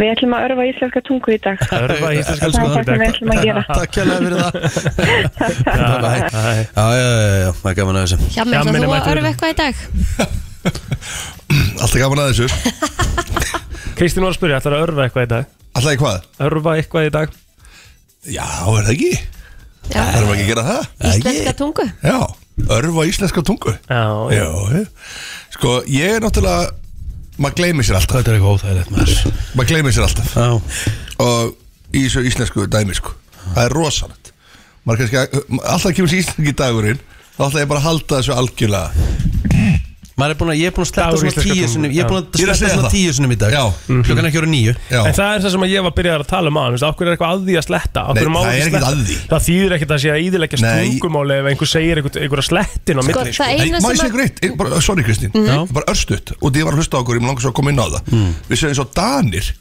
Speaker 16: Við ætlum að örfa íslenska tungu í dag.
Speaker 1: Örfa íslenska
Speaker 16: Það
Speaker 1: tungu í
Speaker 16: er það sem
Speaker 1: dag.
Speaker 16: við ætlum að gera.
Speaker 1: Takk hérlega fyrir það. Bye bye. Já, já, já, já, það er gaman að þessu
Speaker 3: Hjá mig, ætlar þú að örfa eitthvað í dag?
Speaker 17: Alltaf gaman að þessu
Speaker 2: Kristín var að spyrja, ætlar að örfa eitthvað í dag?
Speaker 17: Ætlar ég hvað?
Speaker 2: Örfa eitthvað í dag
Speaker 17: Já, er það ekki?
Speaker 3: Já.
Speaker 17: Það erum ekki að gera það
Speaker 3: Íslenska tungu?
Speaker 17: Já, örfa íslenska tungu
Speaker 2: Já,
Speaker 17: já Sko, ég er náttúrulega Maður gleymir sér alltaf Þetta er eitthvað óþægilegt maður Maður gleymir sér alltaf já. Og í þessu íslensku dæmi sko Það er rosalegt Maður kannski, alltaf kemur sér íslenski dagurinn Þá ætla ég bara að halda þessu algjörlega
Speaker 1: Maður er búin að, ég er búin að sletta
Speaker 17: Dagur
Speaker 1: svona
Speaker 17: íslenska
Speaker 1: tíu
Speaker 17: tungu,
Speaker 1: sinni Ég er búin
Speaker 17: já.
Speaker 1: að
Speaker 17: Ég er að
Speaker 1: sletta
Speaker 17: segja
Speaker 1: svona
Speaker 17: það.
Speaker 1: tíu sinni í dag
Speaker 17: Já.
Speaker 1: Klukkan er ekki voru nýju
Speaker 17: Já.
Speaker 2: En það er það sem að ég var að byrja að tala um aðeins Akkur er eitthvað að því að sletta af
Speaker 17: Nei,
Speaker 2: hverju má
Speaker 17: það er
Speaker 2: ekki
Speaker 17: ekkert
Speaker 2: sletta?
Speaker 17: að því.
Speaker 2: Það þýðir ekkert að sé að íðilegja
Speaker 17: Nei.
Speaker 2: stungumáli Ef einhver segir einhver, einhverja slettin á
Speaker 3: Sko,
Speaker 2: milli
Speaker 3: það
Speaker 17: Má
Speaker 3: eina
Speaker 17: ég
Speaker 3: sem
Speaker 17: segja
Speaker 3: að-
Speaker 17: ykkur eitt, Ein- bara- uh, sorry Kristín
Speaker 3: Mhm. Mm.
Speaker 17: Bara örstutt, og því ég var að hlusta á okkur Ég mér langar svo að koma inn á það Við segjum svo Danir,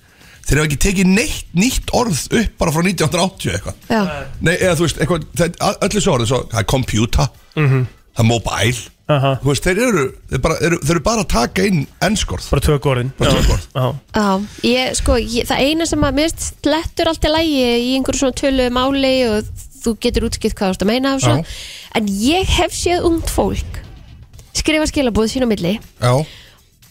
Speaker 17: þeir hafa ekki tekið neitt nýtt orð upp bara frá 1980 eitthvað
Speaker 3: Já.
Speaker 17: Nei, eða þú veist, eitthvað, það, öllu svo orðið svo, það er computer,
Speaker 2: Mhm.
Speaker 17: það er mobile, þú veist, þeir eru, þeir bara, eru, þeir eru bara að taka inn ennskorð.
Speaker 2: Bara tökorðin.
Speaker 17: Bara tökorð.
Speaker 2: Já.
Speaker 3: Já, ég, sko, ég, það eina sem að mér finnst lettur allt í lægi í einhverju svona tölu um máli og þú getur útskipt hvað þú ert að meina og svona, en ég hef séð ungt fólk skrifa skilabóð sín á milli
Speaker 17: Já.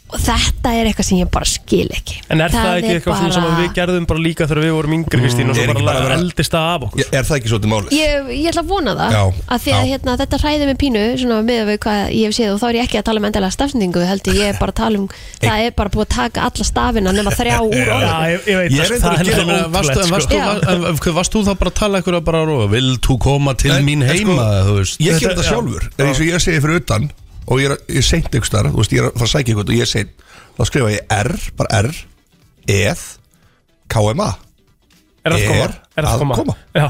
Speaker 3: og þetta er eitthvað sem ég bara skil ekki
Speaker 2: En er það, ekki
Speaker 3: er
Speaker 2: eitthvað bara... sem að við gerðum bara líka þegar við vorum yngri Kristín og svo
Speaker 17: Er ekki
Speaker 2: bara,
Speaker 17: bara að
Speaker 2: bara
Speaker 17: vera-
Speaker 2: eldist það af okkur?
Speaker 17: Er það ekki svolítið málið?
Speaker 3: Ég, ég ætla að vona það
Speaker 17: Já,
Speaker 3: að því að hérna, þetta hræði mig pínu svona, með við hvað ég hef séð og þá er ég ekki að tala um endalega stafsendingu heldur ég er bara að tala um það er bara búið að taka alla stafina nema þrjá úr
Speaker 2: Já,
Speaker 3: orðinu.
Speaker 2: ég, ég veit
Speaker 1: Ég veit það
Speaker 2: það er
Speaker 1: ekki
Speaker 2: náttúrulega
Speaker 1: Varst
Speaker 2: ótrúlegt,
Speaker 1: varst þú
Speaker 2: sko.
Speaker 3: Já.
Speaker 1: en- en varst þú þá bara að tala ykkur að bara róa Vil þú koma til mín heima þú veist?
Speaker 17: sko- Ég ger þetta sjálfur, en eins og ég segi fyrir utan og ég er, ég er seint ykkur starf, þú veist, ég er að fara að sækja ykkur og ég er seint, þá skrifa ég R, bara R, eð, KMA.
Speaker 2: Er að koma? Er að koma? Já.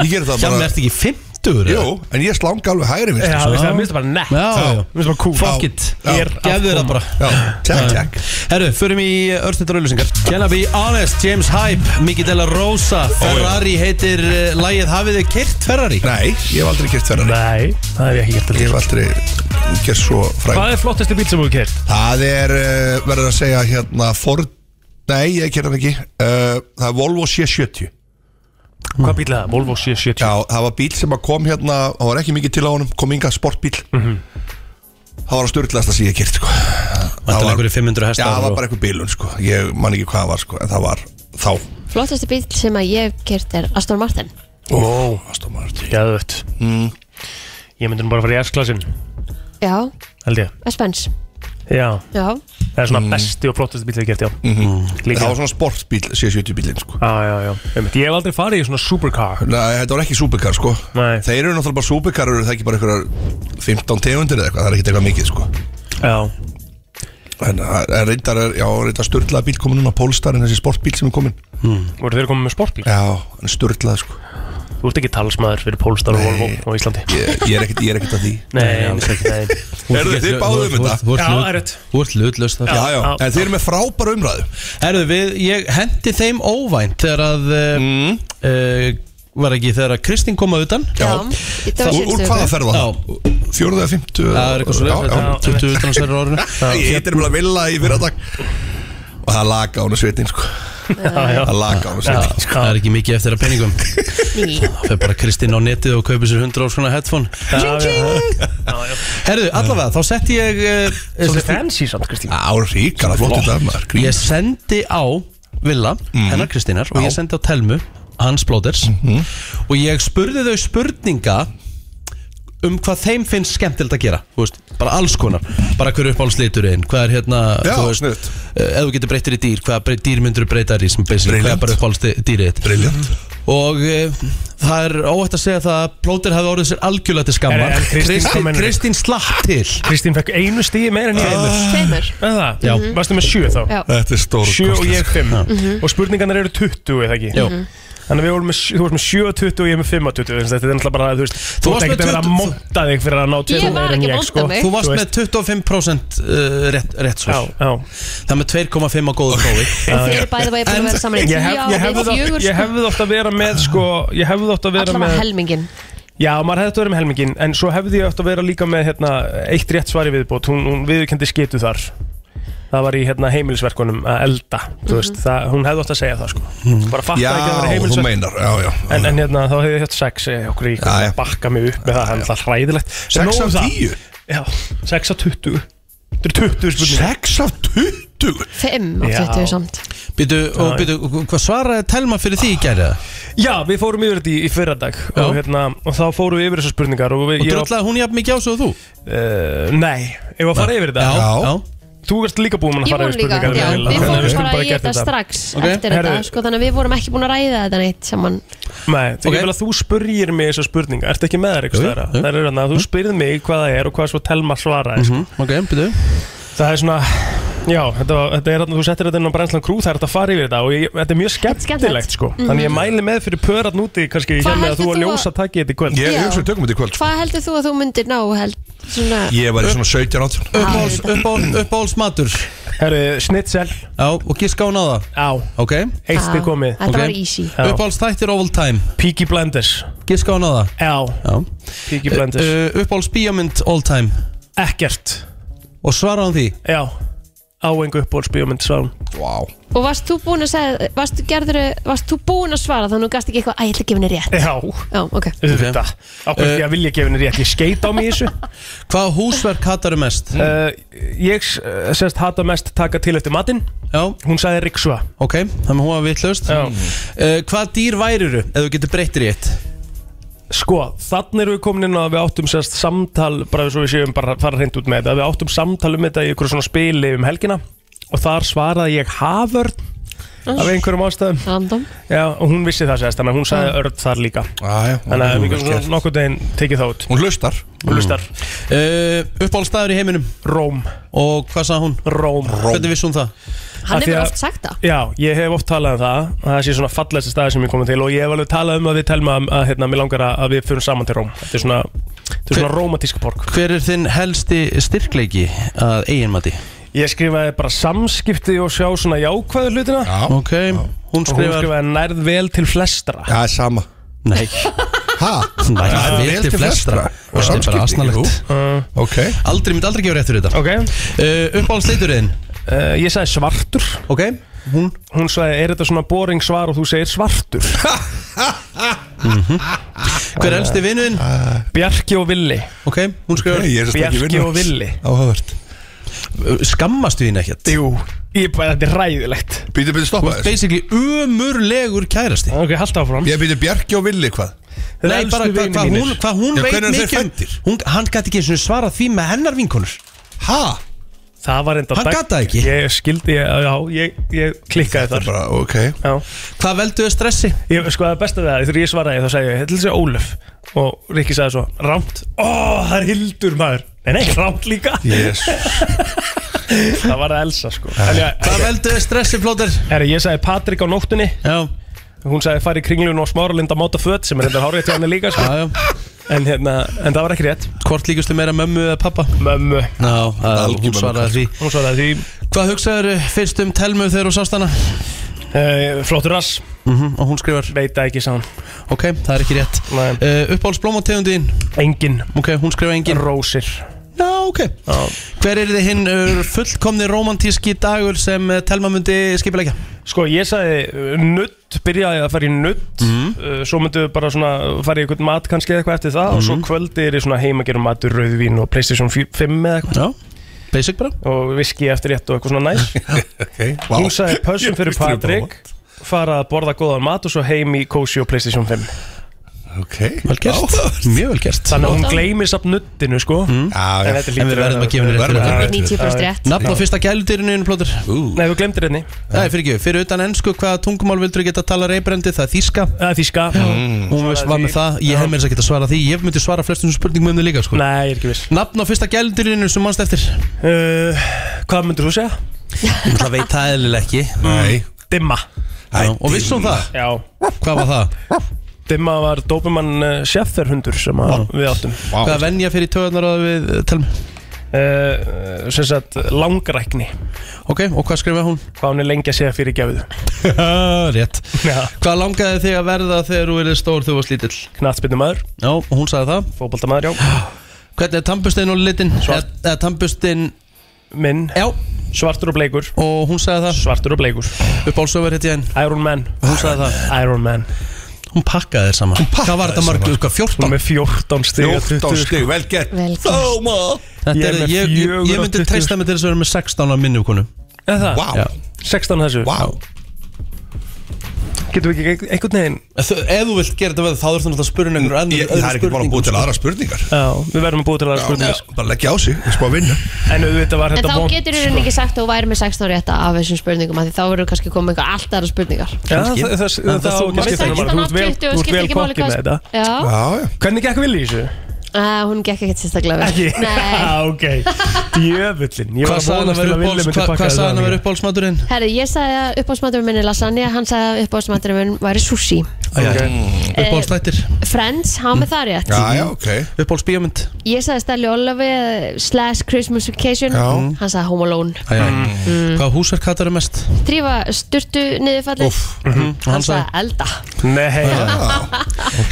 Speaker 17: Ég ger það
Speaker 1: Já,
Speaker 17: bara...
Speaker 1: menn, ertu ekki 50? eða?
Speaker 17: Jú, en ég slanga alveg hægri vinstri,
Speaker 2: Já,
Speaker 17: sko.
Speaker 2: veist það, minnst það bara nett
Speaker 1: Já, já.
Speaker 2: Minnst það bara cool
Speaker 1: Fuck it
Speaker 2: Er að
Speaker 1: Gefðu það
Speaker 2: koma.
Speaker 1: bara
Speaker 17: Tjekk, tjekk
Speaker 1: Herru, förum í örstundar auðlýsingar Can I be honest, James Hype, Miki Della Rosa Ferrari heitir uh, Lægið hafið þið kyrt Ferrari?
Speaker 17: Nei, ég hef aldrei kert Ferrari.
Speaker 2: Nei, það hef ég ekki gert
Speaker 17: Ég hef aldrei kert svo fræg.
Speaker 2: Hvað er flottasti bíl sem þú kert?
Speaker 17: Það er, uh, verður að segja hérna Ford, nei ég kemur ekki uh, Það er Volvo C70
Speaker 2: Hvað bíl er það? Volvo C70
Speaker 17: Já, það var bíl sem að kom hérna Það var ekki mikið til á honum, kom ynga sportbíl Það var að störtlegasta sem ég hef kert sko. Það var
Speaker 1: einhverju 500
Speaker 17: Já,
Speaker 1: hestar
Speaker 17: það
Speaker 1: og-
Speaker 17: var bara einhver bílun sko. Ég man ekki hvað það var sko, En það var þá
Speaker 3: flottasti bíl sem að ég hef kert er Aston Martin
Speaker 17: Ó, Aston Martin
Speaker 2: Jæðvögt
Speaker 17: Mm,
Speaker 2: Ég myndi nú bara að fara í S-klassin
Speaker 3: Já,
Speaker 2: Held ég
Speaker 3: Spence
Speaker 2: Já Mm.
Speaker 3: Já,
Speaker 2: Það er svona besti og flottasti bíl sem ég hef gert, já Líka.
Speaker 17: mhm. Það var svona sportbíl, C70 bílin sko.
Speaker 2: Já, já, já Einmitt, Ég hef aldrei farið í svona supercar
Speaker 17: Nei, þetta var ekki supercar sko
Speaker 2: Nei.
Speaker 17: Þeir eru náttúrulega bara supercar eru Það ekki bara einhverjar 15 tegundir eða eitthvað Það er ekki eitthvað mikið sko
Speaker 2: Já
Speaker 17: En það er reyndar, er- já, reyndar störtlaða bíl komin núna Polestar en þessi sportbíl sem er komin
Speaker 2: Voru þeir komið með sportbíl?
Speaker 17: Já, hann er störtlað sko
Speaker 2: Þú ert ekki talsmaður fyrir Polestar og Volvo á Íslandi
Speaker 17: Ég, ég, er ekkert, ég er ekkert að því
Speaker 2: Nei, alls ekki, nei.
Speaker 17: Eru þið báðum um þetta?
Speaker 2: Já, það er rétt.
Speaker 1: Þú ert hlutlaust
Speaker 17: Já, já, en þið eru með frábæra umræðu
Speaker 1: Herru, við, ég hendi þeim óvænt Þegar að mm. Var ekki þegar að Kristín kom að utan
Speaker 3: já, þetta var
Speaker 17: Úr, úr
Speaker 3: síðustu
Speaker 17: hvaða
Speaker 3: viku.
Speaker 17: ferða það? Fjóruðu eða fymtu?
Speaker 1: Það er eitthvað svo
Speaker 17: Já, já.
Speaker 1: leið 20 utan á sverju árinu
Speaker 17: Ég heitir bara Villa í fyrradag Og það laka hún að svetin sko Það laka hún að
Speaker 1: Já,
Speaker 17: svetin sko
Speaker 1: Það er ekki mikið eftir að peningum
Speaker 3: Ný.
Speaker 1: Það fer bara Kristín á netið og kaupir sér 100 óskona headphone
Speaker 2: Já, já.
Speaker 1: Herru, allavega, þá setti ég uh,
Speaker 2: Svolítið fancy samt, Kristín
Speaker 17: Á, ríkala flott í dag maður
Speaker 1: Ég
Speaker 17: Grínast
Speaker 1: sendi á Villa,
Speaker 17: Mhm.
Speaker 1: hennar Kristínar og ég sendi á Telmu, hans blóðers og ég spurði þau spurninga um hvað þeim finnst skemmtilegt að gera þú veist, bara alls konar, bara hver uppáhaldsliturinn hvað er hérna,
Speaker 17: Já,
Speaker 1: þú veist
Speaker 17: sniðugt.
Speaker 1: eh, ef þú getur breyttir í dýr, hvaða brey- dýr myndur breytar í sem basically, hvað er
Speaker 17: Brilliant.
Speaker 1: bara uppáhaldsdýrið þitt?
Speaker 17: Briljant
Speaker 1: og uh, það er óætt að segja það að plóter hafi orðið sér algjörlega til skammar
Speaker 2: En- en Kristín, hvað
Speaker 1: Kristín,
Speaker 2: meinarðu?
Speaker 1: Kristín slapp til
Speaker 2: Kristín fekk einu stíði meira en ég
Speaker 1: Ah.
Speaker 3: Tveimur.
Speaker 2: Er það? Mhm.
Speaker 1: Já.
Speaker 2: Varstu með sjö þá?
Speaker 3: Já.
Speaker 17: Þetta er stór
Speaker 2: Sjö og ég fimm
Speaker 17: Já.
Speaker 3: Mhm.
Speaker 2: Og spurningarnar eru 20 eða ekki
Speaker 1: Jú.
Speaker 3: Mhm.
Speaker 2: Þannig að við vorum með, sjö- þú varst með 7 og 20 og ég með 5 og 20 Þetta er náttúrulega bara, þú veist Þú
Speaker 1: varst með
Speaker 2: varst ekki að vera að
Speaker 1: 20
Speaker 2: monta þig fyrir að ná
Speaker 3: Ég
Speaker 2: tveimur
Speaker 3: var
Speaker 2: meira en
Speaker 3: ekki
Speaker 2: ég,
Speaker 3: að monta
Speaker 2: sko.
Speaker 3: mig.
Speaker 1: Þú varst
Speaker 2: veist.
Speaker 1: með 25% uh, rétt, rétt svo Það er með 2,5 á góðu prófi
Speaker 3: Þið eru bæði að búin að vera saman í
Speaker 2: Ég
Speaker 3: tíu
Speaker 2: hef-
Speaker 3: ár,
Speaker 2: ég hefði
Speaker 3: við
Speaker 2: þótt-
Speaker 3: fjögur sko.
Speaker 2: ég hefði þótt að vera með sko, ég hefði þótt að vera
Speaker 3: Alla
Speaker 2: með
Speaker 3: var helmingin
Speaker 2: Já, maður hefði þetta verið með helmingin En svo hefði ég átt að vera líka með hérna, eitt rétt svari viðbót Hún, hún viðkendi skitu þar Það var í hérna, heimilisverkunum að elda
Speaker 3: Mhm.
Speaker 2: Þú veist, það, Hún hefði átt að segja það sko.
Speaker 1: Mhm.
Speaker 2: Bara fatta
Speaker 17: Já,
Speaker 2: ekki að það var
Speaker 17: þú
Speaker 2: heimilisverk
Speaker 17: meinar, já, já, já.
Speaker 2: En, en hérna, þá hefði ég hægt sex eh, Okkur í að bakka mig upp með það Það er alltaf hræðilegt En
Speaker 17: 6
Speaker 2: nóg um
Speaker 17: af
Speaker 2: það.
Speaker 17: 10
Speaker 2: Já, 6 af 20 Þetta eru 20
Speaker 17: 6
Speaker 2: spurningar
Speaker 17: af 20?
Speaker 3: 5 af
Speaker 2: Já.
Speaker 3: 20 samt
Speaker 1: Býtu, og
Speaker 2: Já.
Speaker 1: býtu, hvað svaraði Telma fyrir því í gæri það?
Speaker 2: Já, við fórum yfir þetta í, í fyrradag og, hérna, og þá fórum við yfir þessar spurningar Og, við,
Speaker 1: Og
Speaker 2: ég á-
Speaker 1: dröllaði hún jafn mikið á svo þú?
Speaker 2: Uh, nei, ef að fara yfir þetta
Speaker 1: Já, já.
Speaker 2: Þú ert líka búin að
Speaker 3: Ég
Speaker 2: fara
Speaker 3: voru
Speaker 2: yfir
Speaker 3: líka,
Speaker 2: spurningar
Speaker 3: já,
Speaker 2: Emil,
Speaker 3: við
Speaker 2: þannig að
Speaker 3: fórum
Speaker 2: skulum
Speaker 3: bara í
Speaker 2: gera
Speaker 3: þetta strax eftir
Speaker 2: Herðu,
Speaker 3: þetta, sko, þannig að við vorum ekki búin að ræða þetta neitt saman
Speaker 2: Nei, þú okay. vil að þú spurjir mig þessar spurningar Ertu ekki með þær
Speaker 1: Jú, Mhm.
Speaker 2: eitthvað þeirra? Það er þannig að þú spyrð mig hvað það er og hvað svo Telma svaraði sko.
Speaker 1: Ok, býtu
Speaker 2: Það er svona, já, þetta, var- þetta er þannig Þú settir þetta inn á brennslan krú, það er þetta að fara yfir þetta Og ég, þetta er mjög skemmtilegt sko
Speaker 3: Mhm.
Speaker 2: Þannig ég mæli með fyrir pörat núti Kannski
Speaker 3: Hvað
Speaker 2: hér með að þú
Speaker 3: heldur
Speaker 2: að
Speaker 3: þú að-
Speaker 2: ljósa takki þetta í kvöld
Speaker 3: Ég- ég Já. hugsa við
Speaker 17: tökum þetta í kvöld sko.
Speaker 3: Hvað heldur þú að þú myndir ná, held, svona
Speaker 17: Ég var í svona 17 18
Speaker 1: Uppáhalds- uppáhalds- Uppáhalds matur
Speaker 2: Herru, snitsel
Speaker 1: Já, og giska hún á það?
Speaker 2: Já
Speaker 1: Ok
Speaker 2: Eitt stig Já, komið. þetta var easy. Já.
Speaker 1: Uppáhalds þættir all time
Speaker 2: Peaky Blenders
Speaker 1: Giska hún á það?
Speaker 2: Já
Speaker 1: Já
Speaker 2: Peaky Blenders.
Speaker 1: Uh, Uppáhalds bíómynd all time
Speaker 2: Ekkert
Speaker 1: Og svara hún því?
Speaker 2: Já Á engu uppbólsbíómynd svon
Speaker 1: Vá
Speaker 3: Og varst þú búin að segja, varst þú gerður, varst þú búin að svara þannig að þú gast ekki eitthvað, að ég ætla að gefa henni rétt
Speaker 2: Já
Speaker 3: Já, ok
Speaker 2: Þetta Ákveð
Speaker 1: Uh.
Speaker 2: því að vilja gefa henni rétt Ég skeit á mig í þessu
Speaker 1: Hvaða húsverk hataru mest?
Speaker 2: Uh, ég uh, sérst hata mest taka til eftir matinn
Speaker 1: Já
Speaker 2: Hún sagði Riksua
Speaker 1: Ok, þannig að hún var vitlaust
Speaker 2: Já
Speaker 1: uh, Hvað dýr væriru ef þú getur breyttir í eitt?
Speaker 2: Sko, þannig erum við komin inn á að við áttum sérst samtal bara svo við séum bara að fara hreint út með þetta að við áttum samtal um þetta í einhverju svona spili um helgina og þar svaraði ég Havörn af einhverjum ástæðum
Speaker 3: Random
Speaker 2: Já, og hún vissi það sérst þannig að hún sagði Örn þar líka
Speaker 17: ah,
Speaker 2: Þannig að við
Speaker 17: vel
Speaker 2: getum
Speaker 17: gert. Mm.
Speaker 2: svona nokkuð deginn tekið það út
Speaker 17: Hún hlustar
Speaker 2: Hún hlustar
Speaker 1: uh, Uppáhaldstæður í heiminum?
Speaker 2: Róm
Speaker 1: Og hvað sagði hún?
Speaker 2: Róm,
Speaker 1: Hvernig vissi hún það?
Speaker 3: Hann
Speaker 2: Af því
Speaker 3: hefur
Speaker 2: að-
Speaker 3: oft sagt það
Speaker 2: Já, ég hef oft talað um það að það sé svona fallegsta staði sem ég komið til og ég hef alveg talað um að við telma að, að hérna, mér langar að, að við fyrir saman til Róm Þetta er svona, þetta er svona rómatíska borg
Speaker 1: Hver er þinn helsti styrkleiki að eiginmati?
Speaker 2: Ég skrifaði bara samskipti og sjá svona jákvæðu hlutina
Speaker 17: Já,
Speaker 1: Ok, hún
Speaker 2: Og hún
Speaker 1: skrifar
Speaker 2: skrifaði nærð vel til flestra
Speaker 17: Já, sama
Speaker 1: Nei
Speaker 17: Hæ?
Speaker 1: Nei, það er vel til flestra
Speaker 17: Og
Speaker 1: Það er bara
Speaker 17: samskipti, jú
Speaker 1: asnalegt
Speaker 17: Ok
Speaker 1: Aldrei, myndi aldrei gefa rétt fyrir þetta
Speaker 2: Ok
Speaker 1: uh, Uppáhaldsleiturinn?
Speaker 2: uh, Ég sagði svartur
Speaker 1: Ok, hún?
Speaker 2: Hún sagði, er þetta svona boring svar og þú segir svartur
Speaker 1: Hver er elsti vinnuðinn?
Speaker 2: Bjarki og Villi
Speaker 1: Ok, hún skrifar
Speaker 17: Nei, ég er sem sagt ekki
Speaker 2: Bjarki og
Speaker 17: vinur.
Speaker 2: Villi
Speaker 17: Áhugavert
Speaker 1: Skammastu þín ekkert?
Speaker 2: Jú Ég bara, þetta er ræðilegt
Speaker 17: Býtu, býtu,
Speaker 1: Þú
Speaker 17: stoppa
Speaker 1: ert
Speaker 17: þess
Speaker 1: basically umurlegur kærasti
Speaker 2: Ok, halda áfram
Speaker 17: Ég býtu Bjarki og Villi hvað
Speaker 1: Nei, bara hvað hva, hún, hva, hún
Speaker 17: Já,
Speaker 1: veit
Speaker 17: hvenær eru þeir
Speaker 1: mikið um
Speaker 17: fæddir?
Speaker 1: hún, Hann gæti ekki einu sinni svarað því með hennar vinkonur
Speaker 17: Hæ?
Speaker 2: Það var enda
Speaker 1: Hann
Speaker 2: dag-
Speaker 1: gat það ekki?
Speaker 2: Ég skildi, ég, já, ég, ég klikkaði þar
Speaker 17: Bara, ok
Speaker 2: Já
Speaker 1: Hvað velduðu stressi?
Speaker 2: Ég sko það besta við það, þegar ég svaraði þá sagði ég, þetta er sér Ólöf Og Rikki sagði svo, rámt Ó, það er Hildur maður Nei, nei, rámt líka
Speaker 17: Jésus
Speaker 2: Það var það Elsa sko En já,
Speaker 1: Hvað velduðu stressi, Plóter?
Speaker 2: herri, ég sagði Patrik á nóttunni
Speaker 1: Já
Speaker 2: Hún sagði fara í kringlun og smáralinda máta föt Sem er þetta hárið til henni líka sko
Speaker 1: Já, já.
Speaker 2: En hérna, en það var ekki rétt
Speaker 1: Hvort líkastu meira mömmu eða pappa?
Speaker 2: Mömmu
Speaker 1: Ná, að,
Speaker 17: Algjör
Speaker 1: hún svaraði því
Speaker 2: Hún svaraði því,
Speaker 1: Hvað hugsaður fyrst um telmu þegar þú sást hana?
Speaker 2: uh, flottur rass
Speaker 1: Mm og hún skrifar
Speaker 2: Veit það ekki sann
Speaker 1: Ok, það er ekki rétt
Speaker 2: Nei.
Speaker 1: uh, Uppáhaldsblómategundiðin?
Speaker 2: Engin,
Speaker 1: Ok, hún skrifar engin
Speaker 2: rósir
Speaker 1: Já, ok
Speaker 2: Já.
Speaker 1: Hver er þið hinn uh, fullkomni romantíski dagur sem uh, telma myndi skipilegja?
Speaker 2: Sko ég sagði uh, nudd, byrjaði að fara í nudd uh, Svo myndum við bara svona fara í eitthvað mat kannski eða eitthvað eftir það Og svo kvöldi er í svona heimagerum matur, rauðvín og Playstation 5 eða eitthvað
Speaker 1: Já, basic bara
Speaker 2: Og viski eftir rétt og eitthvað svona næs
Speaker 17: Ok, vá
Speaker 2: Hún sagði pössum fyrir
Speaker 17: Ég vissi þetta
Speaker 2: Patrik Fara að borða góðan mat og svo heim í kósi og Playstation 5
Speaker 17: Ok, vel gert Mm.
Speaker 1: Mjög vel gert
Speaker 2: Þannig að hún gleymir samt nuttinu sko
Speaker 17: já.
Speaker 2: En
Speaker 1: Mm.
Speaker 2: þetta
Speaker 1: En við
Speaker 2: hlýtur
Speaker 1: verðum að gefa henni rétt
Speaker 2: verðum að
Speaker 1: fyrir þetta.
Speaker 2: gefa henni rétt fyrir þetta.
Speaker 1: Nafn á
Speaker 2: Já.
Speaker 1: fyrsta gæludýrinu einu plótur Nei,
Speaker 2: þú hérna. glemtir henni
Speaker 1: Nei, fyrir ekki, fyrir utan ennsku hvaða tungumál vildur geta að tala reybrandi, það er þíska
Speaker 2: Það er þíska
Speaker 1: Hún veist, var með það, ég hef mér þess að geta svarað því Ég myndi svara flestum spurningum um þið líka sko.
Speaker 2: Nei, ég er ekki viss
Speaker 1: Nafn á fyrsta gæludýrinu sem mannst eftir
Speaker 2: uh, Hvað myndir þú segja?
Speaker 1: Það veit það eðlilega ekki Nei
Speaker 2: Dimma
Speaker 1: Já, Og vissum hún það?
Speaker 2: Já
Speaker 1: Hvað var það?
Speaker 2: Dimma var dópumann uh, sjefferhundur sem að, við áttum
Speaker 1: Vá. Hvaða venja fyrir töðunar að við eh, telum?
Speaker 2: Uh, sem sagt langrækni
Speaker 1: Ok, og hvað skrifa hún?
Speaker 2: Hvað hún er lengi að segja fyrir gefið
Speaker 1: Rétt Hvað langaði þig að verða þegar þú verið stór þegar þú varst lítill?
Speaker 2: Knatsbyndumæður
Speaker 1: Já, og hún sagði það
Speaker 2: Fótbaldamæður, já
Speaker 1: Hvernig er tampustinn og litinn? Svart Eða tampustinn
Speaker 2: Minn
Speaker 1: Já
Speaker 2: Svartur og bleikur
Speaker 1: Og hún sagði það
Speaker 2: Svartur og bleikur
Speaker 1: Uppálsöfur hétt ég henn
Speaker 2: Iron Man
Speaker 1: Hún sagði það
Speaker 2: Iron Man
Speaker 1: Hún pakkaði þér saman Hvað var þetta sko, margur? Hvað, 14?
Speaker 2: Hún er með 14 stig
Speaker 17: 14 stig, vel gert
Speaker 3: Vel gert.
Speaker 1: Þetta
Speaker 2: Ég er
Speaker 1: er,
Speaker 2: með
Speaker 1: ég, ég, ég
Speaker 2: fjögur á
Speaker 1: myndi
Speaker 2: 20.
Speaker 1: treysta mig til þess að vera með 16 á minni konu
Speaker 2: Eða það?
Speaker 1: Vá.
Speaker 2: Já. 16 þessu
Speaker 17: Vá
Speaker 2: Getum við ekki einhvern veginn
Speaker 1: Ef þú- ef þú vilt gera þetta við þá þurftum náttúrulega að spyrja um einhver annar
Speaker 17: Ég- Það er ekki bara að búið
Speaker 1: sko.
Speaker 17: til aðra spurningar
Speaker 2: Já, við verðum að búið til aðra spurningar
Speaker 17: Bara leggja á sig, spá að vinna
Speaker 2: En auðvitað var
Speaker 3: En
Speaker 2: þetta
Speaker 3: þá getur þú ekki sagt að þú væri með 16 rétta af þessum spurningum af því þá verður kannski komið eitthvað alltaf aðra spurningar
Speaker 2: Já, það, það, það, það, það á ekki að skipta
Speaker 3: Þú
Speaker 2: hennar
Speaker 3: veist,
Speaker 2: Þú ert vel,
Speaker 3: 16,
Speaker 2: þú ert
Speaker 3: skiptir
Speaker 2: vel
Speaker 3: ekki máli
Speaker 2: kokkið með
Speaker 3: hvað-
Speaker 2: þetta
Speaker 3: Já.
Speaker 2: já Hvernig gekk vil í þessu?
Speaker 3: Uh, hún gekk ekkert sérstaklega vel
Speaker 2: Ekki?
Speaker 3: Nei.
Speaker 2: Já, ok Djöfullin Ég
Speaker 1: Hvað
Speaker 2: var að
Speaker 1: sagði hann að
Speaker 2: vonast til
Speaker 1: vera
Speaker 2: að Willi
Speaker 1: uppáhalds-
Speaker 2: myndi
Speaker 1: hvað-
Speaker 2: pakka
Speaker 1: hvað sagði hann að
Speaker 2: þetta
Speaker 1: vera uppbólsmaturinn?
Speaker 3: Herri, ég sagði að uppáhaldsmaturinn minn er lasagna hann sagði að uppáhaldsmaturinn minn væri sushi
Speaker 17: Mm.
Speaker 1: Uppbólslættir
Speaker 3: Friends, hann
Speaker 1: Mm.
Speaker 3: með það rétt
Speaker 1: ok Uppbólsbíómynd
Speaker 3: Ég sagði Stelli Olavi eh, slash Christmas Vacation
Speaker 1: Já.
Speaker 3: hann sagði Home Alone
Speaker 1: Mm. Hvað húsverk hattar er mest? Mhm.
Speaker 3: Drífa sturtu niðurfallið
Speaker 17: Mhm.
Speaker 1: Og
Speaker 3: hann sagði elda
Speaker 2: Nei
Speaker 17: Eh?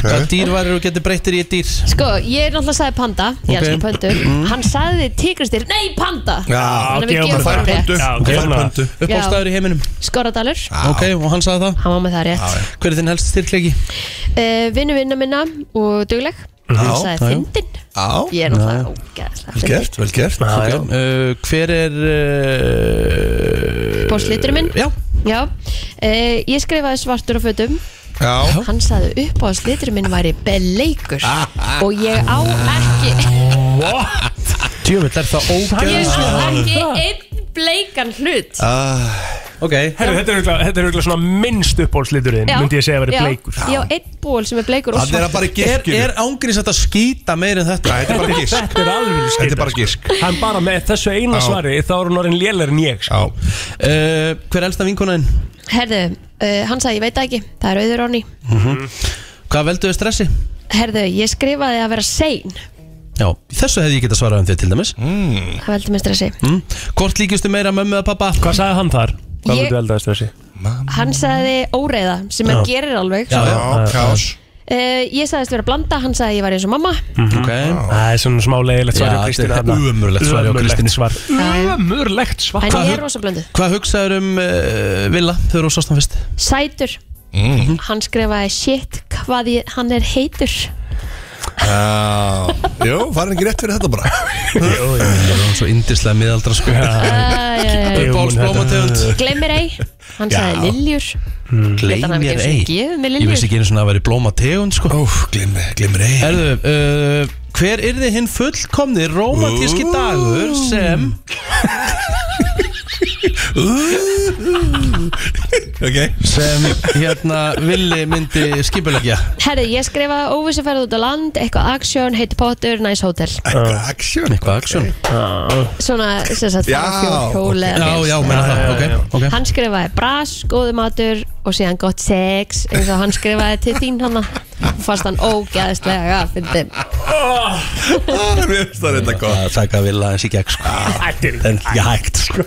Speaker 1: Hvað dýr varir og getur breyttir í eitt dýr?
Speaker 3: Sko, ég náttúrulega sagði panda,
Speaker 1: Ok.
Speaker 3: ég elskar pöndur
Speaker 1: Mm.
Speaker 3: Hann sagði tigristýr, nei panda
Speaker 1: Já,
Speaker 3: Þannig að við gefum það rétt.
Speaker 2: gefum það.
Speaker 1: Uppbólstaður í heiminum
Speaker 3: Skorradalur,
Speaker 1: Ok, og hann sagði það?
Speaker 3: Hann var með það rétt
Speaker 1: Hver er þinn helst styrklegi?
Speaker 3: uh, vinnu vinna minna og dugleg Hann sagði fyndin
Speaker 1: Já
Speaker 3: Ég er náttúrulega ógeðslega
Speaker 1: Vel
Speaker 3: fyndin.
Speaker 1: gert, vel gert
Speaker 2: Já,
Speaker 1: Ok,
Speaker 2: já.
Speaker 1: uh, Hver er uh,
Speaker 3: Bórsliturinn minn
Speaker 1: Já,
Speaker 3: Já, uh, ég skrifaði svartur á fötum
Speaker 1: Já.
Speaker 3: Hann sagði upp á að sliturinn minn væri beleikur Og ég á ekki
Speaker 2: What?
Speaker 1: Djöfull er það
Speaker 3: Ég á ekki
Speaker 1: ógæðslega
Speaker 3: einn bleikan hlut
Speaker 1: Ok
Speaker 2: Herru, þetta er örugglega- þetta er auðvitað svona minnst uppbólsliturinn
Speaker 3: Já,
Speaker 2: Myndi ég segja að
Speaker 3: já.
Speaker 2: vera bleikur
Speaker 3: Ég á einn ból sem er bleikur og svartur
Speaker 1: Er, er ángrís að þetta skýta meir en þetta?
Speaker 17: Þetta er bara gisk.
Speaker 2: Þetta er alveg
Speaker 17: Þetta er bara gisk
Speaker 2: Hann bara með þessu eina
Speaker 1: Já.
Speaker 2: svari Þá er hún orðin lélar en ég sko.
Speaker 1: Já uh, Hver er elsta vinkonaðinn?
Speaker 3: Herðu, uh, hann sagði ég veit það ekki Það er auður onni
Speaker 1: Hvað velduðu stressi?
Speaker 3: Herðu, ég skrifaði að vera sein
Speaker 1: Já, þessu hefði ég getað svarað um þig til dæmis mm.
Speaker 3: Það veldi mér stressi
Speaker 1: Mm. Hvort líkistu meira mömmu eða pappa?
Speaker 2: Hvað sagði hann þar?
Speaker 3: Hvað Ég- myndu
Speaker 2: eldaðist þessi?
Speaker 3: Hann sagði óreiða sem
Speaker 1: Já.
Speaker 3: hann gerir alveg
Speaker 1: Já, já, kás
Speaker 3: Uh, ég sagðist vera blanda, hann sagði ég var eins og mamma
Speaker 1: Ok
Speaker 2: Það er svona smá leiðilegt svar
Speaker 1: Já,
Speaker 2: hjá Kristínu
Speaker 1: þetta er
Speaker 2: þarna.
Speaker 1: ömurlegt svar hjá
Speaker 2: Ömurlegt
Speaker 1: Kristínu.
Speaker 2: svar. Ömurlegt svar
Speaker 3: En ég
Speaker 1: Hvað-
Speaker 3: er rosa blöndu
Speaker 1: Hvað hugsaður um uh, Villa þegar þú sást hann fyrst?
Speaker 3: Sætur,
Speaker 1: Mm.
Speaker 3: hann skrifaði shit hvað ég, hann er heitur
Speaker 17: Já, jú, farin ekki rétt fyrir þetta bara
Speaker 1: Jó, það var svo indislega miðaldra sko Uppáhaldsblómategund
Speaker 3: Gleimir ei, hann
Speaker 1: Já.
Speaker 3: sagði liljur Hann hafi
Speaker 1: Gleimir ei
Speaker 3: ekki einu sinni gefið mér
Speaker 1: Ég
Speaker 3: liljur.
Speaker 1: vissi ekki einu svona að það væri blómategund sko Óf, gleimir, gleimir ei Herðu, uh, hver er þið hinn fullkomni romantíski
Speaker 4: Ú.
Speaker 1: dagur sem Ok Sem hérna villi myndi skipulegja
Speaker 3: Herri, ég skrifaði óvissu ferð út á land eitthvað aksjón, heitur pottur, næs hótel
Speaker 1: Eitthvað aksjón Eitthvað aksjón
Speaker 3: Svona, sem sagt,
Speaker 1: Já,
Speaker 3: fara á fjórhjól
Speaker 1: ok.
Speaker 3: eða
Speaker 1: Já,
Speaker 3: bíl.
Speaker 1: já, meina það, ok, ok.
Speaker 3: Hann skrifaði bras, góðu matur og síðan gott sex eins og hann skrifaði til þín hann fannst hann ógæðislega fyndin
Speaker 17: Ah,
Speaker 1: Það er þetta gott Það taka vil aðeins í gegn sko
Speaker 2: Þetta
Speaker 1: er ekki hægt sko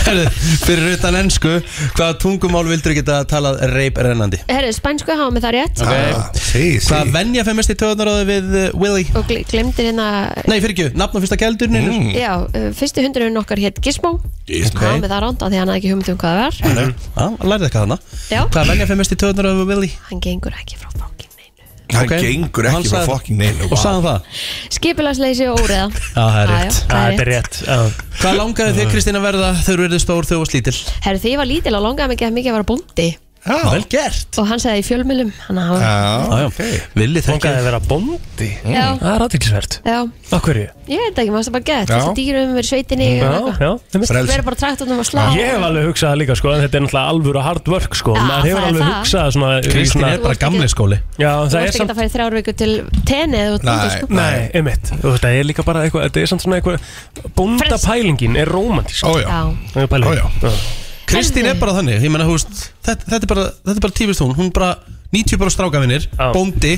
Speaker 1: Herðu, Fyrir utan ennsku Hvaða tungumál vildur geta talað reip rennandi?
Speaker 3: Herri, spænsku hafa með það rétt
Speaker 17: Ah,
Speaker 1: sí, sí. Hvað venja fyrir mest í töðunaráði við uh, Willy?
Speaker 3: og gl- glemdi hérna
Speaker 1: Nei, fyrir ekki, nafn á fyrsta gældurinn mm.
Speaker 3: já, uh, fyrsti hundurinn okkar hétt Gizmo
Speaker 1: Gizmo.
Speaker 3: hann var með það ránda því hann hafði ekki hugmynd um hvað það var
Speaker 1: Já, lærði eitthvað hana
Speaker 3: Já.
Speaker 1: Hvað venja fyrir mest í töðunaráði við Willy?
Speaker 3: hann gengur ekki frá
Speaker 17: Hann
Speaker 1: Ok.
Speaker 17: gengur ekki
Speaker 1: Hann
Speaker 17: frá
Speaker 1: sagði-
Speaker 17: fucking neinu,
Speaker 1: Og
Speaker 17: vá.
Speaker 1: sagði hann það?
Speaker 3: skipilagsleysi og óreða
Speaker 1: Já, það er
Speaker 3: Já,
Speaker 1: rétt
Speaker 3: já, það er Já, þetta er
Speaker 2: rétt Hvað
Speaker 1: langaði þig Kristín að verða þegar þú erði stór þegar þú varst lítil?
Speaker 3: herru, því ég var lítil og langaði mig ekki að mikið að vera bóndi
Speaker 17: Já.
Speaker 1: Vel gert
Speaker 3: Og hann sagði í fjölmjölum Hann hafa
Speaker 1: Já, ok Villi
Speaker 2: Hún gæði að vera bóndi
Speaker 3: Já.
Speaker 2: Það er aðtilsvert
Speaker 3: Já,
Speaker 2: Af hverju?
Speaker 3: ég veit ekki, maður sem bara
Speaker 2: Já.
Speaker 3: gett
Speaker 2: Mm,
Speaker 3: Þessi dýrum verið í sveitinni
Speaker 2: Já,
Speaker 3: og eitthvað.
Speaker 2: já einmitt.
Speaker 3: Vera bara traktornum og slá
Speaker 2: Ég hef alveg hugsað það líka sko En þetta er náttúrulega alvöru hard work sko
Speaker 3: Já,
Speaker 2: Maður hefur
Speaker 3: Ah, það er
Speaker 2: alveg
Speaker 3: það.
Speaker 2: hugsað svona í
Speaker 1: Kristín
Speaker 2: svona-
Speaker 1: er bara gamli skóli
Speaker 2: Já,
Speaker 3: Þú
Speaker 2: það er
Speaker 3: varst ekki
Speaker 2: samt
Speaker 3: að fara í þrjár viku til tenni eða út úti, sko.
Speaker 2: Nei, einmitt Þú veist, Það er líka bara eitthvað Þetta er samt svona eitthvað Bóndapælingin er romantísk
Speaker 1: Ó, já. Já. Ó, já. Kristín er bara þannig, ég menna, þú veist þetta, þetta er bara, þetta er bara tífist hún Hún bara, 90 bara strákafinir, bóndi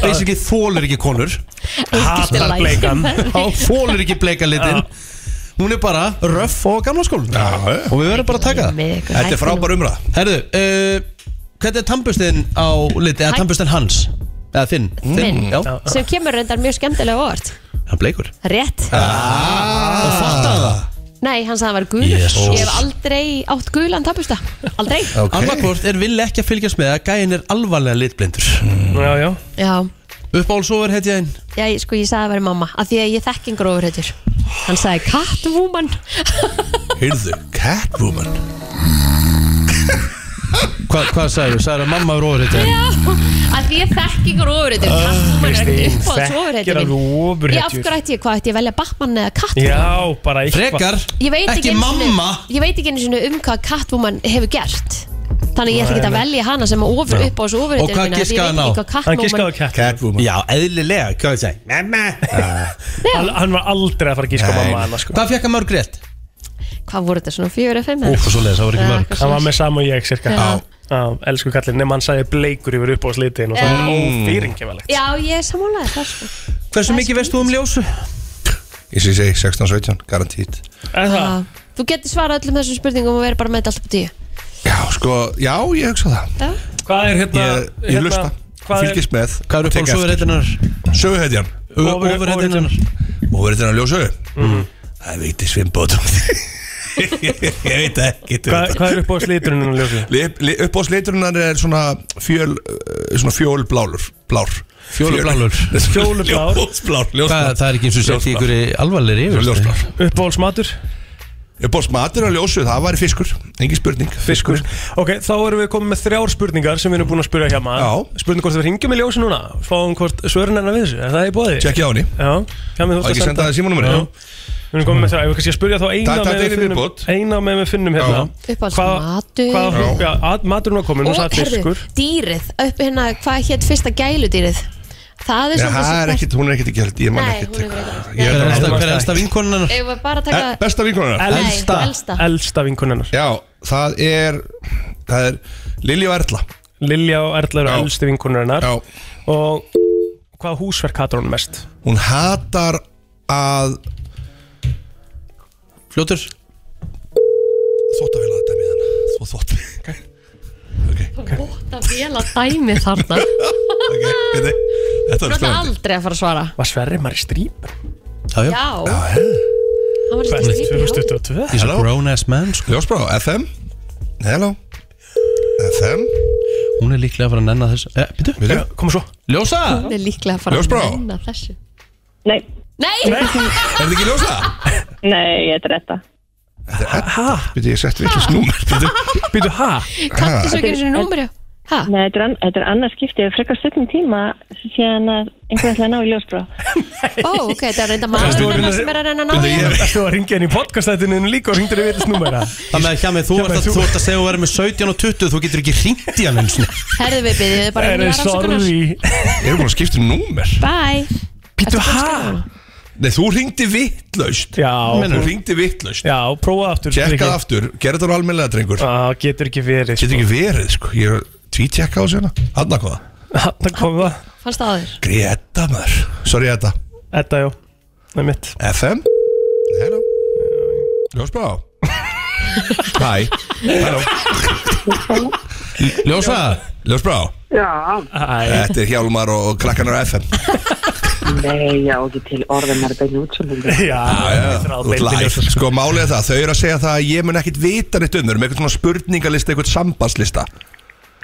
Speaker 1: Basically þólur ekki konur
Speaker 2: Hatar bleikan.
Speaker 1: Já, Þólur ekki bleika litin Hún er bara röff og gamla skólin Og við verðum bara að taka það
Speaker 3: ykkur, Þetta er hættu frábær nú.
Speaker 1: umræða Herðu, uh, hvernig er tannbustin á liti Eða
Speaker 3: Hæ-
Speaker 1: tannbustin hans Eða þinn
Speaker 3: Minn,
Speaker 1: Já,
Speaker 3: sem kemur reyndar mjög skemmtilega á óvart
Speaker 1: hann er bleikur
Speaker 3: Rétt
Speaker 1: Og fattaði það
Speaker 3: Nei, hann sagði að hann var gulur
Speaker 1: Jesús.
Speaker 3: Ég hef aldrei átt gulan tapusta Aldrei
Speaker 1: okay. Annarkvort er vill ekki að fylgjast með að gæin er alvarlega litblindur
Speaker 2: Já, já
Speaker 3: Já,
Speaker 1: Uppáhaldsóver heit ég einn
Speaker 3: já ég- sko ég sagði að vera mamma Af því að ég þekk yngur ofurhættur Hann sagði Catwoman
Speaker 17: Heyrðu, Catwoman
Speaker 1: Hva, Hvað sagður? Sagður að mamma er ofur heit ég einn
Speaker 3: Já, af því ég þekk yngur ofurhættur
Speaker 1: Ah,
Speaker 3: Catwoman er
Speaker 2: Kristín,
Speaker 3: uppáhalds
Speaker 2: þekkir
Speaker 3: ofurhættur
Speaker 2: alveg
Speaker 3: minn Ég af
Speaker 2: ofurhetjur.
Speaker 3: hverju ætti ég, hvað ætti ég að velja Batman eða Catwoman
Speaker 2: Já, bara eitthvað
Speaker 1: Frekar
Speaker 3: Ég veit
Speaker 1: Ekki
Speaker 3: ekki, einu sinni-
Speaker 1: mamma.
Speaker 3: Ég veit ekki einu sinni um hvað Catwoman hefur gert Þannig ég ætla ekki
Speaker 1: Nei,
Speaker 3: að
Speaker 1: nei.
Speaker 3: velja hana sem ofur upp á þessu ofur
Speaker 1: Og hvað giskaði hann á? Catwoman Já, eðlilega, hvað ég segi Mamma
Speaker 2: Hann hann var aldrei að fara að gíska á mamma hennar sko
Speaker 1: Hvað fekk hann mörg rétt?
Speaker 3: Hvað voru þetta svona fjögur eða fimm eða?
Speaker 1: það
Speaker 3: var ekki Já, mörg. eitthvað
Speaker 2: Hann var með sama og ég, cirka
Speaker 3: Já.
Speaker 2: Já, elsku kallinn Nefn hann sagði bleikur yfir upp á slitin Og
Speaker 3: Já.
Speaker 2: það er ófýringjavalegt
Speaker 3: Já, ég samálaði það sko
Speaker 1: Hversu mikið veist þú um ljósu?
Speaker 17: Ég sé segi 16-17, garantít
Speaker 3: Já. Þú getur svarað öllum þessum spurningum og verið bara með þetta alltaf på tíu
Speaker 17: Já, sko, já, ég hugsa það
Speaker 2: Hvað er hérna
Speaker 17: Ég, ég
Speaker 2: hérna-
Speaker 17: hlusta,
Speaker 2: hvað er-
Speaker 17: fylgist með
Speaker 1: Hvað eru
Speaker 17: tek
Speaker 1: fólk
Speaker 17: eftir.
Speaker 1: sögurreitinnar?
Speaker 17: Söguhetjan
Speaker 1: Ofur- Ofurhetjurnar
Speaker 17: Ofurhetjan að ljósa Það er vitið svimbótum Ég veit það ekki
Speaker 2: Hvað- hvað er hérna, upp á slíturinn að ljósa?
Speaker 17: Upp á slíturinn er svona fjöl eh, svona fjólblálur blár
Speaker 1: Fjólublálur
Speaker 2: Fjólublár.
Speaker 17: Ljósblár
Speaker 1: Hvað, það er ekki eins og sett í ykkur í alvarlegri yfir
Speaker 17: Ljósblár
Speaker 2: Uppbólsmatur
Speaker 17: Uppbólsmatur að ljósu, það var fiskur Engin spurning
Speaker 2: Fiskur Ok, þá erum við komin með þrjár spurningar sem við erum búin að spyrja hjá maður Spurning hvort við ringjum í ljósi núna Fáum hvort svörin hennar við þessu Er það í bóði?
Speaker 17: Tjekkið á henni
Speaker 2: Já Hjá mig þú
Speaker 17: Og
Speaker 2: ert að
Speaker 17: ekki senda það í símanúmerið.
Speaker 2: Já. Við erum komin með þrjár Ég vil kannski að spyrja þá eina
Speaker 17: Takk, takk, einu
Speaker 2: með við finnum
Speaker 17: viðbót.
Speaker 2: Eina með við finnum hérna
Speaker 3: Uppáhalds
Speaker 2: Hvað-
Speaker 3: matur.
Speaker 2: Hvað
Speaker 3: Já.
Speaker 2: já, að- maturinn var komin Hún
Speaker 3: Og
Speaker 2: sagði
Speaker 3: herðu,
Speaker 2: fiskur
Speaker 3: dýrið upp hérna, hvað hétt fyrsta gæludýrið? Það er
Speaker 17: Nei,
Speaker 3: svolítið
Speaker 17: það
Speaker 3: sem
Speaker 17: er ekkit, hún er ekkit ekki held Ég man
Speaker 3: Nei,
Speaker 17: ekkit
Speaker 3: hún er
Speaker 17: Ég
Speaker 1: Hver
Speaker 17: held að-
Speaker 1: er elsta-
Speaker 17: hún
Speaker 1: hver er elsta vinkonan hennar?
Speaker 3: Ef við bara
Speaker 17: Eh,
Speaker 3: taka
Speaker 17: Besta vinkonunar
Speaker 3: Nei, Elsta. elsta.
Speaker 2: Elsta vinkonunar
Speaker 17: Já, það er Það er Lilja og Erla
Speaker 2: Lilja og Erla eru elsti vinkonurinnar
Speaker 17: Já.
Speaker 2: Og hvað húsverk hatar hún mest?
Speaker 17: Hún hatar að
Speaker 1: Fljótur
Speaker 17: Þóttavél að dæmi hérna. hana Þú þótt
Speaker 3: Óta vel að dæmi þarna
Speaker 17: Þetta þetta
Speaker 3: Þú
Speaker 17: er
Speaker 3: ætla
Speaker 17: spennandi
Speaker 3: aldrei að fara að svara
Speaker 2: Var Sverri maður í strím?
Speaker 3: Já, hann var ekki skrítið í hálf.
Speaker 1: He's a
Speaker 17: Hello.
Speaker 1: grown ass man sko.
Speaker 17: Ljósbrá, FM Hello FM
Speaker 1: Hún er líklega að fara að nenna þess eh, Býtu,
Speaker 17: Býtu.
Speaker 2: koma svo
Speaker 1: Ljósa
Speaker 3: Hún er líklega að fara
Speaker 1: Ljósbrá.
Speaker 3: að menna þessu
Speaker 12: Nei,
Speaker 3: Nei,
Speaker 17: Er þetta ekki ljósa?
Speaker 12: nei, þetta er þetta
Speaker 2: Hæ?
Speaker 17: Býtu, ég sett vittlis númer Býtu,
Speaker 2: býtu, hæ?
Speaker 3: kanntu svo ekki einu númeri Hæ?
Speaker 12: Nei, þetta er, an, þetta er annars skipti Ég frekar
Speaker 16: um
Speaker 12: stöttum tíma síðan að einhvern ætlaði að ná í ljósbrá
Speaker 3: Ó, ok, þetta er reynda maður hennar sem er að reyna að ná hérna
Speaker 2: Þú að ringja henni í podcastættinu líka og ringdi henni vitast númæra
Speaker 1: Það með að hjá mig, þú ert að, þú ert að segja að vera með 17 og 20 Þú getur ekki hringt í hann eins og
Speaker 3: Herðu við byrðið, þið bara hérna rafsökunar
Speaker 17: Ég er búin að skipta um númer
Speaker 3: Bye
Speaker 2: Býtu, hæ?
Speaker 17: Nei, þú ringdi vittlaust
Speaker 2: Já
Speaker 17: Þú ringdi vittlaust
Speaker 2: Já, prófa aftur
Speaker 17: Tjekkað
Speaker 2: Riki.
Speaker 17: aftur, gerði þetta almennilega drengur
Speaker 2: Já, getur ekki verið
Speaker 17: Getur ekki verið, sko Ég er tvítjekka á hérna. sig hana Hanna hvaða?
Speaker 2: Hanna hvaða?
Speaker 3: Fannst það á þér?
Speaker 17: Greta maður Sorry, Edda
Speaker 2: Edda, já Það er mitt
Speaker 17: FM Hello Ljósbrá Hæ Hello
Speaker 1: Ljósa
Speaker 17: Ljósbrá
Speaker 18: Já,
Speaker 17: Þetta er Hjálmar og, og krakkanar á FM
Speaker 18: nei, já, ekki til orðin er beinu útsöndingu.
Speaker 17: Þú ert live. Sko málið er það, þau eru að segja það að ég mun ekkit vita neitt um þau eru með eitthvað svona spurningalista, eitthvað sambandslista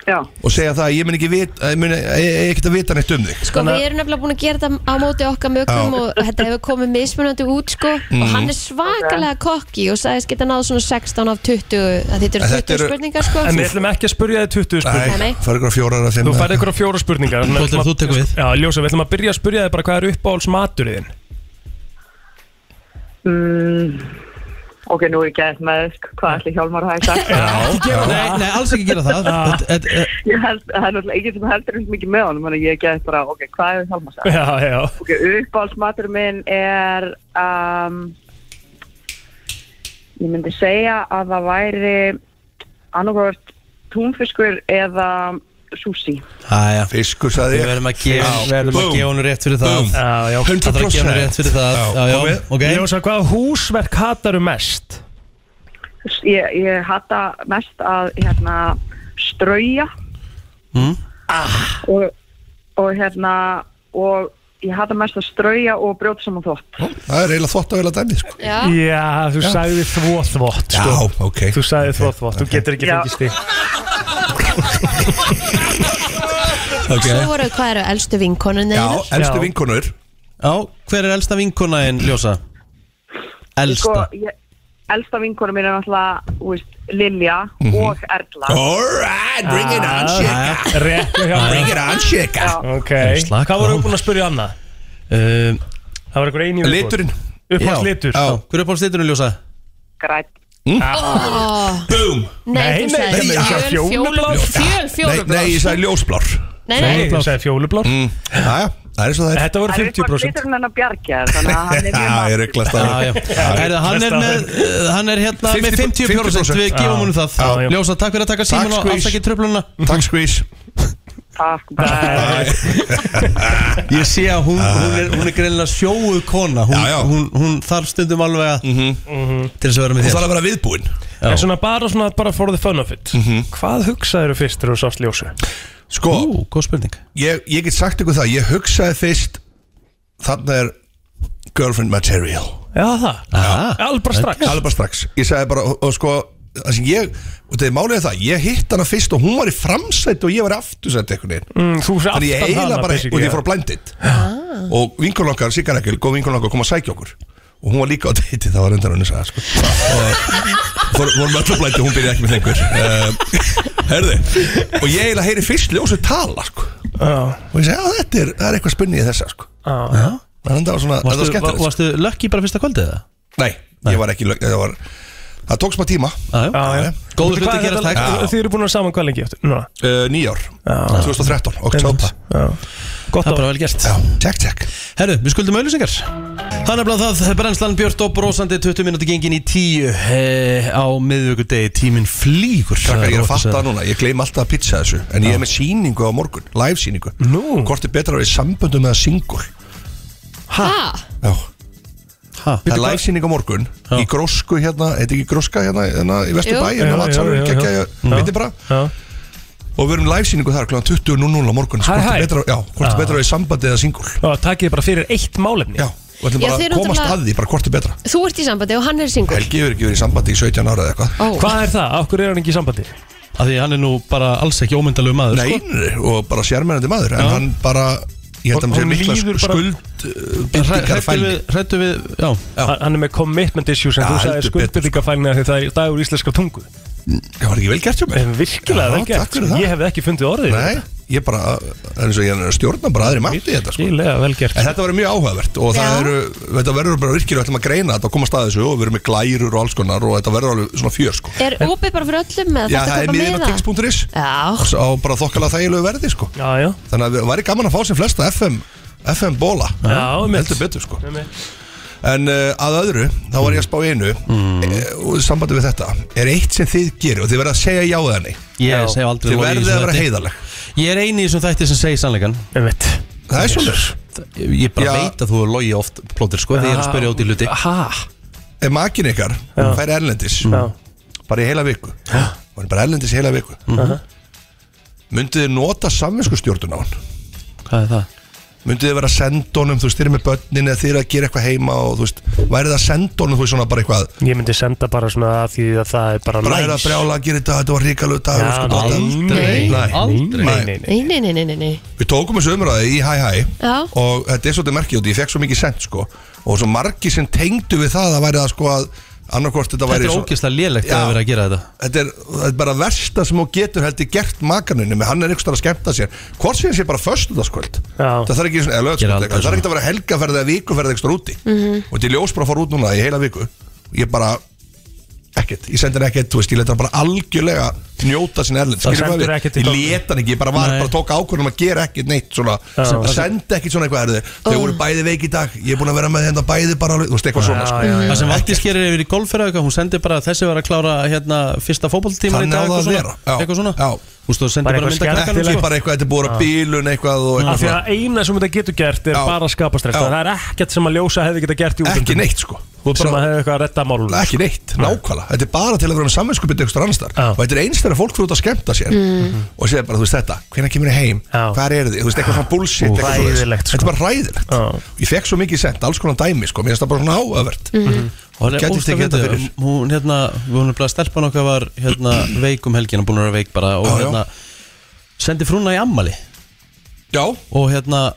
Speaker 6: Já.
Speaker 17: og segja það að ég mun ekki vit, að ég mun ekkert að vita neitt um þig
Speaker 3: Sko við erum nefnilega búin að gera þetta á móti okkar mögum
Speaker 17: Já.
Speaker 3: og þetta hefur komið mismunandi út sko og
Speaker 17: Mhm.
Speaker 3: hann er svakalega kokki og sagðist geta náð svona 16 af 20 að þetta eru 20 spurningar sko
Speaker 2: En við ætlum ekki að spurja þið 20 spurningar
Speaker 3: Nei.
Speaker 17: fara ykkur að fjórar að fimm
Speaker 2: Þú færði ykkur á fjóra spurningar
Speaker 1: Þóttir, þú
Speaker 2: tekur við Já, ljósa, við ætlum að byrja að spurja þið bara hvað er uppáhalds maturinn
Speaker 18: Mm, ok, nú er ég gæt með sko, hvað ætli Hjálmar hafi sagt.
Speaker 1: Ekki gera- Nei, nei, alls ekki gera það Þetta- þetta- eh, þetta-
Speaker 18: Ég held, það er náttúrulega ekki sem heldur eins mikið með honum, þannig að ég gæt bara, ok, hvað hefur Hjálmar sagt?
Speaker 2: Já, já
Speaker 18: Ok, uppáhaldsmatur minn er, um, ég myndi segja að það væri annarkvært túnfiskur eða sushi.
Speaker 1: Æja,
Speaker 17: fiskur sagði ég
Speaker 1: ah, Við verðum að gefa
Speaker 17: Já,
Speaker 1: við verðum að
Speaker 17: boom.
Speaker 1: gefa honum rétt fyrir það
Speaker 17: Boom.
Speaker 1: Já, já,
Speaker 17: 100%
Speaker 1: Það þarf að gefa honum rétt fyrir það
Speaker 17: Já,
Speaker 1: Já, já,
Speaker 17: komið.
Speaker 1: ok
Speaker 2: Ljósa, hvaða húsverk hataru mest?
Speaker 18: Ég, ég hata mest að, hérna, strauja Ah.
Speaker 1: Mm.
Speaker 18: og, og hérna og ég hata mest að strauja og brjóta saman þótt
Speaker 17: það er eiginlega þvott að vilja dæmi sko.
Speaker 18: Já.
Speaker 2: Já, þú
Speaker 17: Já.
Speaker 2: sagði þvóþvót
Speaker 17: Já,
Speaker 2: sko.
Speaker 17: ok
Speaker 2: Þú sagði þvóþvót, þú getur ekki
Speaker 18: Já.
Speaker 2: fengist í
Speaker 3: Svo voru hvað eru elstu vinkonunni
Speaker 1: Já,
Speaker 3: þínar?
Speaker 1: elstu vinkonur Já, hver er elsta vinkona en ljósa? Elsta
Speaker 18: ég, elsta vinkona mín er náttúrulega þú veist, Lilja og Erla
Speaker 17: Alright, bring it on,
Speaker 1: Ah,
Speaker 17: shika
Speaker 2: Ah, Rétt hjá
Speaker 17: Bring it on, shika
Speaker 2: Ok, hvað voru við búin að spurja annað?
Speaker 1: Um,
Speaker 2: Það var einhver eini viðbót.
Speaker 17: Liturinn.
Speaker 2: Uppáhalds litur
Speaker 1: Já, hver er uppáhalds liturinn ljósa?
Speaker 18: Græn
Speaker 3: Ó,
Speaker 17: Boom
Speaker 3: Nei, þú sagði fjólublár Fjöl,
Speaker 17: Nei, nei, ég
Speaker 3: fjólublár
Speaker 17: sagði ljósblár
Speaker 3: Nei, nei. Nei, þú
Speaker 2: sagði fjólublár
Speaker 17: mm. Jæja, það er svo það er
Speaker 2: Þetta voru
Speaker 18: liturinn hennar Bjarki þannig að hann er mjög
Speaker 17: Já, ég
Speaker 18: maður
Speaker 17: reglast
Speaker 1: Já, já. Herðu, hann er með, uh, hann er hérna með 50% Við gefum honum það Ljósa, takk fyrir að taka síman og afsakið tröfluna
Speaker 17: Takk squeeze
Speaker 18: Takk,
Speaker 1: Ég sé að hún, hún er, hún er greinlega sjóu kona Hún, hún, hún þarf stundum alveg að Mhm. Til þess að vera með
Speaker 17: Hún
Speaker 1: þér
Speaker 17: þarf að vera viðbúin
Speaker 2: En svona bara, svona, bara for the fun of it
Speaker 17: Mhm.
Speaker 2: Hvað hugsaður fyrst þegar þú sást ljósu?
Speaker 17: Sko,
Speaker 1: Ú, góð spurning
Speaker 17: ég, ég get sagt ykkur það, ég hugsaði fyrst Þarna er girlfriend material
Speaker 2: Já, það Alveg bara strax
Speaker 17: Alveg bara strax Ég sagði bara, og, og sko Það sem ég, og það er málið er það Ég hitt hana fyrst og hún var í framsætt og ég var í aftursætt einhvern veginn
Speaker 2: Mm, þú fyrir
Speaker 17: Þannig ég
Speaker 2: aftan
Speaker 17: eiginlega
Speaker 2: hana,
Speaker 17: bara,
Speaker 2: basically,
Speaker 17: og ég
Speaker 2: já.
Speaker 17: fór á blindit Og vinkunum okkar, Sigar Ekkel, góð vinkunum okkar kom að sækja okkur Og hún var líka á deiti, það var reyndar hann að sko. Og fór, vorum öllu blæti, hún byrjaði ekki með þengur um, Herði Og ég eiginlega heyri fyrst ljósu tala sko. Og ég segi, að þetta er, það er eitthvað spunnið í þessa sko.
Speaker 2: Já.
Speaker 17: Þannig það var svona, þetta var
Speaker 1: Varstu, var,
Speaker 17: skemmtilegt sko.
Speaker 1: varstu lökki bara fyrsta kvöldið það?
Speaker 17: Nei, ég var ekki lög, það var Það tók smá tíma
Speaker 2: Já, já.
Speaker 1: Góður hluti
Speaker 2: Hvað er
Speaker 1: gerast
Speaker 2: þetta-
Speaker 1: hægt.
Speaker 2: Þið eru búin að vera saman hvað lengi eftir? Núna.
Speaker 17: uh, Nýjár, 2013, oktober
Speaker 2: Gott
Speaker 1: Það er
Speaker 2: á
Speaker 1: bara vel gert
Speaker 17: Tjekk, tjekk
Speaker 1: Herru, við skuldum auðlýsingar Það er nefnilega það, brennslan Björn og brósandi 20 minúti gengin í 10 eh, á miðvíkudegi, tíminn flýgur
Speaker 17: Krakkar, ég er að
Speaker 1: óhætt
Speaker 17: fatta
Speaker 1: segja.
Speaker 17: núna, ég gleym alltaf að pizza þessu En ég er með sýningu á morgun, live sýningu
Speaker 2: Nú.
Speaker 17: Hvort er betra að vera í samböndu með að single
Speaker 3: Ha?
Speaker 17: Já,
Speaker 1: Ha?
Speaker 17: það er live sýning á morgun Í grósku hérna, eitthvað ekki gróska hérna, hérna í Vesturbæ
Speaker 2: Jú.
Speaker 17: Hérna
Speaker 2: Já, já,
Speaker 17: vatsalur,
Speaker 2: já,
Speaker 17: gekkja,
Speaker 2: já. Já.
Speaker 17: veitir bara Og við erum live sýningu þar kl. 20.00 á morgun
Speaker 2: Hæ,
Speaker 17: Hvort
Speaker 2: hæ.
Speaker 17: er betra, já, hvort
Speaker 2: Já.
Speaker 17: er betra að vera í samböndu eða single
Speaker 2: Já, takk ég bara fyrir eitt málefni
Speaker 17: Já, og ætlum
Speaker 3: Já,
Speaker 17: bara
Speaker 3: þið
Speaker 17: að
Speaker 3: eru
Speaker 17: komast
Speaker 3: náttúrulega-
Speaker 17: að því, bara hvort er betra
Speaker 3: Þú ert í sambandi og hann er single
Speaker 17: Helgi hefur ekki verið í sambandi í 17 ára eða eitthvað
Speaker 3: Ó.
Speaker 2: Hvað er það? Akkur er hann ekki í sambandi?
Speaker 1: Af Því hann er nú bara alls ekki ómyndalög maður
Speaker 17: Nei,
Speaker 1: sko?
Speaker 17: nei, og bara sérmennandi maður En hann bara, ég held að hann sé uh,
Speaker 2: Honum
Speaker 17: mikla
Speaker 2: líður bara-
Speaker 17: skuldbindingar
Speaker 1: Hrættu við, hrættu við, já
Speaker 2: Hann hann er með commitment issues en
Speaker 17: Já,
Speaker 2: þú sagði
Speaker 17: heldur betur,
Speaker 2: skuldbyrðingafælina þegar það er dagur íslenska tungu
Speaker 17: Það var ekki vel gert hjá mig
Speaker 2: En virkilega
Speaker 17: Já,
Speaker 2: vel
Speaker 17: takk
Speaker 2: gert
Speaker 17: fyrir það.
Speaker 2: Ég hef ekki fundið orðið fyrir
Speaker 17: Nei,
Speaker 2: þetta.
Speaker 17: ég bara, það er eins og ég er að stjórna bara aðri mátti þetta sko.
Speaker 2: Virkilega vel gert
Speaker 17: En þetta verður mjög áhugavert og það eru, þetta verður bara virkilega ætlum að greina þetta og koma staðið þessu og við erum með glærur og alls konar og þetta verður alveg svona fjör sko.
Speaker 3: Er opið bara fyrir öllum eða
Speaker 17: Já,
Speaker 3: þarftu
Speaker 17: það er
Speaker 3: að kaupa
Speaker 17: miðin á
Speaker 3: miða?
Speaker 17: tix.is
Speaker 3: Já,
Speaker 17: á bara þokkala þægilegu verði sko.
Speaker 2: Já, já
Speaker 17: Þannig að það væri gaman að fá sem flesta FM, FM bóla,
Speaker 2: Já, mitt.
Speaker 17: heldur betur sko.
Speaker 2: Nei, nei.
Speaker 17: En uh, að öðru, þá var ég að spá í einu mm. og sambandi við þetta er eitt sem þið gerir og þið verða að segja já eða nei
Speaker 1: Ég segi aldrei
Speaker 17: Þið
Speaker 1: logi í
Speaker 17: verðið
Speaker 1: þessu
Speaker 17: að vera
Speaker 1: þætti.
Speaker 17: heiðarleg
Speaker 1: Ég er eini í þessum þætti sem segir sannleikan
Speaker 2: Einmitt.
Speaker 17: Það er svolítið
Speaker 1: Ég ég bara
Speaker 17: Já.
Speaker 1: veit að þú er logi oft plótir sko Þegar ég er að spyrja út í hluti
Speaker 2: Aha.
Speaker 17: ef makin ykkar
Speaker 2: Já.
Speaker 17: fær erlendis bara í heila viku og hann er bara erlendis í heila viku Uh-huh.
Speaker 2: Aha.
Speaker 17: myndið þið nota samvinskustjórnun á hann
Speaker 1: Hvað er það?
Speaker 17: myndið þið vera að senda honum þú veist, þeir eru með börnin eða þeir eru að gera eitthvað heima og þú veist, værið það að senda honum þú veist svona bara eitthvað
Speaker 2: Ég myndi senda bara svona að því að það er bara
Speaker 17: bara er að
Speaker 2: næs
Speaker 17: brjála að gera þetta, þetta var sko ríkalöð dag
Speaker 2: Já, aldrei, aldrei. Nei, nei,
Speaker 3: Nei, nei, nei, nei, nei, nei.
Speaker 17: Við tókum þessu umræði í hæ hæ
Speaker 3: Já.
Speaker 17: og þetta er svolítið merkið út, í, ég fekk svo mikið sent sko og svo margir sem tengdu við það að væri það sko að annarkvort þetta
Speaker 1: Þetta
Speaker 17: væri
Speaker 1: er
Speaker 17: svo-
Speaker 1: ógeðslega lélegt
Speaker 17: Já.
Speaker 1: að vera að gera þetta
Speaker 17: þetta er, þetta er bara versta sem hún getur heldur gert makaninu með hann er einhverstað að skemmta sér hvort sem sé bara föstudagskvöld það þarf ekki, eða
Speaker 1: Gera
Speaker 17: lögskvöld,
Speaker 1: aldrei
Speaker 17: það þarf
Speaker 1: svona.
Speaker 17: ekki að vera helgaferði eða vikuferði einhverstað úti
Speaker 1: Mhm.
Speaker 17: og þetta er ljós bara að fara út núna í heila viku ég bara, ekkert, ég sendi hann ekkert þú veist, ég leta hann bara algjörlega njóta sín erlend,
Speaker 2: Það
Speaker 17: Skilurðu hvað
Speaker 2: sendir
Speaker 17: við-
Speaker 2: ekkert í
Speaker 17: ég
Speaker 2: gang.
Speaker 17: leta hann ekki, ég bara var
Speaker 2: Nei.
Speaker 17: bara tók ákvörðum að gera ekkert neitt svona,
Speaker 2: Já.
Speaker 17: sendi ekkert svona eitthvað erðu þau voru bæði veik í dag, ég er búin að vera með hérna bæði bara, alveg- þú veist, eitthvað svona sko.
Speaker 1: Það sem Valdís gerir yfir í golf fyrir eitthvað, hún sendir bara að þessi var að klára hérna fyrsta fótballtíma í
Speaker 17: Þannig á
Speaker 1: dag
Speaker 17: það að
Speaker 1: eitthvað
Speaker 17: vera, já.
Speaker 1: svona Eitthvað svona Þú veist þú sendir
Speaker 2: Bara
Speaker 1: bara sko. mynda
Speaker 2: eitthvað skemmtilegt.
Speaker 1: krakkanum
Speaker 17: bara eitthvað, þetta er búin að
Speaker 2: Já.
Speaker 17: bílun eitthvað og
Speaker 2: Af
Speaker 17: eitthvað
Speaker 2: því að eina sem þetta getur gert er
Speaker 17: Já.
Speaker 2: bara að skapa stress
Speaker 17: Já.
Speaker 2: Það er ekkert sem að ljósa hefði geta gert í útlöndum
Speaker 17: Ekki neitt, sko.
Speaker 2: Þú er bara
Speaker 17: Sá-
Speaker 2: að hefði eitthvað að redda málunum
Speaker 17: ekki neitt, nákvæmlega þetta er bara til að vera með samvinskupið eitthvað annarstar ah. og þetta er einst þegar fólk fyrir út að skemmta sér
Speaker 2: Mm.
Speaker 17: og segir bara, þú veist þetta, hvenær kemur ég heim ah. hvað er þið, þú veist eitthvað svona bullshit eitthvað svoleiðis.
Speaker 2: Hræðilegt, sko.
Speaker 17: þetta er bara ræðilegt ég fekk svo mikið sent, alls konar dæmi sko, mér finnst það bara svona áöfvert
Speaker 3: Mm.
Speaker 1: Mhm. Og
Speaker 17: Gæti
Speaker 1: Hún er
Speaker 17: tekið
Speaker 1: óslega
Speaker 17: þetta fyrir.
Speaker 1: fyndið, hún hérna, hún er bara að stelpa nokkað var hérna veik um helgina, búin að vera veik bara og
Speaker 17: Já, já.
Speaker 1: hérna sendi frúna í ammali
Speaker 17: Já
Speaker 1: Og hérna,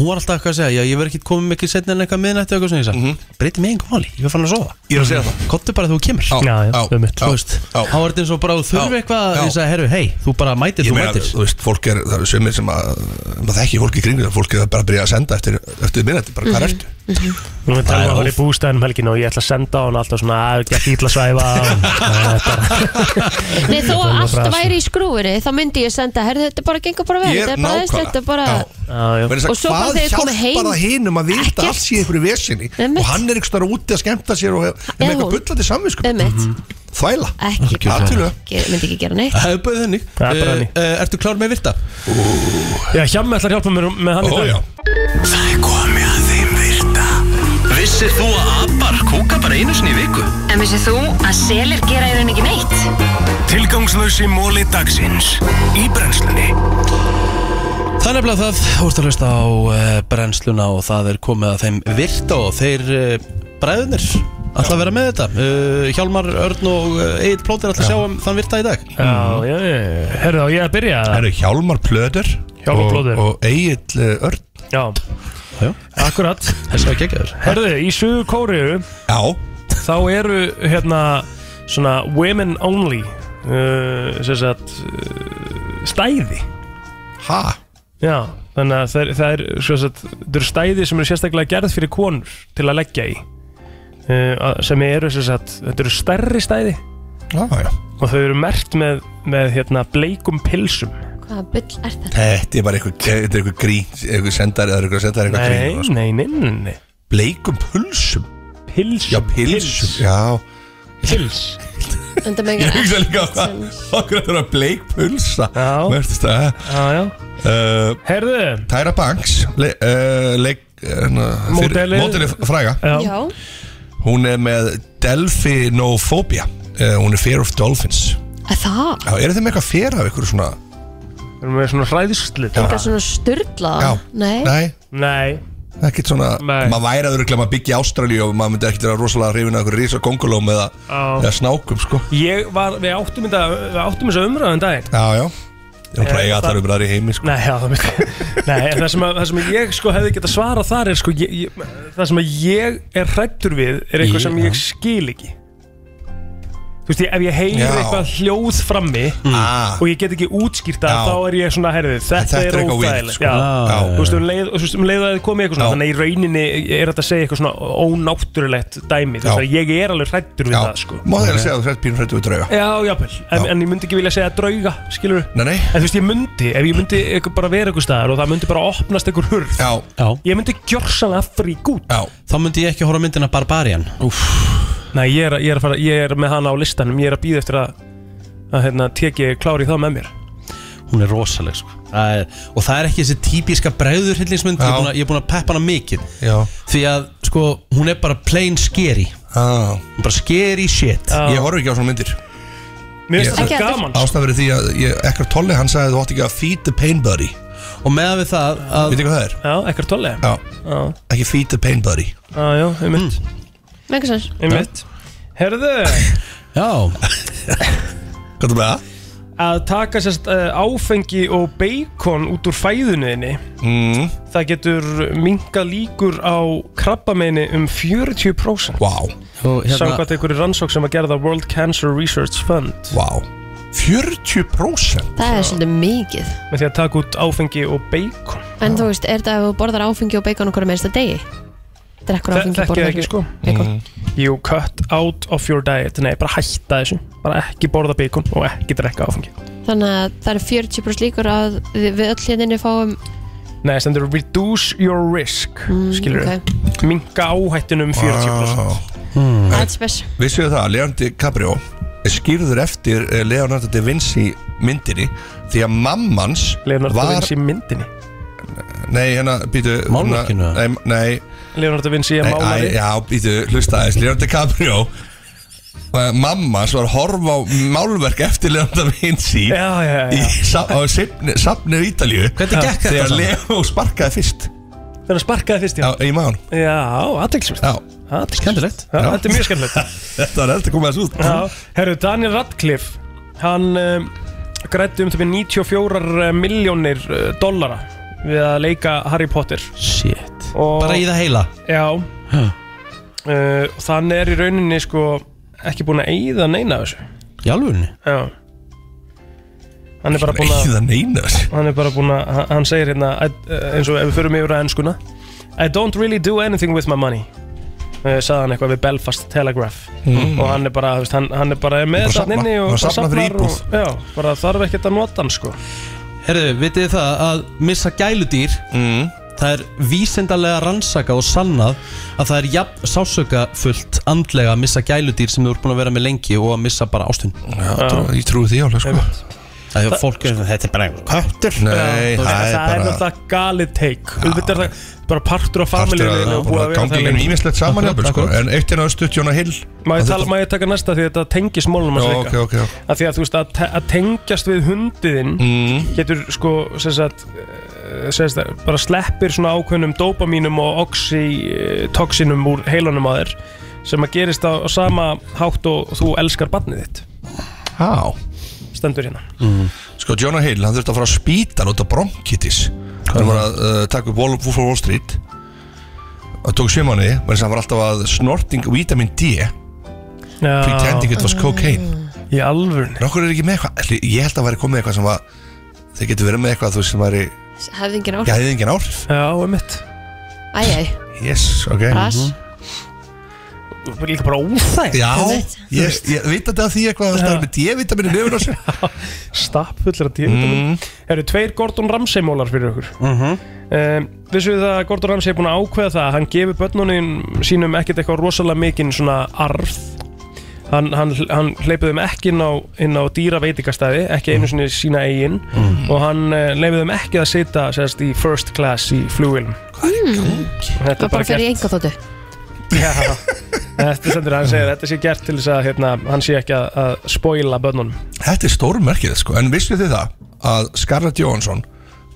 Speaker 1: hún var alltaf eitthvað að segja, já ég verð ekki komið mikið setna en eitthvað miðnætti og eitthvað svona ég
Speaker 17: Mhm.
Speaker 1: sagði, breyti mig einhver máli, ég verð fann að sofa
Speaker 17: Ég er að segja það.
Speaker 1: Kottu bara þegar þú kemur
Speaker 17: Já, já,
Speaker 1: um mitt Þú veist,
Speaker 17: já.
Speaker 1: þá er þetta eins og bara þú þurfi
Speaker 17: Já,
Speaker 1: eitthvað
Speaker 17: já.
Speaker 1: að ég sagði, herru, hei, þú bara mætir,
Speaker 17: ég
Speaker 1: þú
Speaker 17: meina,
Speaker 1: mætir
Speaker 17: þú veist, fólk er, það er sömur sem að maður þekki fólk í kringu, það fólk er bara að byrja að senda eftir, eftir minnætti, bara hvað
Speaker 2: Mhm.
Speaker 17: ertu
Speaker 2: Nú erum við
Speaker 17: Það
Speaker 2: talað
Speaker 17: er
Speaker 2: um að hún er í bústæðinum helginu og ég ætla að senda á hún alltaf svona að gett ítla svæfa
Speaker 3: Nei, þó að
Speaker 2: Þannig
Speaker 3: allt
Speaker 2: frasi.
Speaker 3: væri í skrúfuri þá myndi ég senda, herðu þetta bara gengur bara vel
Speaker 17: Ég er
Speaker 3: þetta er bara þess,
Speaker 17: nákvæmlega.
Speaker 3: þetta er bara
Speaker 17: Vegna þess
Speaker 3: og
Speaker 17: að
Speaker 3: svo bara
Speaker 17: hvað
Speaker 3: þegar ég komið heim
Speaker 17: hjálpar það hinum að vita
Speaker 3: Ekkert.
Speaker 17: allt sé ykkur í vesinni
Speaker 3: Einmitt.
Speaker 17: og hann er ykkur úti að skemmta sér og er með
Speaker 3: eða
Speaker 17: eitthvað
Speaker 3: hún.
Speaker 17: bullandi
Speaker 3: Sko,
Speaker 17: samvinskum
Speaker 3: mhm.
Speaker 17: þvæla
Speaker 3: um ekki,
Speaker 17: Algjörlega. Algjörlega.
Speaker 3: ekki, myndi ekki gera neitt
Speaker 1: Það er bara þannig
Speaker 2: Það er bara þannig.
Speaker 1: Eh, eh, Ertu klár með virta?
Speaker 2: Já, Hjammi ætlar að hjálpa mér með hann
Speaker 1: Ó,
Speaker 2: í dag
Speaker 1: já.
Speaker 4: Það er komið að þeim virta Vissir þú að abar kúka bara einu sinni í viku?
Speaker 19: En vissið þú að selir gera í raun ekki neitt?
Speaker 4: Tilgangslösi móli dagsins Í brennslunni
Speaker 1: Það er nefnilega það, þú ert að hlusta á uh, brennsluna og það er komið að þeim virta og þeir uh, bræðunir alltaf að vera með þetta uh, Hjálmar, Örn og uh, Egil Plóter alltaf að sjá um þann virta í dag
Speaker 2: Já, já, já, herðu þá ég að byrja
Speaker 17: Það eru Hjálmar Plöður
Speaker 2: Hjálmar Plöður.
Speaker 17: og, og Egil Örn
Speaker 2: Já,
Speaker 1: já.
Speaker 2: akkurat
Speaker 1: Þessi var geggjaður
Speaker 2: Herðu, í Suðu Kóriðu
Speaker 17: Já
Speaker 2: Þá eru hérna svona women only uh, sem sagt uh, stæði
Speaker 17: Ha?
Speaker 2: Já, þannig að það er, það er, svo sagt, það er stæði sem eru sérstaklega gerð fyrir konur til að leggja í uh, að- sem eru sem sagt, þetta eru stærri stæði
Speaker 17: Já, já
Speaker 2: og þau eru mert með, með hérna, bleikum pilsum
Speaker 3: hvaða bull er þetta?
Speaker 17: Þetta er bara eitthvað, þetta er eitthvað grín eitthvað sendar eða eitthvað sendar eitthvað
Speaker 2: Nei,
Speaker 17: grín sko.
Speaker 2: nei, nei, nei, nei
Speaker 17: Bleikum pulsum
Speaker 2: Pilsum
Speaker 17: Já, pilsum, já
Speaker 2: Pils
Speaker 3: En það með
Speaker 17: Ég
Speaker 3: ekki-
Speaker 17: hugsa líka á það Okkur að það er að bleik pulsa
Speaker 2: Já
Speaker 17: Mörstu þetta
Speaker 2: Já, já
Speaker 17: uh,
Speaker 2: Herðu
Speaker 17: Tyra Banks le, uh, leik, hana,
Speaker 2: Módelið.
Speaker 17: Módelið fræga
Speaker 2: Já.
Speaker 17: Hún er með Delphinophobia uh, Hún er fear of dolphins
Speaker 3: Að það,
Speaker 17: Já, eru þið með eitthvað fear af ykkur svona
Speaker 2: Við erum með svona hræðisli
Speaker 3: eitthvað svona styrla
Speaker 17: Já.
Speaker 3: Ah, nei,
Speaker 17: Nei,
Speaker 2: Nei
Speaker 17: ekkert svona Maður væri að öruglega maður byggja Ástralíu og maður myndi ekkert vera rosalega hrifin af ykkur rísa kongulóm eða,
Speaker 2: Já.
Speaker 17: eða snákum sko
Speaker 2: Ég var, við áttum þetta, við áttum þessa umræðan daginn
Speaker 17: Já, já Ég er að
Speaker 2: Eh,
Speaker 17: præga að það
Speaker 2: það-
Speaker 17: eru bræðar í heimi sko
Speaker 2: Nei, já, það myndi Nei, en það sem, að, það sem að ég sko hefði getað svarað þar er sko ég, ég, Það sem að ég er hrættur við er eitthvað
Speaker 17: Ég-
Speaker 2: sem ég skil ekki Þú veist, ég, ef ég heyri
Speaker 17: Já.
Speaker 2: eitthvað hljóð frammi
Speaker 17: Ah.
Speaker 2: og ég get ekki útskýrt
Speaker 17: Já.
Speaker 2: það þá er ég svona, herðið, þetta,
Speaker 17: Þetta er
Speaker 2: er
Speaker 17: eitthvað weird,
Speaker 2: óþægilegt
Speaker 17: sko.
Speaker 2: Já.
Speaker 17: Já.
Speaker 2: Þú veist, um leið, og þú veist, um leið að þið komið eitthvað svona þannig að í rauninni er þetta að segja eitthvað svona ónáttúrulegt dæmi, þú veist,
Speaker 17: Já.
Speaker 2: að ég er alveg hrættur við
Speaker 17: Já,
Speaker 2: það, sko Eh.
Speaker 17: má þeir að segja að þú hrett pínur hrættu við drauga
Speaker 2: Já, jápil, en, en ég myndi ekki vilja segja drauga, skilur
Speaker 17: Nei, nei
Speaker 2: En þú veist, ég myndi, ef ég myndi eitthvað bara vera eitthvað staðar og það myndi bara opnast eitthvað hurð
Speaker 17: Já,
Speaker 1: já.
Speaker 2: Ég myndi gjörsanlega frík út
Speaker 17: Já.
Speaker 1: Þá myndi ég ekki horfa á myndina Barbarian Úf.
Speaker 2: Nei, ég er, að- ég, er að fara, ég er með hana á listanum, ég er að býða eftir að, að hérna, teki klári það með mér
Speaker 1: Hún er rosaleg sko Það er, Og það er ekki þessi típiska bræður hillingsmynd
Speaker 17: Já.
Speaker 1: Ég er búin að peppa hana mikið
Speaker 17: Já.
Speaker 1: Því að sko, hún er bara plain scary
Speaker 17: ah.
Speaker 1: Bara scary shit
Speaker 17: Ég horf ekki á svona myndir
Speaker 2: Mér
Speaker 1: finnst það Ekki heldur. gaman.
Speaker 17: Ástæð verið því að ég, ekkert tolli hann sagði þú átt ekki að feed the pain buddy
Speaker 1: Og meðan við það að Veitir hvað það er?
Speaker 2: Já, ekkert tóli
Speaker 1: Já. Mm.
Speaker 2: Já.
Speaker 17: Ekki feed the pain buddy
Speaker 2: Já, já, einmitt
Speaker 3: Megasens
Speaker 2: Einmitt Herðu
Speaker 1: Já
Speaker 17: Hvað er með það?
Speaker 2: Að taka sérst uh, áfengi og beikon út úr fæðuninni
Speaker 17: mm.
Speaker 2: Það getur minga líkur á krabbameini um 40%
Speaker 17: Vá wow.
Speaker 1: Og hérna-
Speaker 2: Samkvæmt einhverju rannsók sem að gera það World Cancer Research Fund
Speaker 17: Vá wow. 40%
Speaker 3: Það er svolítið mikið
Speaker 2: Með því að taka út áfengi og beikon
Speaker 3: En þú veist, er þetta ef þú borðar áfengi og beikon okkur meðist að degi? Drekkur
Speaker 2: Þe-
Speaker 3: áfengi og
Speaker 2: Þekki
Speaker 3: borðar
Speaker 2: það ekki sko You cut out of your diet Nei, bara hætta þessu Bara ekki borða beikon og ekki drekka áfengi
Speaker 17: Mm.
Speaker 3: Þannig að það eru 40% líkur að við við öll hérna fáum
Speaker 2: Nei, stendur reduce your risk
Speaker 3: Mm,
Speaker 2: Skilur við Minga áhættunum um 40%
Speaker 17: mm.
Speaker 3: aðspes
Speaker 17: Vissu það að Leon DiCaprio er skýrður eftir eh, Leonardo da Vinci myndinni því að mammans
Speaker 2: Leonardo da
Speaker 17: var...
Speaker 2: Vinci myndinni
Speaker 17: Nei, hérna, býtu hérna-
Speaker 2: Málverkinu?
Speaker 17: Nei, nei
Speaker 2: Leonardo da Vinci er
Speaker 17: Nei,
Speaker 2: málari
Speaker 17: æ, Já, býtu, hlusta aðeins Leonardo DiCaprio eh, Mammans var að horfa á málverk eftir Leonardo da Vinci
Speaker 2: Já, já, já.
Speaker 17: Í, sa, á safni, safni í Ítalíu
Speaker 2: Hvernig gekk þetta
Speaker 17: Þegar
Speaker 2: saman?
Speaker 17: Leo sparkaði fyrst
Speaker 2: Þegar hann sparkaði fyrst,
Speaker 17: já Í maður
Speaker 2: Já, aðeinsvært
Speaker 17: Já,
Speaker 2: skemmtilegt Já,
Speaker 17: Já.
Speaker 2: þetta er mjög skemmtilegt
Speaker 17: Þetta var eftir að koma þessu út
Speaker 2: Já, herru, Daniel Radcliffe Hann um, grætti um til 94 miljónir uh, dollara Við að leika Harry Potter
Speaker 1: Shit
Speaker 2: og,
Speaker 1: Bara í það heila
Speaker 2: Já uh, og Þannig er í rauninni sko ekki búin að eyða neina af þessu
Speaker 1: Í alvörunni
Speaker 2: Já Hann er bara búin að
Speaker 17: Eyða neina þessu
Speaker 2: Hann er bara búin að, hann- hann segir hérna I- eh, eins og ef við förum yfir að ennskuna I don't really do anything with my money uh, sagði hann eitthvað við Belfast Telegraph
Speaker 17: Mm.
Speaker 2: og hann er bara, þú veist, hann, hann er bara með
Speaker 17: Bara
Speaker 2: þetta
Speaker 17: safna-
Speaker 2: inni og
Speaker 17: bara safna fyrir
Speaker 2: og, já, bara þarf ekkert að nota hann sko
Speaker 1: Herðu, vitið þið það að missa gæludýr
Speaker 17: mm.
Speaker 1: Það er vísindarlega rannsaka og sannað að það er jafn sásöka fullt andlega að missa gæludýr sem þú ert búin að vera með lengi og að missa bara ástun
Speaker 17: Já, trú- ég trúi því alveg sko
Speaker 1: Það er fólk, þetta er bara köttur
Speaker 17: Nei,
Speaker 2: Já,
Speaker 17: það er
Speaker 2: það er
Speaker 17: bara-
Speaker 2: náttlega galið teik Þetta er það bara partur
Speaker 17: Partur
Speaker 2: af familjunni
Speaker 17: að-
Speaker 2: og búið að vera
Speaker 17: gangi
Speaker 2: það
Speaker 17: gegnum
Speaker 2: lengi.
Speaker 17: ýmislegt saman
Speaker 2: Akkurat,
Speaker 17: jafnvel, sko.
Speaker 2: akkurat.
Speaker 17: En eitt er að stuttjóna hill
Speaker 2: Má ég,
Speaker 17: um Að
Speaker 2: tala, má ég taka næsta því þetta tengis mólum
Speaker 17: Já,
Speaker 2: hans
Speaker 17: ok, ok, ok.
Speaker 2: Að því að þú veist að, te að tengjast við hundiðinn getur sko sem sagt, eh, sem sagt, bara sleppir svona ákveðnum dopamínum og oxytoxinum úr heilunum á þér sem að gerist á, á sama hátt og þú elskar barnið þitt
Speaker 17: Há
Speaker 2: stendur hérna
Speaker 17: mm. Sko, Jonah Hill, hann þurfti að fara á spítan út af bronkitis Hann var að uh, taka upp Wall, Wolf of Wall Street og tók sjömanni menn sem hann var alltaf að snorting vitamin D
Speaker 2: Já.
Speaker 17: pretending it was cocaine
Speaker 2: Í alvörni
Speaker 17: Nokkur er ekki með eitthvað, ætli- ég held að væri komið eitthvað sem var þeir getur verið með eitthvað þú veist sem væri
Speaker 3: hefðingin
Speaker 17: ég
Speaker 3: áhrif
Speaker 17: hefði engin áhrif
Speaker 2: Já, um mitt
Speaker 3: Æjæj,
Speaker 17: Yes, ok Mhm.
Speaker 3: Ras.
Speaker 2: Líka bara óþægt
Speaker 17: Já,
Speaker 3: Einmitt.
Speaker 17: ég, ég vitandi að því eitthvað að það er með D-vitaminu nefnir á sér
Speaker 2: Stapp fullra D-vitamin Eru tveir Gordon Ramsay mólar fyrir okkur
Speaker 1: mm -hmm.
Speaker 2: um, Vissu þið að Gordon Ramsay er búin að ákveða það að Hann gefur börnunum sínum ekkert eitthvað rosalega mikinn svona arð Hann, hann, hann hleypið þeim ekki inn á, inn á dýra veitingastæði Ekki einu sinni sína eigin Og hann uh, leifið þeim ekki að sita sérst, í first class í flugilum Þetta
Speaker 3: það
Speaker 2: er bara
Speaker 3: bara fyrir
Speaker 2: gert
Speaker 3: enga þóttu
Speaker 2: Já, Þetta stendur að hann segir að Þetta sé gert til þess að hérna, hann sé ekki að, að spoila börnunum
Speaker 17: Þetta er stórmerkið sko, en vissu þið það að Scarlett Johansson,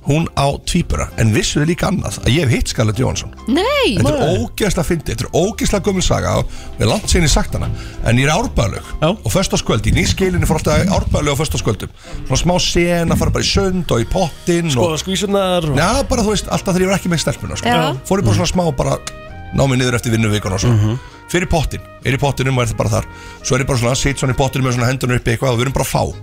Speaker 17: hún á tvíbura, en vissu þið líka annað að ég hef hitt Scarlett Johansson.
Speaker 3: Nei,
Speaker 17: Þetta er ógeðslega fyndið, þetta er ógeðslega gömul saga og við langt sinni sagt hana, en ég er árbæðalög og föstaskvöldi, nýskilinni fór alltaf árbæðalög og föstaskvöldum, svona smá sena, fara bara í sund og í pottin
Speaker 2: Skoða
Speaker 17: og...
Speaker 2: skvísunar og...
Speaker 17: Já, bara þú veist, alltaf þegar ég var ekki með stelpuna sko.
Speaker 2: Já.
Speaker 17: Fór ég bara svona smá, bara ná mig niður eftir vinnuvikun og svona Fyrir pottin, er í pottinum og er það bara þar Svo er ég bara svona, sitt svona í pottinum með svona hendunar uppi eitthvað og við erum bara að fá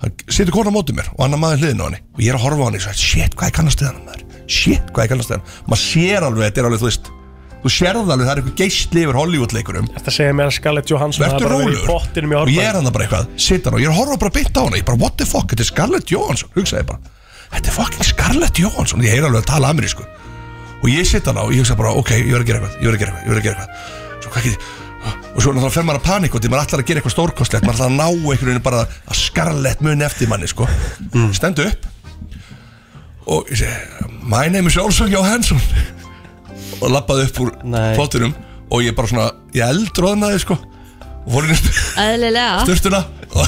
Speaker 17: Hann Situr kona á móti mér og annar maður hliðin á henni Og ég er að horfa á henni og sagði, shit, hvað ég kannast við hann maður Shit, hvað ég kannast við hann Maður sér alveg, þetta er alveg, þú veist Þú sérð alveg, það er eitthvað geistli yfir Hollywood-leikurum
Speaker 2: Þetta segir mér að Scarlett Johansson hafi
Speaker 17: Vertu
Speaker 2: bara verið í
Speaker 17: rólegur
Speaker 2: pottinum í
Speaker 17: Og ég
Speaker 2: árbæði
Speaker 17: er hann bara eitthvað, situr og ég er að horfa bara beint á hana Ég bara, what the fuck, þetta er Scarlett Johansson Hugsaði ég bara, þetta er fucking Scarlett Johansson Ég heyr alveg að tala amerísku Og ég sitt hana og ég hugsa bara, ok, ég verð að gera eitthvað Ég verð að gera eitthvað, ég verð að gera eitthvað Svo hvað get ég Og svo náttúrulega fer maður að panika út í, maður ætlar að gera eitthvað stórkostlegt Maður ætlar að ná einhvern veginn bara að Scarlett muni eftir manni, sko
Speaker 2: Mm.
Speaker 17: Stendu upp Og ég segi, my name is also Johansson Og labbaði upp úr
Speaker 1: Nei.
Speaker 17: plottinum Og ég bara svona, ég eldróðnaði, sko og fór inn í
Speaker 3: Æðlilega
Speaker 17: störtuna og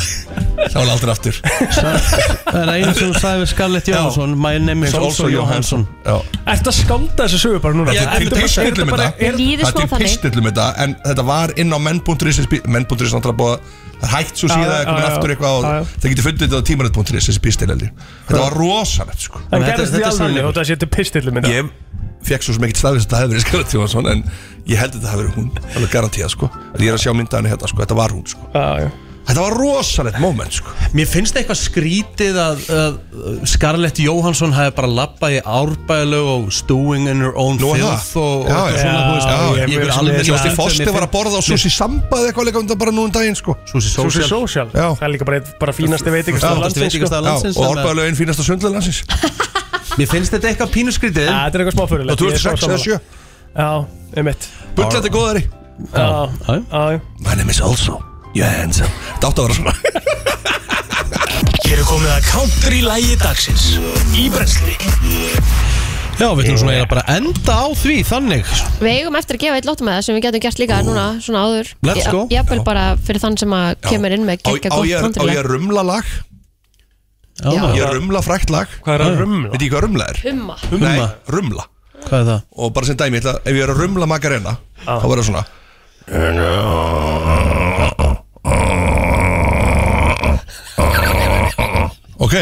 Speaker 17: sá hann aldrei aftur
Speaker 1: Það er einu sem þú sagði við Scarlett Johansson My name is also Johansson
Speaker 2: Ertu að skálda þessu sögu bara núna?
Speaker 17: Já, það er til pistill um þetta
Speaker 3: Mér líður smá
Speaker 17: Það er til
Speaker 3: þannig.
Speaker 17: pistill um þetta En þetta var inn á menn.is Menn.is náttúrulega búið að- Það er hægt svo
Speaker 2: Já,
Speaker 17: síðan
Speaker 2: já,
Speaker 17: að komin
Speaker 2: já, já.
Speaker 17: aftur eitthvað
Speaker 2: Já, já.
Speaker 17: og Það getur fundið þetta á tímarit.is Þessi pistill held ég Þetta var rosalegt sko
Speaker 2: Það gerðist í alveg og það sé til pistillum minna
Speaker 17: Ég fekk svo sem ekkert staðið Þetta hefði verið Scarlett Johansson En ég held að þetta hefði verið hún Alveg garantíð sko Ég er að sjá myndaðinu hérna sko Þetta var hún sko Þetta var rosalegt moment sko
Speaker 1: Mér finnst eitthvað skrítið að, að Scarlett Johansson hefði bara lappað í árbælu og stewing in her own
Speaker 17: Nú er það.
Speaker 1: filth og, og
Speaker 17: Já,
Speaker 1: eitthvað
Speaker 17: já.
Speaker 1: svona, þú
Speaker 17: Já,
Speaker 1: veist,
Speaker 17: ég
Speaker 1: ég vil
Speaker 17: meina,
Speaker 1: alveg
Speaker 17: Gísli Foster var að borða á sushi samba eða eitthvað líka um þetta bara nú um daginn sko
Speaker 1: Sushi
Speaker 2: Sushi Social Það er líka bara, einn- bara fínasti
Speaker 17: Já,
Speaker 2: veitingastað
Speaker 17: Já,
Speaker 2: landsins sko.
Speaker 17: Og orðbæðulega einn fínasta sundlega landsins
Speaker 1: Mér finnst þetta eitthvað pínuskrítið
Speaker 2: Já, þetta er eitthvað smáfyrirlega
Speaker 17: Og 2006 eða 7
Speaker 2: Já, einmitt
Speaker 17: Bullandi góðari
Speaker 2: Já, já
Speaker 17: My name is also Your handsome Þetta átti að vera svona
Speaker 4: Hér er komið að counter í lægi dagsins Í brensli
Speaker 1: Já, við ætlum svona eiginlega bara að enda á því þannig
Speaker 3: Við eigum eftir að gefa eitt lótum með það sem við getum gert líka núna, svona áður
Speaker 17: Let's go.
Speaker 3: Ég vil bara fyrir þann sem að kemur inn
Speaker 17: Á,
Speaker 3: með
Speaker 17: á,
Speaker 3: geggja
Speaker 17: ég, að- á
Speaker 3: gott
Speaker 17: ég að
Speaker 3: kontrilag
Speaker 17: rumla lag
Speaker 1: Já.
Speaker 17: Ég að rumla frækt lag
Speaker 2: Hvað er að rumla?
Speaker 17: Veit ég hvað rumla er?
Speaker 3: Humma
Speaker 17: Nei, rumla
Speaker 1: Hvað er það?
Speaker 17: Og bara sem dæmi, ég ætla, ef ég er að rumla makarena
Speaker 2: Ah.
Speaker 17: Þá verður það svona Ok,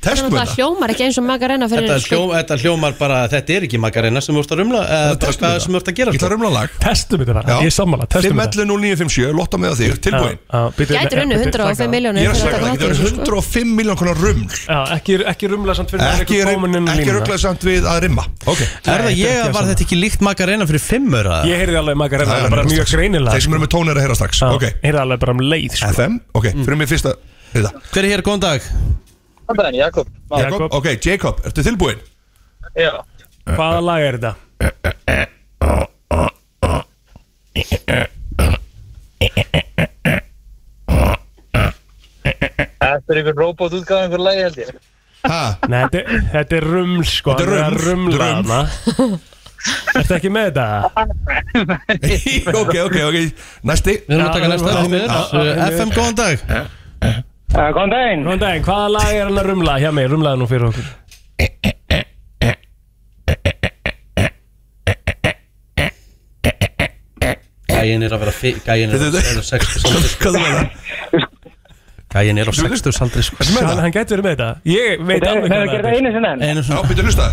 Speaker 17: testum
Speaker 3: Það
Speaker 17: þetta
Speaker 3: hljómar ekki eins og maga reyna fyrir
Speaker 1: Þetta, hljó, þetta hljómar bara, þetta er ekki Magarena sem þú ert að rumla eða bara
Speaker 17: testum
Speaker 1: hvað
Speaker 17: þetta.
Speaker 1: sem þú ert að gera sko.
Speaker 17: Ég ætla að rumla lag
Speaker 2: Testum þetta bara, ég er sammála, testum þetta
Speaker 17: 511 0957, lotta með þig, tilbúin
Speaker 2: Ah.
Speaker 3: Gætir unnu 105 miljónir
Speaker 17: Ég er að segja það, þetta er
Speaker 3: sko.
Speaker 17: 105 miljón konar ruml
Speaker 2: Já, ekki, ekki rumla samt fyrir
Speaker 17: Ekki, ekki
Speaker 2: rumla
Speaker 17: ruggla samt við að rimma Ok
Speaker 1: Er það ég að var þetta ekki líkt Magarena fyrir fimmur að
Speaker 2: Ég heyrði alveg maga
Speaker 17: Það
Speaker 2: reyna,
Speaker 17: er
Speaker 2: bara
Speaker 17: nefnilega
Speaker 2: mjög
Speaker 17: strax.
Speaker 2: greinilega
Speaker 17: Þeir sem eru með tónir að heyra strax
Speaker 2: Já,
Speaker 17: Ok,
Speaker 2: Heyrði alveg bara um leið sko.
Speaker 17: FM, ok, fyrir mig fyrsta Þetta
Speaker 1: Hver er hér, góðan dag?
Speaker 14: Hvað er Jakob?
Speaker 17: Jakob, ok, Jakob, ertu tilbúin?
Speaker 14: Já.
Speaker 2: Hvaða lag er þetta?
Speaker 14: Þetta er einhver robot útgáð einhver lagi held ég.
Speaker 2: Nei, þetta, er- þetta er ruml sko
Speaker 14: Þetta er
Speaker 2: hann að
Speaker 14: ruml,
Speaker 2: rumla
Speaker 14: ruml.
Speaker 2: hana. Ertu ekki með þetta?
Speaker 17: ok, ok, ok, næsti Eh,
Speaker 1: Við erum að taka næsta því miður. Uh, FM, góðan dag
Speaker 2: Góðan daginn Góðan daginn, hvaða lag er hann að rumla hjá mig? Rumlaði nú fyrir okkur
Speaker 1: Gæin er að vera fi- Gæin er að vera sextu saldri Gæin er á sextu saldri sko.
Speaker 2: Hann, hann gæti verið með þetta Ég veit
Speaker 1: Þetta er-
Speaker 2: alveg
Speaker 1: þetta er gert einu
Speaker 2: sinna
Speaker 1: Einu
Speaker 17: Já,
Speaker 1: svona
Speaker 17: byrju að hlusta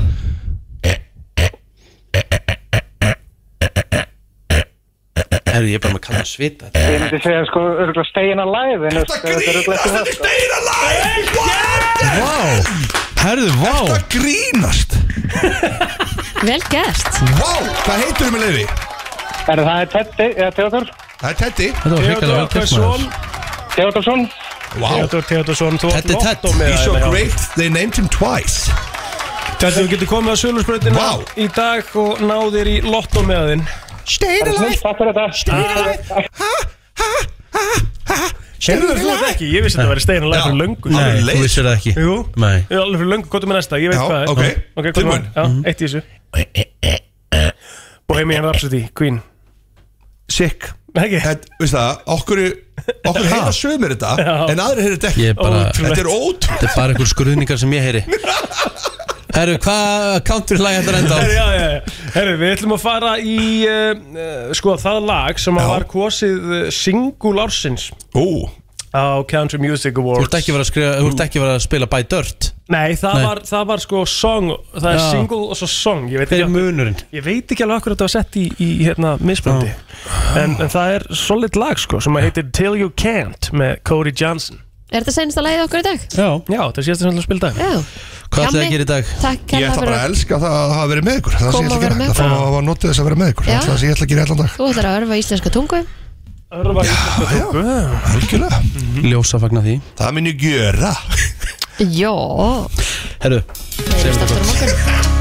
Speaker 1: Herru, ég er bara með að kalla svita
Speaker 20: Ég myndi segja sko örgulega steina live en þetta grínast þetta er steina
Speaker 1: Vá, herðu, vá Þetta
Speaker 17: grínast
Speaker 3: Vel gert
Speaker 17: Vá, hvað heitur þið með leiði?
Speaker 20: Er það er Teddy, eða Theodor?
Speaker 17: Það er Teddy
Speaker 1: Þetta var hrikalega vel gert, maður.
Speaker 20: Theodorsson
Speaker 17: Vá.
Speaker 2: Theodor Theodorsson þú átt
Speaker 17: Teddy
Speaker 2: lottó
Speaker 17: Ted
Speaker 2: með
Speaker 1: um
Speaker 17: He's
Speaker 2: það
Speaker 17: so
Speaker 2: hérna hjá okkur.
Speaker 17: great, they named him twice
Speaker 2: Þetta þú getur komið á Sölusbröðina
Speaker 17: Vá.
Speaker 2: í dag og náðir í lottó með þinn
Speaker 17: Steina live
Speaker 20: Takk fyrir þetta
Speaker 2: Steina live Heyrðu þú þetta ekki, ég vissi þetta að vera steina live fyrir löngu
Speaker 1: Nei, þú vissir það ekki
Speaker 2: Jú
Speaker 1: Nei
Speaker 2: Ég er alveg fyrir löngu, gotum við næsta, ég veit
Speaker 1: Já,
Speaker 2: hvað það er
Speaker 1: ok.
Speaker 2: ok, hvað
Speaker 1: Tilbúin.
Speaker 2: Já, eitt í þessu Bohemian Rhapsody, Queen
Speaker 17: Sick
Speaker 2: Ekki
Speaker 17: Þetta, veist það, okkur Okkur heyra sömur þetta En aðri heyra þetta ekki
Speaker 1: Ég er bara
Speaker 17: Þetta er ótrúlegt
Speaker 1: Þetta er bara einhver skrúðningar sem ég heyri Herru, hvað country lag þetta er enda á?
Speaker 2: Herru, já, já, já. Herru, við ætlum að fara í uh, uh, sko það lag sem að var kosið uh, single ársins
Speaker 17: Ó.
Speaker 2: á Country Music
Speaker 1: Þú
Speaker 2: Awards
Speaker 1: ert ekki verið að, skrifa, þú ert ekki verið að spila by dirt
Speaker 2: Nei, það,
Speaker 1: Nei.
Speaker 2: Var, það var sko song það er
Speaker 1: Já.
Speaker 2: single og svo song ég veit,
Speaker 1: Hver er
Speaker 2: ekki,
Speaker 1: munurinn?
Speaker 2: ég veit ekki alveg akkur að þetta var sett í, í hérna, misbröndi en, en það er solid lag sko sem að heitir Till You Can't með Cody Johnson
Speaker 3: Er þetta senst að lægið okkur í dag?
Speaker 1: Já,
Speaker 2: Já þetta er síðast að spila í dag
Speaker 3: Já
Speaker 1: Hvað ætlaði
Speaker 3: Hjammi,
Speaker 1: að gera í dag?
Speaker 3: Takk
Speaker 17: Ég
Speaker 3: hérna
Speaker 17: ætla bara að
Speaker 3: fyrir
Speaker 17: elska það að hafa verið með ykkur Það
Speaker 3: Koma
Speaker 17: sé ég ætla
Speaker 3: og
Speaker 17: að
Speaker 3: vera
Speaker 17: gera
Speaker 3: með
Speaker 17: Það fá
Speaker 3: okkur.
Speaker 17: að notið þess að vera með ykkur Það
Speaker 3: Já.
Speaker 17: er það sem ég ætla að gera allan dag
Speaker 3: Þú ætlar að örfa íslenska tungu
Speaker 17: Algjörlega
Speaker 1: Ljósa fagna því
Speaker 17: Það minn ég gjöra
Speaker 3: Jó
Speaker 1: Herru,
Speaker 3: Heyrumst aftur á morgun